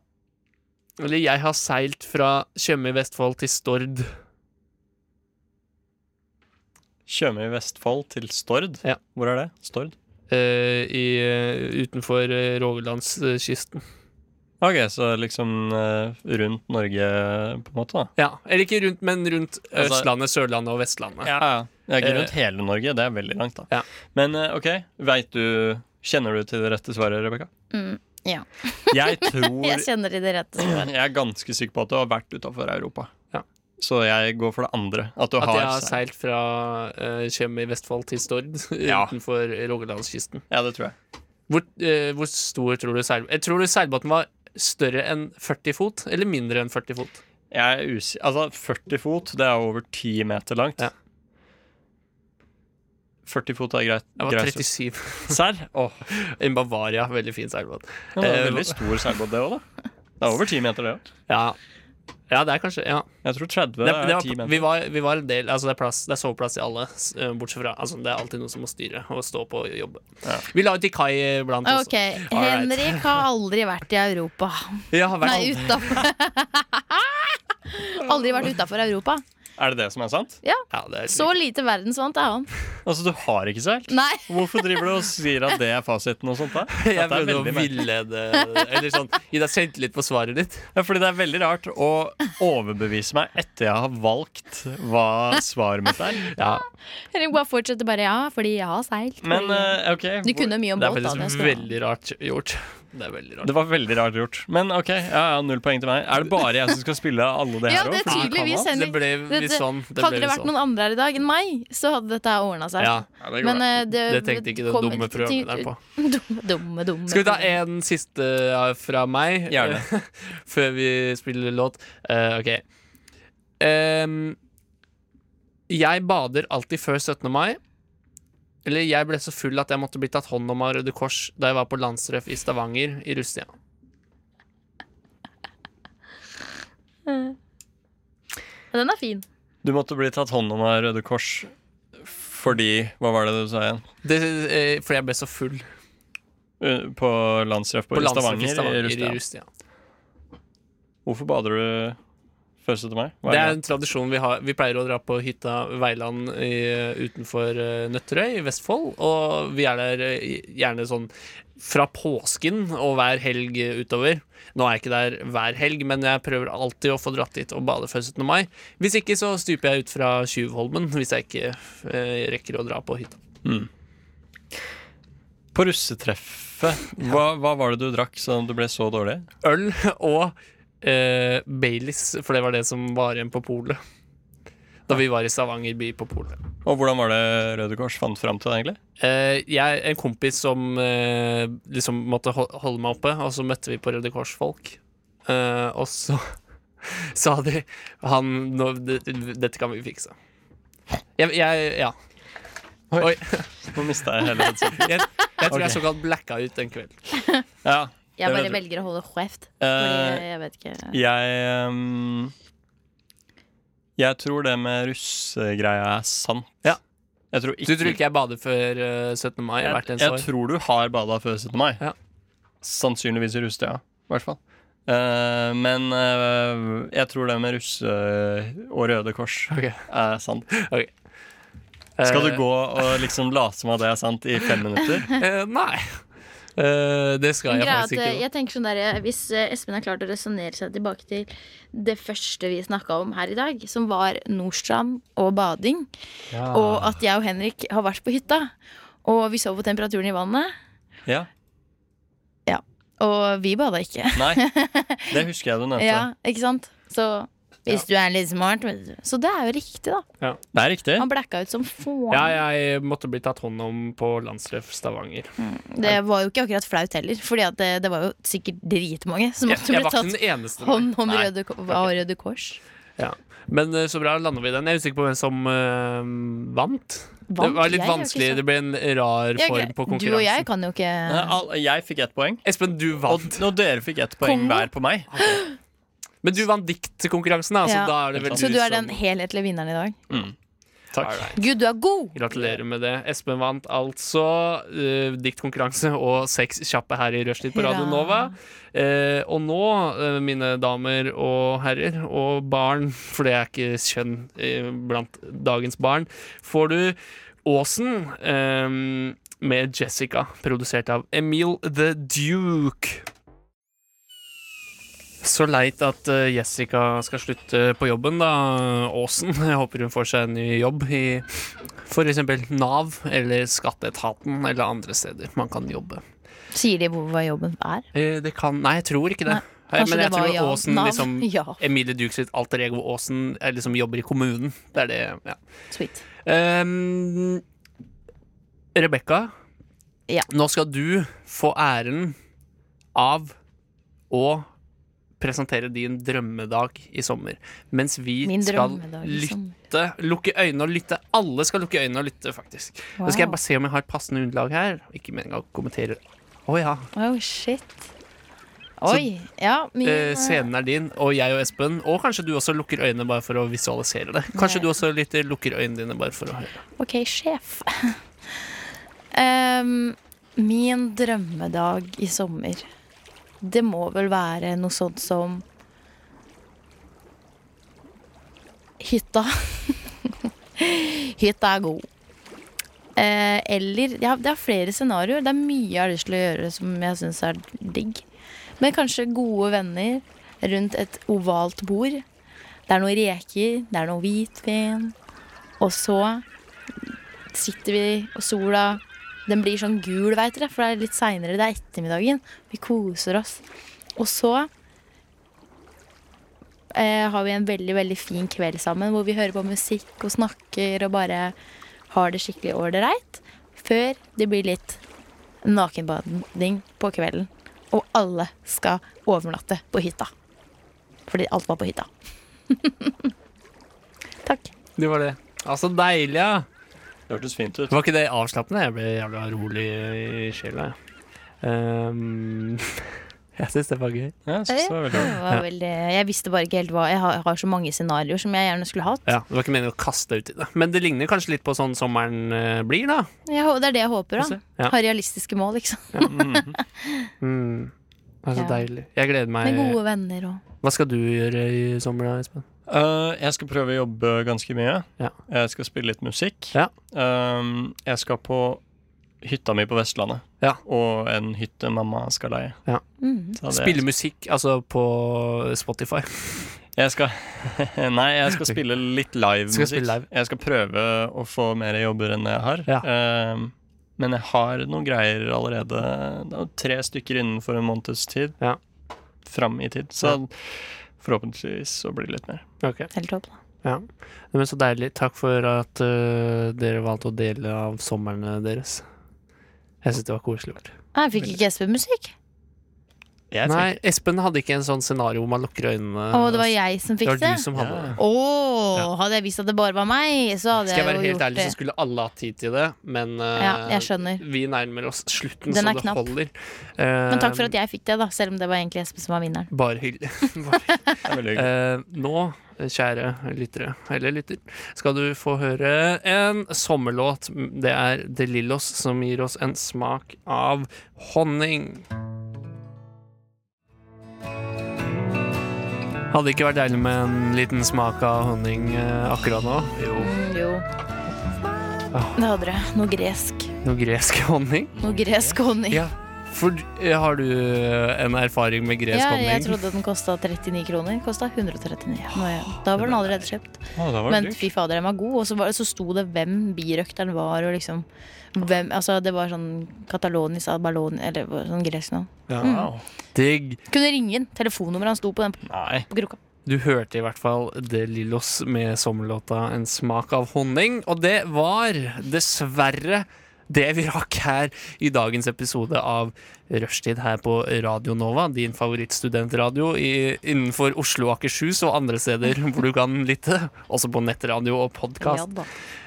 Speaker 2: Eller jeg har seilt fra Tjøme i Vestfold til Stord.
Speaker 4: Tjøme i Vestfold til Stord.
Speaker 2: Ja.
Speaker 4: Hvor er det? Stord?
Speaker 2: eh, i, eh, utenfor eh, Rogalandskysten.
Speaker 4: Ok, så liksom eh, rundt Norge, på en måte, da.
Speaker 2: Ja, Eller ikke rundt, men rundt
Speaker 4: Altså-
Speaker 2: Østlandet, Sørlandet og Vestlandet.
Speaker 4: Ja, ja. Det er ikke rundt hele Norge, det er veldig langt, da.
Speaker 2: Eh. Ja.
Speaker 4: Men eh, OK, veit du Kjenner du til det rette svaret, Rebekka?
Speaker 3: Mm, ja.
Speaker 4: Jeg tror
Speaker 3: Jeg kjenner til det rette svaret.
Speaker 4: Jeg er ganske sikker på at du har vært utafor Europa.
Speaker 2: Ja.
Speaker 4: Så jeg går for det andre. At du
Speaker 2: At
Speaker 4: har,
Speaker 2: jeg har
Speaker 4: seilt.
Speaker 2: seilt fra eh, Tjøme i Vestfold til Stord,
Speaker 4: Ja.
Speaker 2: utenfor Rogalandskysten.
Speaker 4: Ja, det tror jeg.
Speaker 2: Hvor, eh, hvor stor tror du seil... Jeg tror du seilbåten var større enn 40 fot, eller mindre enn 40 fot?
Speaker 4: jeg er usi altså, 40 fot, det er over 10 meter langt.
Speaker 2: Ja.
Speaker 4: 40 fot er greit.
Speaker 2: Jeg var
Speaker 4: greit.
Speaker 2: 37.
Speaker 4: Serr? Åh,
Speaker 2: En Bavaria, veldig fin seilbåt.
Speaker 4: ja, det er
Speaker 2: Eh,
Speaker 4: veldig stor seilbåt, det òg, da. Det er over 10 meter, det òg.
Speaker 2: Ja. ja, det er kanskje Ja.
Speaker 4: Jeg tror 30
Speaker 2: Det,
Speaker 4: er
Speaker 2: det
Speaker 4: 10
Speaker 2: var,
Speaker 4: meter.
Speaker 2: vi, var, vi var en del Altså det er, plass, det er soveplass til alle, s- eh, bortsett fra altså, Det er alltid noen som må styre og stå på og jobbe.
Speaker 4: Ja.
Speaker 2: Vi la ut i kai eh, blant oss.
Speaker 3: Ok, Henrik har aldri vært i Europa.
Speaker 2: Jeg har vært
Speaker 3: Nei, utafor Aldri vært utafor Europa.
Speaker 4: Er det det som er sant?
Speaker 3: Ja.
Speaker 4: det er
Speaker 3: Så lite verdensvant er han.
Speaker 4: Altså, du har ikke seilt?
Speaker 3: Nei.
Speaker 4: Hvorfor driver du og sier at det er fasiten og sånt? da?
Speaker 2: Jeg
Speaker 4: Dette er
Speaker 2: prøvde å
Speaker 4: veldig merkelig.
Speaker 2: villede Eller sånn, gi deg selvtillit på svaret ditt.
Speaker 4: Ja, fordi det er veldig rart å overbevise meg etter jeg har valgt hva svaret mitt er.
Speaker 3: Eller bare fortsette bare ja, fordi jeg har seilt.
Speaker 4: Men
Speaker 3: fordi-
Speaker 4: eh, ok
Speaker 3: Du kunne mye om
Speaker 2: Det er
Speaker 3: båt, da. Det altså.
Speaker 2: faktisk
Speaker 3: skal du ha.
Speaker 2: veldig rart gjort. Det er veldig rart.
Speaker 4: Det var veldig rart gjort. Men ok, ja, ja, null poeng til meg. Er det bare jeg som skal spille alle det
Speaker 3: Ja,
Speaker 4: her
Speaker 3: det er
Speaker 4: også? Fordi-
Speaker 3: tydeligvis
Speaker 2: Det
Speaker 3: Henrik.
Speaker 2: ble
Speaker 3: Det-
Speaker 2: visst
Speaker 3: det-
Speaker 2: sånn. Det
Speaker 3: Hadde det
Speaker 2: ble visst
Speaker 3: vært
Speaker 2: sånn.
Speaker 3: noen andre her i dag enn meg, så hadde dette ordna seg.
Speaker 2: Ja.
Speaker 3: Men eh, det,
Speaker 2: Det tenkte ikke det
Speaker 3: kommer
Speaker 2: dumme
Speaker 3: til-
Speaker 2: programmet der på.
Speaker 3: Dumme, dumme, dumme.
Speaker 2: Skal vi ta en siste eh, fra meg?
Speaker 4: Gjerne.
Speaker 2: Før vi spiller låt. Eh, ok. Em, jeg bader alltid før 17. mai. Eller jeg ble så full at jeg måtte bli tatt hånd om av Røde Kors da jeg var på landstreff i Stavanger i Russia.
Speaker 3: Ja, Den er fin.
Speaker 4: Du måtte bli tatt hånd om av Røde Kors fordi Hva var det du sa igjen?
Speaker 2: Det, eh, fordi jeg ble så full
Speaker 4: Uh, På landstreff på,
Speaker 2: på landstreff
Speaker 4: Stavanger,
Speaker 2: i Stavanger
Speaker 4: i Rusta.
Speaker 2: i Rustia.
Speaker 4: Hvorfor bader du før 17. mai? Hva
Speaker 2: Det er
Speaker 4: er det?
Speaker 2: en tradisjon vi har. Vi pleier å dra på hytta Veiland i, utenfor eh, Nøtterøy i Vestfold. Og vi er der eh, gjerne sånn fra påsken og hver helg utover. Nå er jeg ikke der hver helg, men jeg prøver alltid å få dratt dit og bade før 17. mai. Hvis ikke så stuper jeg ut fra Tjuvholmen, hvis jeg ikke eh, rekker å dra på hytta.
Speaker 4: Mm. På russetreffet, hva, hva var det du drakk sånn at du ble så dårlig?
Speaker 2: Øl og eh, Baileys, for det var det som var igjen på polet. Da vi var i Stavanger by på polet.
Speaker 4: Og hvordan var det Røde Kors fant fram til det, egentlig?
Speaker 2: Eh, jeg, en kompis som eh, liksom måtte hol- holde meg oppe, og så møtte vi på Røde Kors-folk. Eh, og så sa de han, nå, det, 'Dette kan vi fikse'. Jeg, jeg ja. Oi.
Speaker 4: Nå mista jeg hele headsetet.
Speaker 2: Jeg, jeg tror jeg
Speaker 4: Ok.
Speaker 2: såkalt blacka ut den kvelden.
Speaker 4: Ja,
Speaker 3: Jeg
Speaker 4: det
Speaker 3: bare
Speaker 4: vet du.
Speaker 3: velger å holde kjeft.
Speaker 4: Eh,
Speaker 3: Fordi jeg vet ikke
Speaker 4: Jeg ehm, Jeg tror det med russegreia er sant.
Speaker 2: Ja.
Speaker 4: Jeg tror ikke,
Speaker 2: Du tror ikke jeg bader før eh, 17. mai
Speaker 4: jeg,
Speaker 2: hvert eneste
Speaker 4: jeg
Speaker 2: år?
Speaker 4: tror du har bada før 17. mai.
Speaker 2: Ja.
Speaker 4: Sannsynligvis i russetida, i hvert fall. Eh, men eh, jeg tror det med russe og Røde Kors
Speaker 2: Ok.
Speaker 4: er sant.
Speaker 2: Eh,
Speaker 4: Skal du gå og liksom late som at det er sant i fem minutter?
Speaker 2: eh, nei. Eh, det skal jeg
Speaker 3: Greia at,
Speaker 2: faktisk ikke.
Speaker 3: eh, jeg tenker sånn der, eh, Hvis eh, Espen har klart å resonnere seg tilbake til det første vi snakka om her i dag, som var Nordstrand og bading, og at jeg og Henrik har vært på hytta, og vi så på temperaturen i vannet,
Speaker 4: Ja.
Speaker 3: og vi bada ikke.
Speaker 4: Nei. Det husker jeg du nevnte.
Speaker 3: Ja, ikke sant? Så hvis du er litt smart vet du. Så det er jo riktig, da.
Speaker 4: Det er riktig.
Speaker 3: Han blacka ut som faen.
Speaker 2: Ja, jeg måtte bli tatt hånd om på landstreff Stavanger.
Speaker 3: Det var jo ikke akkurat flaut heller, Fordi at det, det var jo sikkert dritmange som
Speaker 2: Jeg,
Speaker 3: måtte bli
Speaker 2: jeg var ikke
Speaker 3: tatt
Speaker 2: den eneste.
Speaker 3: hånd om
Speaker 2: Nei.
Speaker 3: Røde, Ko- av Røde Kors.
Speaker 2: Ja. Men eh, så bra lander vi den. Jeg er usikker på hvem som eh, vant. Det
Speaker 3: Vant?
Speaker 2: var litt
Speaker 3: Jeg har ikke
Speaker 2: vanskelig.
Speaker 3: sagt-
Speaker 2: Det ble en rar
Speaker 3: Ja,
Speaker 2: form
Speaker 3: greit.
Speaker 2: på
Speaker 3: Du og jeg
Speaker 2: konkurransen.
Speaker 3: kan jo ikke
Speaker 4: Nei, al- Jeg fikk ett poeng,
Speaker 2: Espen, du
Speaker 4: og,
Speaker 2: vant.
Speaker 4: og dere fikk ett poeng hver på meg.
Speaker 2: Men du vant diktkonkurransen, da, så
Speaker 3: Ja.
Speaker 2: da er det vel
Speaker 3: Så du er den
Speaker 2: som
Speaker 3: helhetlige vinneren i dag.
Speaker 4: Takk.
Speaker 3: Gud, du er god!
Speaker 2: Gratulerer med det. Espen vant altså eh, diktkonkurranse og seks kjappe her i rushtid på Radio
Speaker 3: Hurra.
Speaker 2: Nova. Eh, og nå, eh, mine damer og herrer, og barn, for det er ikke kjønn eh, blant dagens barn, får du Åsen eh, med Jessica, produsert av Emil The Duke. Så leit at eh, Jessica skal slutte på jobben, da, Åsen. Jeg håper hun får seg en ny jobb i f.eks. Nav eller Skatteetaten eller andre steder man kan jobbe.
Speaker 3: Sier de hvor hva jobben er?
Speaker 2: Eh, Det kan Nei, jeg tror ikke det.
Speaker 3: Nei,
Speaker 2: Eh,
Speaker 3: Kanskje
Speaker 2: Men jeg
Speaker 3: det var
Speaker 2: tror
Speaker 3: ja,
Speaker 2: Åsen
Speaker 3: Nav?
Speaker 2: liksom
Speaker 3: Ja,
Speaker 2: Emilie Dukes sitt alter ego Åsen er liksom jobber i kommunen. Det er det ja.
Speaker 3: sweet.
Speaker 2: um, Rebekka,
Speaker 3: Ja.
Speaker 2: nå skal du få æren av å presentere din drømmedag i sommer. Mens vi
Speaker 3: Min
Speaker 2: skal
Speaker 3: drømmedag i
Speaker 2: lytte,
Speaker 3: sommer.
Speaker 2: lukke øynene og lytte. Alle skal lukke øynene og lytte, faktisk. Nå skal jeg
Speaker 3: Wow.
Speaker 2: bare se om jeg har et passende underlag her. Ikke med en gang kommentere. Å ja.
Speaker 3: Oh, shit. Oi. Ja, min
Speaker 2: Eh, scenen er din, og jeg og Espen, og kanskje du også lukker øynene bare for å visualisere det. Kanskje du også lytter, lukker øynene dine bare for å høre.
Speaker 3: Ok, sjef. Ehm, min drømmedag i sommer, det må vel være noe sånt som Hytta. Hytta er god. Eh, eller ja, Det er flere scenarioer. Det er mye jeg har lyst til å gjøre som jeg syns er digg. Men kanskje gode venner rundt et ovalt bord. Det er noen reker, det er noe hvitvin. Og så sitter vi, og sola den blir sånn gul, veit dere, for det er litt seinere. Det er ettermiddagen. Vi koser oss. Og så eh, har vi en veldig veldig fin kveld sammen hvor vi hører på musikk og snakker og bare har det skikkelig ålreit. Før det blir litt nakenbading på kvelden. Og alle skal overnatte på hytta. Fordi alt var på hytta. Takk.
Speaker 2: Det var det. Altså, deilig, ja.
Speaker 4: Det hørtes fint ut.
Speaker 2: Var ikke det avslappende? Jeg ble jævla rolig i sjela. jeg. Ehm, jeg syns det var gøy.
Speaker 4: Jeg synes det var veldig
Speaker 3: Det var veldig, jeg visste bare ikke helt hva Jeg har, har så mange scenarioer som jeg gjerne skulle hatt.
Speaker 2: Ja, Det var ikke meningen å kaste deg uti det. Men det ligner kanskje litt på sånn sommeren eh, blir, da.
Speaker 3: Jeg, hå- det er det jeg håper. da
Speaker 2: Ja.
Speaker 3: Ha realistiske mål, liksom.
Speaker 2: Mm. Det er så
Speaker 3: Ja.
Speaker 2: deilig. Jeg gleder
Speaker 3: Med gode
Speaker 2: meg.
Speaker 3: venner og
Speaker 2: Hva skal du gjøre i sommer, da, Espen?
Speaker 4: Eh, jeg skal prøve å jobbe ganske mye.
Speaker 2: Ja.
Speaker 4: Jeg skal spille litt musikk.
Speaker 2: Ja.
Speaker 4: Ehm, jeg skal på hytta mi på Vestlandet,
Speaker 2: Ja.
Speaker 4: og en hytte mamma skal leie.
Speaker 2: Ja.
Speaker 3: Mhm.
Speaker 4: Så det-
Speaker 2: Spille musikk, altså på Spotify.
Speaker 4: Jeg skal, nei, jeg skal spille litt live
Speaker 2: Skal
Speaker 4: musikk.
Speaker 2: spille live.
Speaker 4: Jeg skal prøve å få mer jobber enn jeg har.
Speaker 2: Ja.
Speaker 4: Ehm, men jeg har noen greier allerede. Det er jo tre stykker innenfor en måneds tid.
Speaker 2: Ja.
Speaker 4: Fram i tid. Så forhåpentligvis så blir det litt mer.
Speaker 2: Ok.
Speaker 3: Helt topp. da.
Speaker 2: Ja. Nei, Men så deilig. Takk for at øh, dere valgte å dele av sommerne deres. Jeg syns det var koselig. gjort.
Speaker 3: Nei, Jeg fikk ikke Espen-musikk.
Speaker 4: Jeg
Speaker 2: Nei, Espen hadde ikke en sånn scenario hvor man lukker øynene.
Speaker 3: Å, det var jeg som
Speaker 2: altså, Det
Speaker 3: fikk
Speaker 2: var
Speaker 3: det?
Speaker 2: du som hadde det.
Speaker 3: Å, hadde jeg visst at det bare var meg, så hadde
Speaker 2: Skal jeg
Speaker 3: jeg,
Speaker 2: være
Speaker 3: jo
Speaker 2: helt
Speaker 3: gjort
Speaker 2: ærlig,
Speaker 3: det.
Speaker 2: så skulle alle hatt tid til det, men øh,
Speaker 3: Ja, jeg skjønner.
Speaker 2: vi nærmer oss slutten,
Speaker 3: Den
Speaker 2: så
Speaker 3: er
Speaker 2: det
Speaker 3: knapp.
Speaker 2: holder.
Speaker 3: Men takk
Speaker 2: Um,
Speaker 3: for at jeg fikk det, da, selv om det var egentlig Espen som var vinneren.
Speaker 2: Eh, Bare hyggelig. Bare
Speaker 4: Det er veldig hyggelig.
Speaker 2: Eh, nå, kjære lyttere, eller lytter, skal du få høre en sommerlåt. Det er De Lillos som gir oss en smak av honning. Hadde det ikke vært deilig med en liten smak av honning eh, akkurat nå? Jo,
Speaker 3: Mm, Jo.
Speaker 2: Ah.
Speaker 3: Det hadde det. Noe gresk.
Speaker 2: noe gresk honning?
Speaker 3: Noe gresk honning.
Speaker 2: Ja. For eh, har du eh, en erfaring med gresk
Speaker 3: Ja, jeg
Speaker 2: honning?
Speaker 3: trodde den kosta 39 kroner. Kosta 139. Nå er jeg- Da var den allerede kjøpt.
Speaker 4: Å, det var
Speaker 3: Men
Speaker 4: dyrt.
Speaker 3: fy fader, den var god. Og så, var, så sto det hvem birøkteren var, og liksom hvem, altså, Det var sånn Catalonis Abaloni Eller hva- sånn gresk navn.
Speaker 4: Wow.
Speaker 2: Digg.
Speaker 3: Kunne ringe den. Telefonnummeret han sto på den
Speaker 4: Nei.
Speaker 3: på krukka.
Speaker 2: Du hørte i hvert fall De Lillos med sommerlåta 'En smak av honning'. Og det var dessverre det vi rakk her i dagens episode av Rushtid her på Radio Nova. Din favorittstudentradio i, innenfor Oslo og Akershus og andre steder hvor du kan lytte. Også på nettradio og podkast.
Speaker 3: da.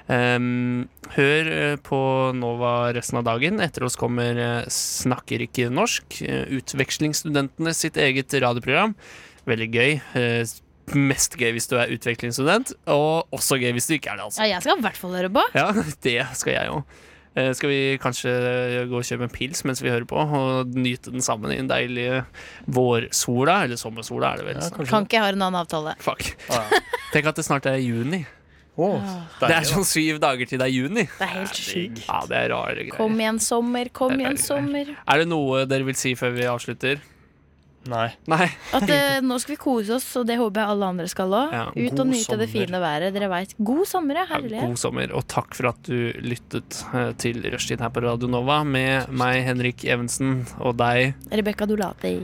Speaker 2: Ehm, hør eh, på Nova resten av dagen. Etter oss kommer eh, Snakker ikke norsk. eh, Utvekslingsstudentene sitt eget radioprogram. Veldig gøy. eh, Mest gøy hvis du er utvekslingsstudent, og også gøy hvis du ikke er det. altså
Speaker 3: Ja, jeg skal i hvert fall høre på.
Speaker 2: Ja, det skal jeg òg. Skal vi kanskje gå og kjøpe en pils mens vi hører på, og nyte den sammen i den deilige vårsola? Eller sommersola, er det vel.
Speaker 4: Ja,
Speaker 2: snart.
Speaker 4: kanskje.
Speaker 3: Kan ikke jeg ha en annen avtale.
Speaker 2: Fuck.
Speaker 4: Ah, ja.
Speaker 2: Tenk at det snart er juni.
Speaker 4: Å,
Speaker 2: Det er
Speaker 4: deilig, da.
Speaker 2: sånn syv dager til det er juni.
Speaker 3: Det er helt sjukt.
Speaker 2: Ja, det er rare greier.
Speaker 3: Kom igjen, sommer. Kom
Speaker 2: Det er
Speaker 3: igjen,
Speaker 2: veldig greit.
Speaker 3: sommer.
Speaker 2: Er det noe dere vil si før vi avslutter?
Speaker 4: Nei.
Speaker 2: Nei.
Speaker 3: At eh, Nå skal vi kose oss, og det håper jeg alle andre skal òg.
Speaker 2: Ja,
Speaker 3: Ut
Speaker 4: god
Speaker 3: og nyte det
Speaker 4: sommer.
Speaker 3: fine været. Dere vet. God sommer, ja. Herlighet.
Speaker 2: God sommer, og takk for at du lyttet eh, til Rushtid her på Radio Nova med meg, Henrik Evensen, og deg.
Speaker 3: Rebekka Dolati.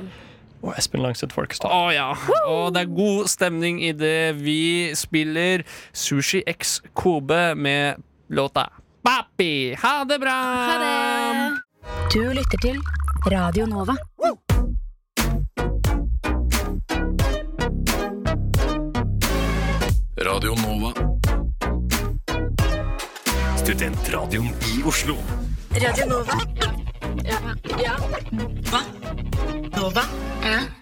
Speaker 4: Og Espen Langseth Folkestad.
Speaker 2: Å ja. Og det er god stemning idet vi spiller Sushi X Kobe med låta Papi. Ha det bra!
Speaker 3: Ha det!
Speaker 6: Du lytter til Radio Nova.
Speaker 1: Radio Nova. Studentradioen i Oslo.
Speaker 6: Radio Nova. Ja. Hva? Nova?